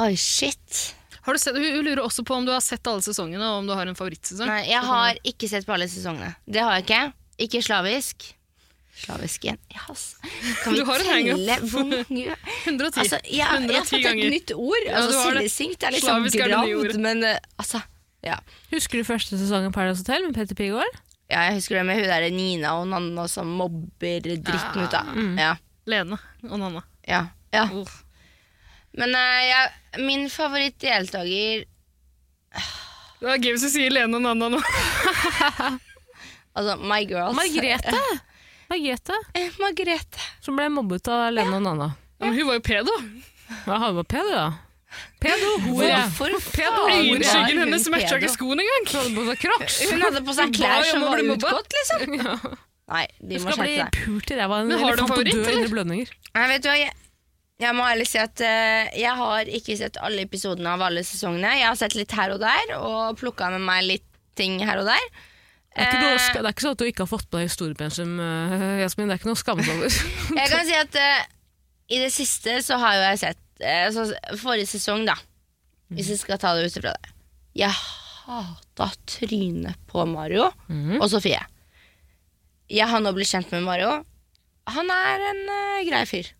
[SPEAKER 3] Oi, shit.
[SPEAKER 4] Har du sett, hun hun lurer også på om du har sett alle sesongene, og om du har en favorittsesong.
[SPEAKER 3] Nei, jeg har ikke sett på alle sesongene. Det har jeg ikke. Ikke slavisk. Slavisk igjen. Yes. Kan vi
[SPEAKER 4] Du har en
[SPEAKER 3] telle
[SPEAKER 4] hang-up.
[SPEAKER 3] hvor mange
[SPEAKER 4] 110.
[SPEAKER 3] Altså, jeg, jeg har
[SPEAKER 4] 110
[SPEAKER 3] fått et
[SPEAKER 4] ganger.
[SPEAKER 3] nytt ord.
[SPEAKER 4] Ja,
[SPEAKER 3] Altså,
[SPEAKER 4] du har det.
[SPEAKER 3] Sildesinkt er litt sånn
[SPEAKER 4] Slavisk er det nye
[SPEAKER 3] gravd,
[SPEAKER 4] ordet.
[SPEAKER 3] men eh, altså ja.
[SPEAKER 1] Husker du første sesong av Paradise Hotel med Petter Pilgaard?
[SPEAKER 3] ja, jeg husker det med hun der Nina og Nanna som mobber dritten ut av. Ja,
[SPEAKER 4] Lene og Nanna.
[SPEAKER 3] ja, ja.
[SPEAKER 4] Oh.
[SPEAKER 3] Men eh, jeg, min favorittdeltaker
[SPEAKER 4] Det er gøy hvis du sier Lene og Nanna nå.
[SPEAKER 3] Altså, my girls.
[SPEAKER 1] Margrethe! Margrethe,
[SPEAKER 3] Eh, Margrethe.
[SPEAKER 1] som ble mobbet av Lene og Nanna.
[SPEAKER 4] Ja, men hun var jo pedo.
[SPEAKER 1] Ja, han var pedo, ja. Pedo, hore.
[SPEAKER 3] Hvorfor faen var
[SPEAKER 4] Øyenskyggen
[SPEAKER 3] hun
[SPEAKER 4] hennes matcha
[SPEAKER 3] pedo?
[SPEAKER 4] ikke skoene engang.
[SPEAKER 1] Hadde på seg crocs.
[SPEAKER 3] Hun hadde på seg
[SPEAKER 4] Hun ba
[SPEAKER 3] klær
[SPEAKER 4] jo om
[SPEAKER 3] som
[SPEAKER 4] å
[SPEAKER 3] var
[SPEAKER 4] bli mobba.
[SPEAKER 3] utgått, liksom. Nei, de må
[SPEAKER 1] Skal bli
[SPEAKER 3] skjerpe seg.
[SPEAKER 1] pult i ræva av en
[SPEAKER 4] Men har du en
[SPEAKER 1] elefant og
[SPEAKER 4] favoritt,
[SPEAKER 1] dø
[SPEAKER 4] eller?
[SPEAKER 1] under blødninger.
[SPEAKER 3] Nei, vet du hva, jeg, jeg må ærlig si at eh, jeg har ikke sett alle episodene av alle sesongene. Jeg har sett litt her og der, og plukka med meg litt ting her og der.
[SPEAKER 1] Det er, ikke noe,
[SPEAKER 3] Eh,
[SPEAKER 1] sk- det er ikke sånn at du ikke har fått på deg historiepensum, eh, Jasmin. Det er ikke noe å skamme seg over.
[SPEAKER 3] Jeg kan si at eh, i det siste så har jo jeg sett eh, så, Forrige sesong, da. Hvis jeg skal ta det ut ifra det. Jeg hata trynet på Mario
[SPEAKER 4] Mhm.
[SPEAKER 3] og Sofie. Jeg har nå blitt kjent med Mario. Han er en eh, grei fyr.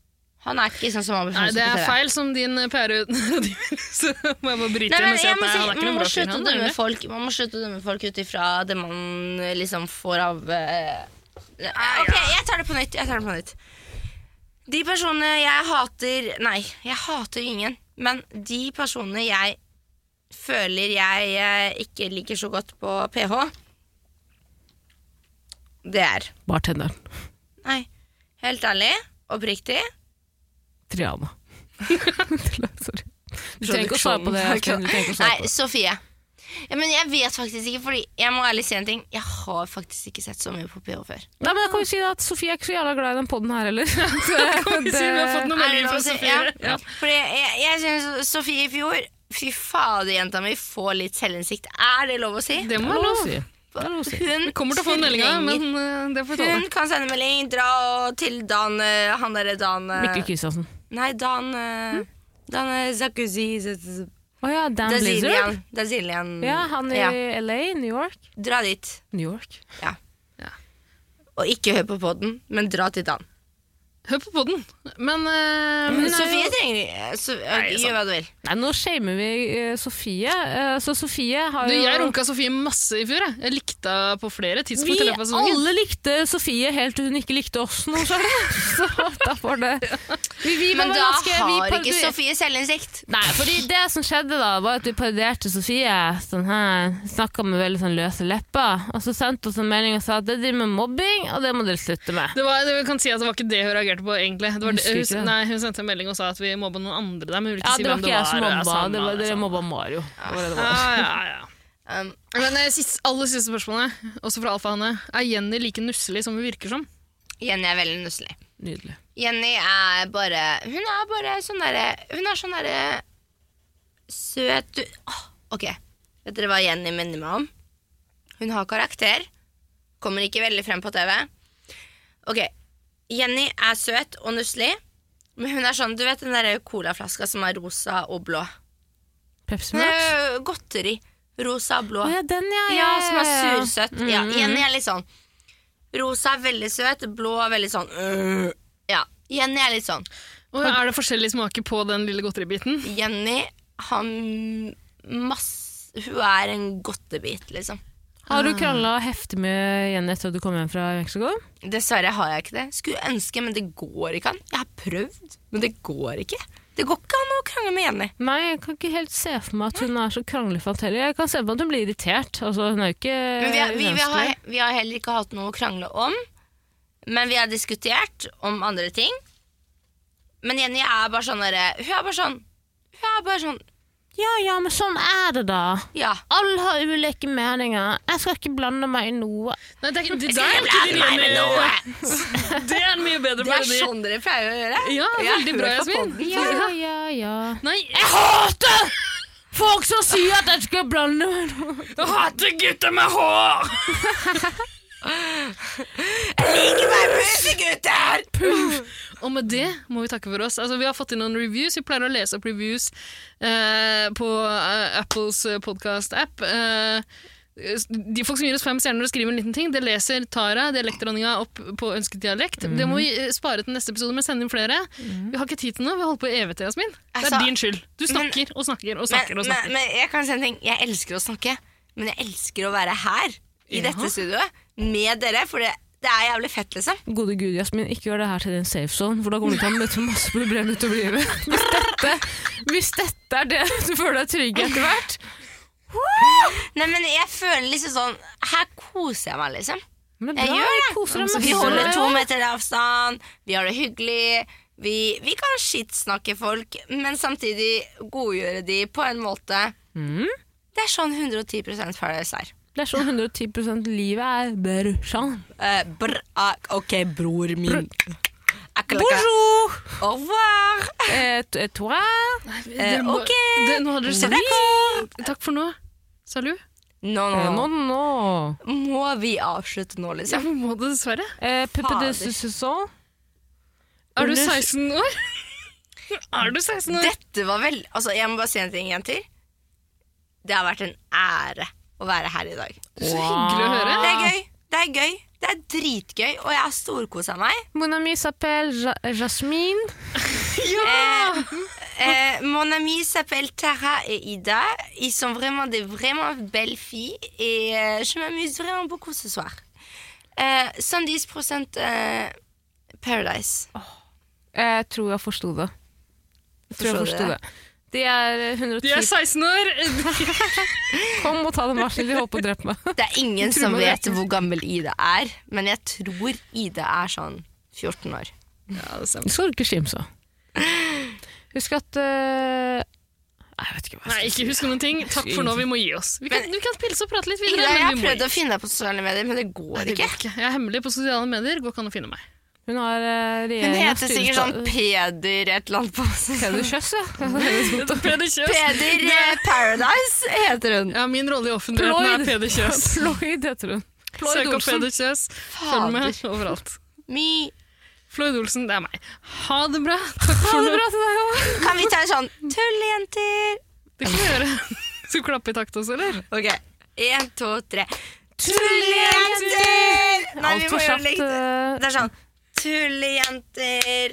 [SPEAKER 3] Han er ikke sånn som han blir
[SPEAKER 4] Nei,
[SPEAKER 3] fremstilt
[SPEAKER 4] det
[SPEAKER 3] på
[SPEAKER 4] er
[SPEAKER 3] TV.
[SPEAKER 4] feil som din PR-rådgiver. Så må jeg bare bryte
[SPEAKER 3] Nei,
[SPEAKER 4] inn
[SPEAKER 3] men
[SPEAKER 4] og si
[SPEAKER 3] jeg
[SPEAKER 4] at
[SPEAKER 3] må
[SPEAKER 4] nei,
[SPEAKER 3] si,
[SPEAKER 4] han er ikke
[SPEAKER 3] man,
[SPEAKER 4] noen
[SPEAKER 3] må
[SPEAKER 4] bra fyr.
[SPEAKER 3] slutte å
[SPEAKER 4] han,
[SPEAKER 3] dømme
[SPEAKER 4] eller?
[SPEAKER 3] folk, man må slutte å dømme folk ut ifra det man eh, liksom får av eh, eh, Ok, jeg tar det på nytt. Jeg tar det på nytt. De personene jeg hater Nei, jeg hater ingen. Men de personene jeg føler jeg eh, ikke liker så godt på PH, det er
[SPEAKER 1] Bartenderen.
[SPEAKER 3] Nei, helt ærlig, oppriktig
[SPEAKER 1] Triana. Sorry. Du trenger ikke sånn. å svare på det. Jasmin. Du trenger ikke å svare på
[SPEAKER 3] Nei, Sofie. Ja, men jeg vet faktisk ikke, Fordi jeg må ærlig si en ting. Jeg har faktisk ikke sett så mye på PH før.
[SPEAKER 1] Nei, men da kan vi si at Sofie er ikke så jævla glad i den podden her heller.
[SPEAKER 4] Kan vi si vi har fått noen
[SPEAKER 3] Nei,
[SPEAKER 4] meldinger
[SPEAKER 3] men
[SPEAKER 4] fra
[SPEAKER 3] altså,
[SPEAKER 4] Sofie?
[SPEAKER 3] ja, Fordi jeg, jeg syns Sofie i fjor Fy fader, jenta mi får litt selvinnsikt. Er det lov å si?
[SPEAKER 4] Det må
[SPEAKER 1] Det er
[SPEAKER 4] jeg
[SPEAKER 1] lov å
[SPEAKER 4] lov.
[SPEAKER 1] si. Det er lov å si.
[SPEAKER 3] Hun
[SPEAKER 4] Vi kommer til å få en melding av
[SPEAKER 3] trenger-
[SPEAKER 4] men eh, det får vi
[SPEAKER 3] Hun
[SPEAKER 4] tåle.
[SPEAKER 3] kan sende melding. Dra og til Dan eh, Han derre Dan eh,
[SPEAKER 1] Mikkel Kristiansen.
[SPEAKER 3] Nei, Dan eh,
[SPEAKER 4] Hm?
[SPEAKER 3] Dan eh, Zakuzzi Z-
[SPEAKER 1] Å ja, Dan Blizzard.
[SPEAKER 3] Dazilian. Dazilian.
[SPEAKER 1] Ja, han i
[SPEAKER 3] Ja,
[SPEAKER 1] LA, New York.
[SPEAKER 3] Dra dit.
[SPEAKER 1] New York.
[SPEAKER 3] Og ikke hør på poden, men dra til Dan.
[SPEAKER 4] Hør på podden. Men, eh,
[SPEAKER 3] Men
[SPEAKER 4] men det er
[SPEAKER 3] Sofie
[SPEAKER 4] jo-
[SPEAKER 3] trenger eh, so,
[SPEAKER 4] Nei, sant.
[SPEAKER 3] Gjør hva du vil.
[SPEAKER 1] Nei, nå shamer vi eh, Sofie. Eh, så Sofie har
[SPEAKER 4] du,
[SPEAKER 1] jo
[SPEAKER 4] jeg runka Sofie masse i fjor. Jeg, jeg likte henne på flere
[SPEAKER 1] Vi
[SPEAKER 4] tidspunkt. i løpet av sesongen.
[SPEAKER 1] alle likte Sofie helt til hun ikke likte oss nå, så, så da var det vi, vi var
[SPEAKER 3] Men da
[SPEAKER 1] ganske- vi
[SPEAKER 3] har
[SPEAKER 1] parodi-
[SPEAKER 3] ikke Sofie selvinnsikt.
[SPEAKER 1] Nei, fordi det som skjedde da, var at vi parodierte Sofie. Sånn her, Snakka med veldig sånn løse lepper. Og så sendte hun en melding og sa at det driver med mobbing, og det må dere slutte med.
[SPEAKER 4] Det var, det kan si at det var ikke det hun reagerte på, egentlig. Det var det,
[SPEAKER 1] Husker ikke
[SPEAKER 4] hun,
[SPEAKER 1] det.
[SPEAKER 4] nei, hun sendte en melding og sa at vi mobba noen andre der, men hun ville ikke
[SPEAKER 1] Ja,
[SPEAKER 4] si
[SPEAKER 1] det var
[SPEAKER 4] hvem
[SPEAKER 1] ikke jeg som
[SPEAKER 4] Ja,
[SPEAKER 1] mobba,
[SPEAKER 4] samme,
[SPEAKER 1] det var, dere
[SPEAKER 4] samme.
[SPEAKER 1] mobba Mario. Det var det det var.
[SPEAKER 4] Ja, ja, ja.
[SPEAKER 3] Um,
[SPEAKER 4] Men eh, siste, aller siste spørsmålet, også fra Alfa-Hanne. Er Jenny like nusselig som hun virker som?
[SPEAKER 3] Jenny er veldig nusselig.
[SPEAKER 1] Nydelig.
[SPEAKER 3] Jenny er bare Hun er bare sånn derre Hun er sånn derre søt du, Åh, Ok, vet dere hva Jenny minner meg om? Hun har karakter. Kommer ikke veldig frem på TV. Ok, Jenny er søt og nusselig, men hun er sånn Du vet den derre colaflaska som er rosa og blå?
[SPEAKER 1] Pepsi
[SPEAKER 3] Hun
[SPEAKER 1] Max?
[SPEAKER 3] er jo godteri. Rosa og blå.
[SPEAKER 1] Å ja, den, ja.
[SPEAKER 3] Ja, som er
[SPEAKER 1] ja, Mm, ja.
[SPEAKER 3] sursøtt. Ja, Jenny er litt sånn Rosa er veldig søt, blå er veldig sånn øh. Ja, Jenny er litt sånn.
[SPEAKER 4] Og er det forskjellig smake på den lille godteribiten?
[SPEAKER 3] Jenny har m- masse Hun er en godtebit, liksom.
[SPEAKER 1] Har du krangla heftig med Jenny etter at du kom hjem fra Mexico?
[SPEAKER 3] Dessverre har jeg ikke det. Skulle ønske, men det går ikke an. Jeg har prøvd, men det går ikke. Det går ikke an å krangle med Jenny.
[SPEAKER 1] Nei, jeg kan ikke helt se for meg at hun er så kranglefant heller. Jeg kan se for meg at hun blir irritert. Altså, hun er jo ikke
[SPEAKER 3] Men vi, har- vi, vi, har,
[SPEAKER 1] umenneskelig.
[SPEAKER 3] vi har heller ikke hatt noe å krangle om. Men vi har diskutert om andre ting. Men Jenny er bare sånn derre Hun er bare sånn Hun er bare sånn
[SPEAKER 1] Ja ja, men sånn er det, da.
[SPEAKER 3] Ja.
[SPEAKER 1] Alle har ulike meninger. Jeg skal ikke blande meg i noe.
[SPEAKER 4] Nei, det er ikke det
[SPEAKER 3] Skal
[SPEAKER 4] der.
[SPEAKER 3] jeg blande meg med noe?
[SPEAKER 4] Det er en mye bedre
[SPEAKER 3] Det er
[SPEAKER 4] parodi.
[SPEAKER 3] sånn dere pleier å gjøre.
[SPEAKER 4] Ja, veldig bra,
[SPEAKER 3] hør på
[SPEAKER 4] Jasmin.
[SPEAKER 3] podden.
[SPEAKER 1] Ja ja ja.
[SPEAKER 4] Nei,
[SPEAKER 1] Jeg hater folk som sier at jeg skal blande meg i noe.
[SPEAKER 4] jeg hater gutter med hår! Og med det må vi takke for oss. Altså, vi har fått inn noen reviews. Vi pleier å lese opp reviews eh, på eh, Apples podkast-app. Eh, de folk som gir oss fem stjerner og skriver en liten ting, det leser Tara, dialektdronninga, opp på ønsket dialekt. Det må vi eh, spare til neste episode, men sende inn flere. Vi har ikke tid til noe. Vi har holdt på i evighet, Jasmin. Det er
[SPEAKER 3] Altså,
[SPEAKER 4] din skyld. Du snakker og snakker og snakker.
[SPEAKER 3] Men,
[SPEAKER 4] og
[SPEAKER 3] men,
[SPEAKER 4] snakker.
[SPEAKER 3] men jeg kan si en ting. Jeg elsker å snakke, men jeg elsker å være her i
[SPEAKER 4] Ja.
[SPEAKER 3] dette studioet med dere, for det, det er jævlig fett, liksom.
[SPEAKER 1] Gode gud, Jasmin, ikke gjør det her til din safe zone, for da kommer du til å møte masse problemer utover livet. Hvis dette, hvis dette er det du føler deg trygg etter hvert
[SPEAKER 3] Nei, men jeg føler liksom sånn Her koser jeg meg, liksom.
[SPEAKER 1] Men
[SPEAKER 3] Jeg gjør det.
[SPEAKER 1] Koser deg
[SPEAKER 3] Så
[SPEAKER 1] masse.
[SPEAKER 3] vi holder to meter avstand, vi har det hyggelig. Vi, vi kan skittsnakke folk, men samtidig godgjøre de på en måte.
[SPEAKER 1] Mm.
[SPEAKER 3] Det er sånn 110 Paradise er.
[SPEAKER 1] Det er sånn 110 livet er brorsan.
[SPEAKER 3] Eh, brr, ah, ok, bror min. Bonjour!
[SPEAKER 1] Bonjour!
[SPEAKER 3] Au revoir!
[SPEAKER 1] Et, et, eh, toi.
[SPEAKER 3] Eh,
[SPEAKER 4] Det må-
[SPEAKER 3] ok.
[SPEAKER 4] det, nå hadde du
[SPEAKER 3] C'est
[SPEAKER 4] sagt
[SPEAKER 3] d'accord.
[SPEAKER 4] takk for nå. Salut.
[SPEAKER 3] No, no,
[SPEAKER 1] Eh, Nå,
[SPEAKER 3] no.
[SPEAKER 1] nå.
[SPEAKER 3] Må vi avslutte
[SPEAKER 4] Ja,
[SPEAKER 3] nå, liksom?
[SPEAKER 4] vi må det dessverre.
[SPEAKER 1] Eh, Puppe de
[SPEAKER 3] Fader.
[SPEAKER 1] saison.
[SPEAKER 4] Er du
[SPEAKER 1] Under-
[SPEAKER 4] 16 år? er du 16 år?
[SPEAKER 3] Dette var vel Altså, jeg må bare si en ting igjen til. Det har vært en ære å være her i dag.
[SPEAKER 4] Så hyggelig å høre.
[SPEAKER 3] Det er gøy. Det er gøy. Det er dritgøy, og jeg har storkosa meg.
[SPEAKER 1] Mon ami s'appelle ja Jasmine.
[SPEAKER 3] Eh, eh, mon ami s'appelle Tara et Ida. Ils sont vraiment des vraiment belles filles. Et euh, je m'amuse vraiment beaucoup ce soir. Eh, 110 eh, Paradise.
[SPEAKER 1] Eh, Jeg tror jeg forsto det. Jeg tror jeg
[SPEAKER 3] Forstod
[SPEAKER 1] forsto
[SPEAKER 3] du
[SPEAKER 1] det. De er eh, 110
[SPEAKER 4] De er 16 år!
[SPEAKER 1] Kom og ta den hver sin. De holdt på å drepe meg.
[SPEAKER 3] Det er ingen
[SPEAKER 1] tror
[SPEAKER 3] som
[SPEAKER 1] man
[SPEAKER 3] vet
[SPEAKER 1] vet.
[SPEAKER 3] hvor gammel Ida er, men jeg tror Ida er sånn 14 år.
[SPEAKER 4] Ja, det
[SPEAKER 1] Det skal du ikke skimse av. Husk at eh, Nei, jeg vet ikke hva
[SPEAKER 4] Nei,
[SPEAKER 1] jeg
[SPEAKER 4] ikke husk noen ting. Takk for nå, vi må gi oss. Vi kan, du kan pilse og prate litt
[SPEAKER 3] Ida,
[SPEAKER 4] videre.
[SPEAKER 3] jeg har
[SPEAKER 4] men vi må
[SPEAKER 3] prøvd
[SPEAKER 4] gi
[SPEAKER 3] å finne deg på sosiale medier, men det går
[SPEAKER 4] det
[SPEAKER 3] ikke.
[SPEAKER 4] går ikke. Jeg er hemmelig på sosiale medier. Går ikke an å finne meg.
[SPEAKER 1] Hun har uh,
[SPEAKER 3] Hun
[SPEAKER 1] regjeringa
[SPEAKER 3] heter sikkert sånn Peder et eller annet på
[SPEAKER 1] Peder Kjøss, ja.
[SPEAKER 4] Peder Kjøs.
[SPEAKER 3] Peder eh, Paradise heter hun.
[SPEAKER 4] Ja, min rolle i offentligheten
[SPEAKER 1] Ployd.
[SPEAKER 4] er Peder Kjøs.
[SPEAKER 1] Floyd heter hun. Floyd
[SPEAKER 4] Søk opp
[SPEAKER 1] Olsen.
[SPEAKER 4] Peder Kjøs. Følg
[SPEAKER 3] Fader.
[SPEAKER 4] med overalt.
[SPEAKER 3] My.
[SPEAKER 4] Floyd Olsen, det er meg. Ha det bra. Takk for nå.
[SPEAKER 3] Kan vi ta en sånn tulljenter?
[SPEAKER 4] Det kan vi gjøre. Skal vi klappe i takt også, eller?
[SPEAKER 3] Ok, en, to, tre. Tulljenter! Nei, vi må
[SPEAKER 1] Altfor
[SPEAKER 3] gjøre det
[SPEAKER 1] kjapt.
[SPEAKER 3] likt.
[SPEAKER 1] eh,
[SPEAKER 3] Det er sånn Tullejenter.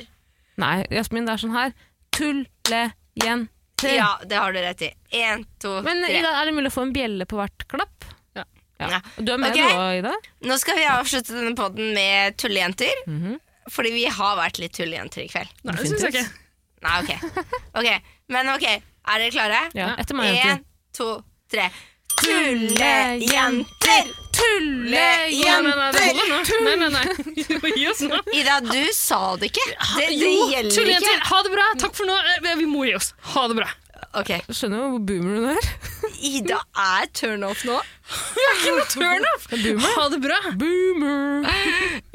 [SPEAKER 1] Nei, Jasmin, det er sånn her. Tullejenter.
[SPEAKER 3] Ja, det har du rett i. En, to,
[SPEAKER 1] Men
[SPEAKER 3] tre.
[SPEAKER 1] Ida, er det mulig å få en bjelle på hvert klapp?
[SPEAKER 4] Ja.
[SPEAKER 1] Ja. Du er med
[SPEAKER 3] Ok.
[SPEAKER 1] nå, Ida?
[SPEAKER 3] Nå skal vi avslutte denne podden med tullejenter.
[SPEAKER 1] Mhm.
[SPEAKER 3] Fordi vi har vært litt tullejenter i kveld.
[SPEAKER 4] Nei, det syns jeg ikke.
[SPEAKER 3] Nei, ok. Ok, Men ok, er dere klare?
[SPEAKER 1] Ja, etter meg,
[SPEAKER 3] En,
[SPEAKER 1] jenter.
[SPEAKER 3] to, tre. Tullejenter!
[SPEAKER 4] Nei, nei,
[SPEAKER 3] Tullejenter!
[SPEAKER 4] nei, det holder nå. Nei, nei, nei. Vi må gi oss nå.
[SPEAKER 3] Ida, du sa det ikke. Det, det
[SPEAKER 4] Jo,
[SPEAKER 3] gjelder
[SPEAKER 4] tullen til.
[SPEAKER 3] ikke.
[SPEAKER 4] Ha det bra. Takk for nå. Eh, Vi må gi oss. Ha det bra.
[SPEAKER 3] Ok,
[SPEAKER 1] Skjønner du hvor boomer hun er?
[SPEAKER 3] Ida er turn off nå.
[SPEAKER 4] Turn off. Ha det bra.
[SPEAKER 1] Boomer!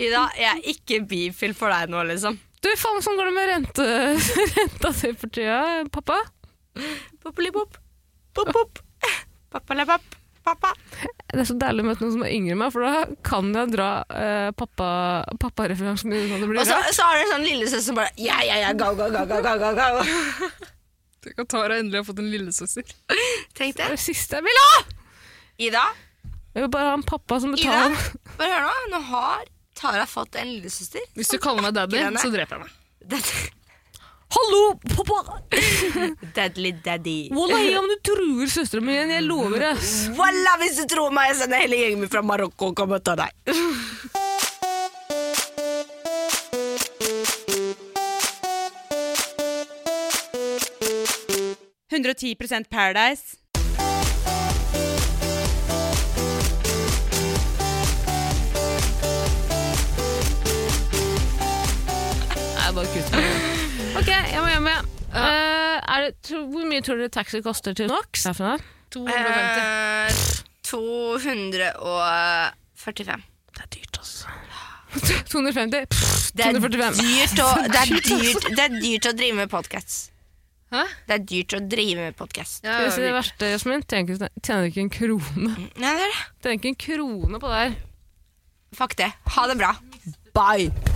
[SPEAKER 3] Ida, jeg er ikke bifil for deg nå, liksom.
[SPEAKER 1] Du, faen, sånn går det med rente, renta di for tida, pappa?
[SPEAKER 3] Popelipop. Pop-pop. Pappalapapp. Pappa.
[SPEAKER 1] Det er så deilig å møte noen som er yngre enn meg, for da kan jeg dra eh, pappa pappareferansen min uten at det blir
[SPEAKER 3] Og så,
[SPEAKER 1] rart.
[SPEAKER 3] så har du en sånn lillesøster som bare Ja, ja, ja, go, go, go, go, go, go, go.
[SPEAKER 4] Tenk at Tara endelig har fått en lillesøster.
[SPEAKER 3] Tenk
[SPEAKER 1] Det
[SPEAKER 3] det.
[SPEAKER 1] er det siste jeg vil ha!
[SPEAKER 3] Ida,
[SPEAKER 1] Jeg vil bare ha en pappa som
[SPEAKER 3] Ida,
[SPEAKER 1] betaler.
[SPEAKER 3] bare hør nå. Nå har Tara fått en lillesøster.
[SPEAKER 4] Hvis du kaller meg daddy,
[SPEAKER 3] Grønne.
[SPEAKER 4] så dreper jeg meg.
[SPEAKER 3] Dette-
[SPEAKER 1] Hallo, pappa!
[SPEAKER 3] Deadly daddy.
[SPEAKER 1] Wallahi, om du truer søsteren min igjen, jeg lover det. ass.
[SPEAKER 3] Walla, hvis du tror meg, jeg sender hele gjengen min fra Marokko og kommer og tar deg.
[SPEAKER 2] Paradise.
[SPEAKER 1] Nei, bare kutt meg. Ok, jeg må hjem igjen. Eh, er det, tro, hvor mye tror dere taxi koster til NOx? Herfra?
[SPEAKER 4] 250.
[SPEAKER 3] Eh, 245.
[SPEAKER 1] Det er dyrt, altså. 250? Pff,
[SPEAKER 3] Det er,
[SPEAKER 1] 245.
[SPEAKER 3] dyrt å, det, er dyrt, det er dyrt å drive med podkast.
[SPEAKER 4] Hæ?
[SPEAKER 3] Det er dyrt å drive med podkast.
[SPEAKER 4] Ja,
[SPEAKER 1] Skal vi si det
[SPEAKER 4] virkelig.
[SPEAKER 1] verste, Jasmin? Tjener ikke- Tjener ikke en krone.
[SPEAKER 3] Nei, det er det.
[SPEAKER 1] Tjener ikke en krone på det her.
[SPEAKER 3] Fuck det. Ha det bra. Bye.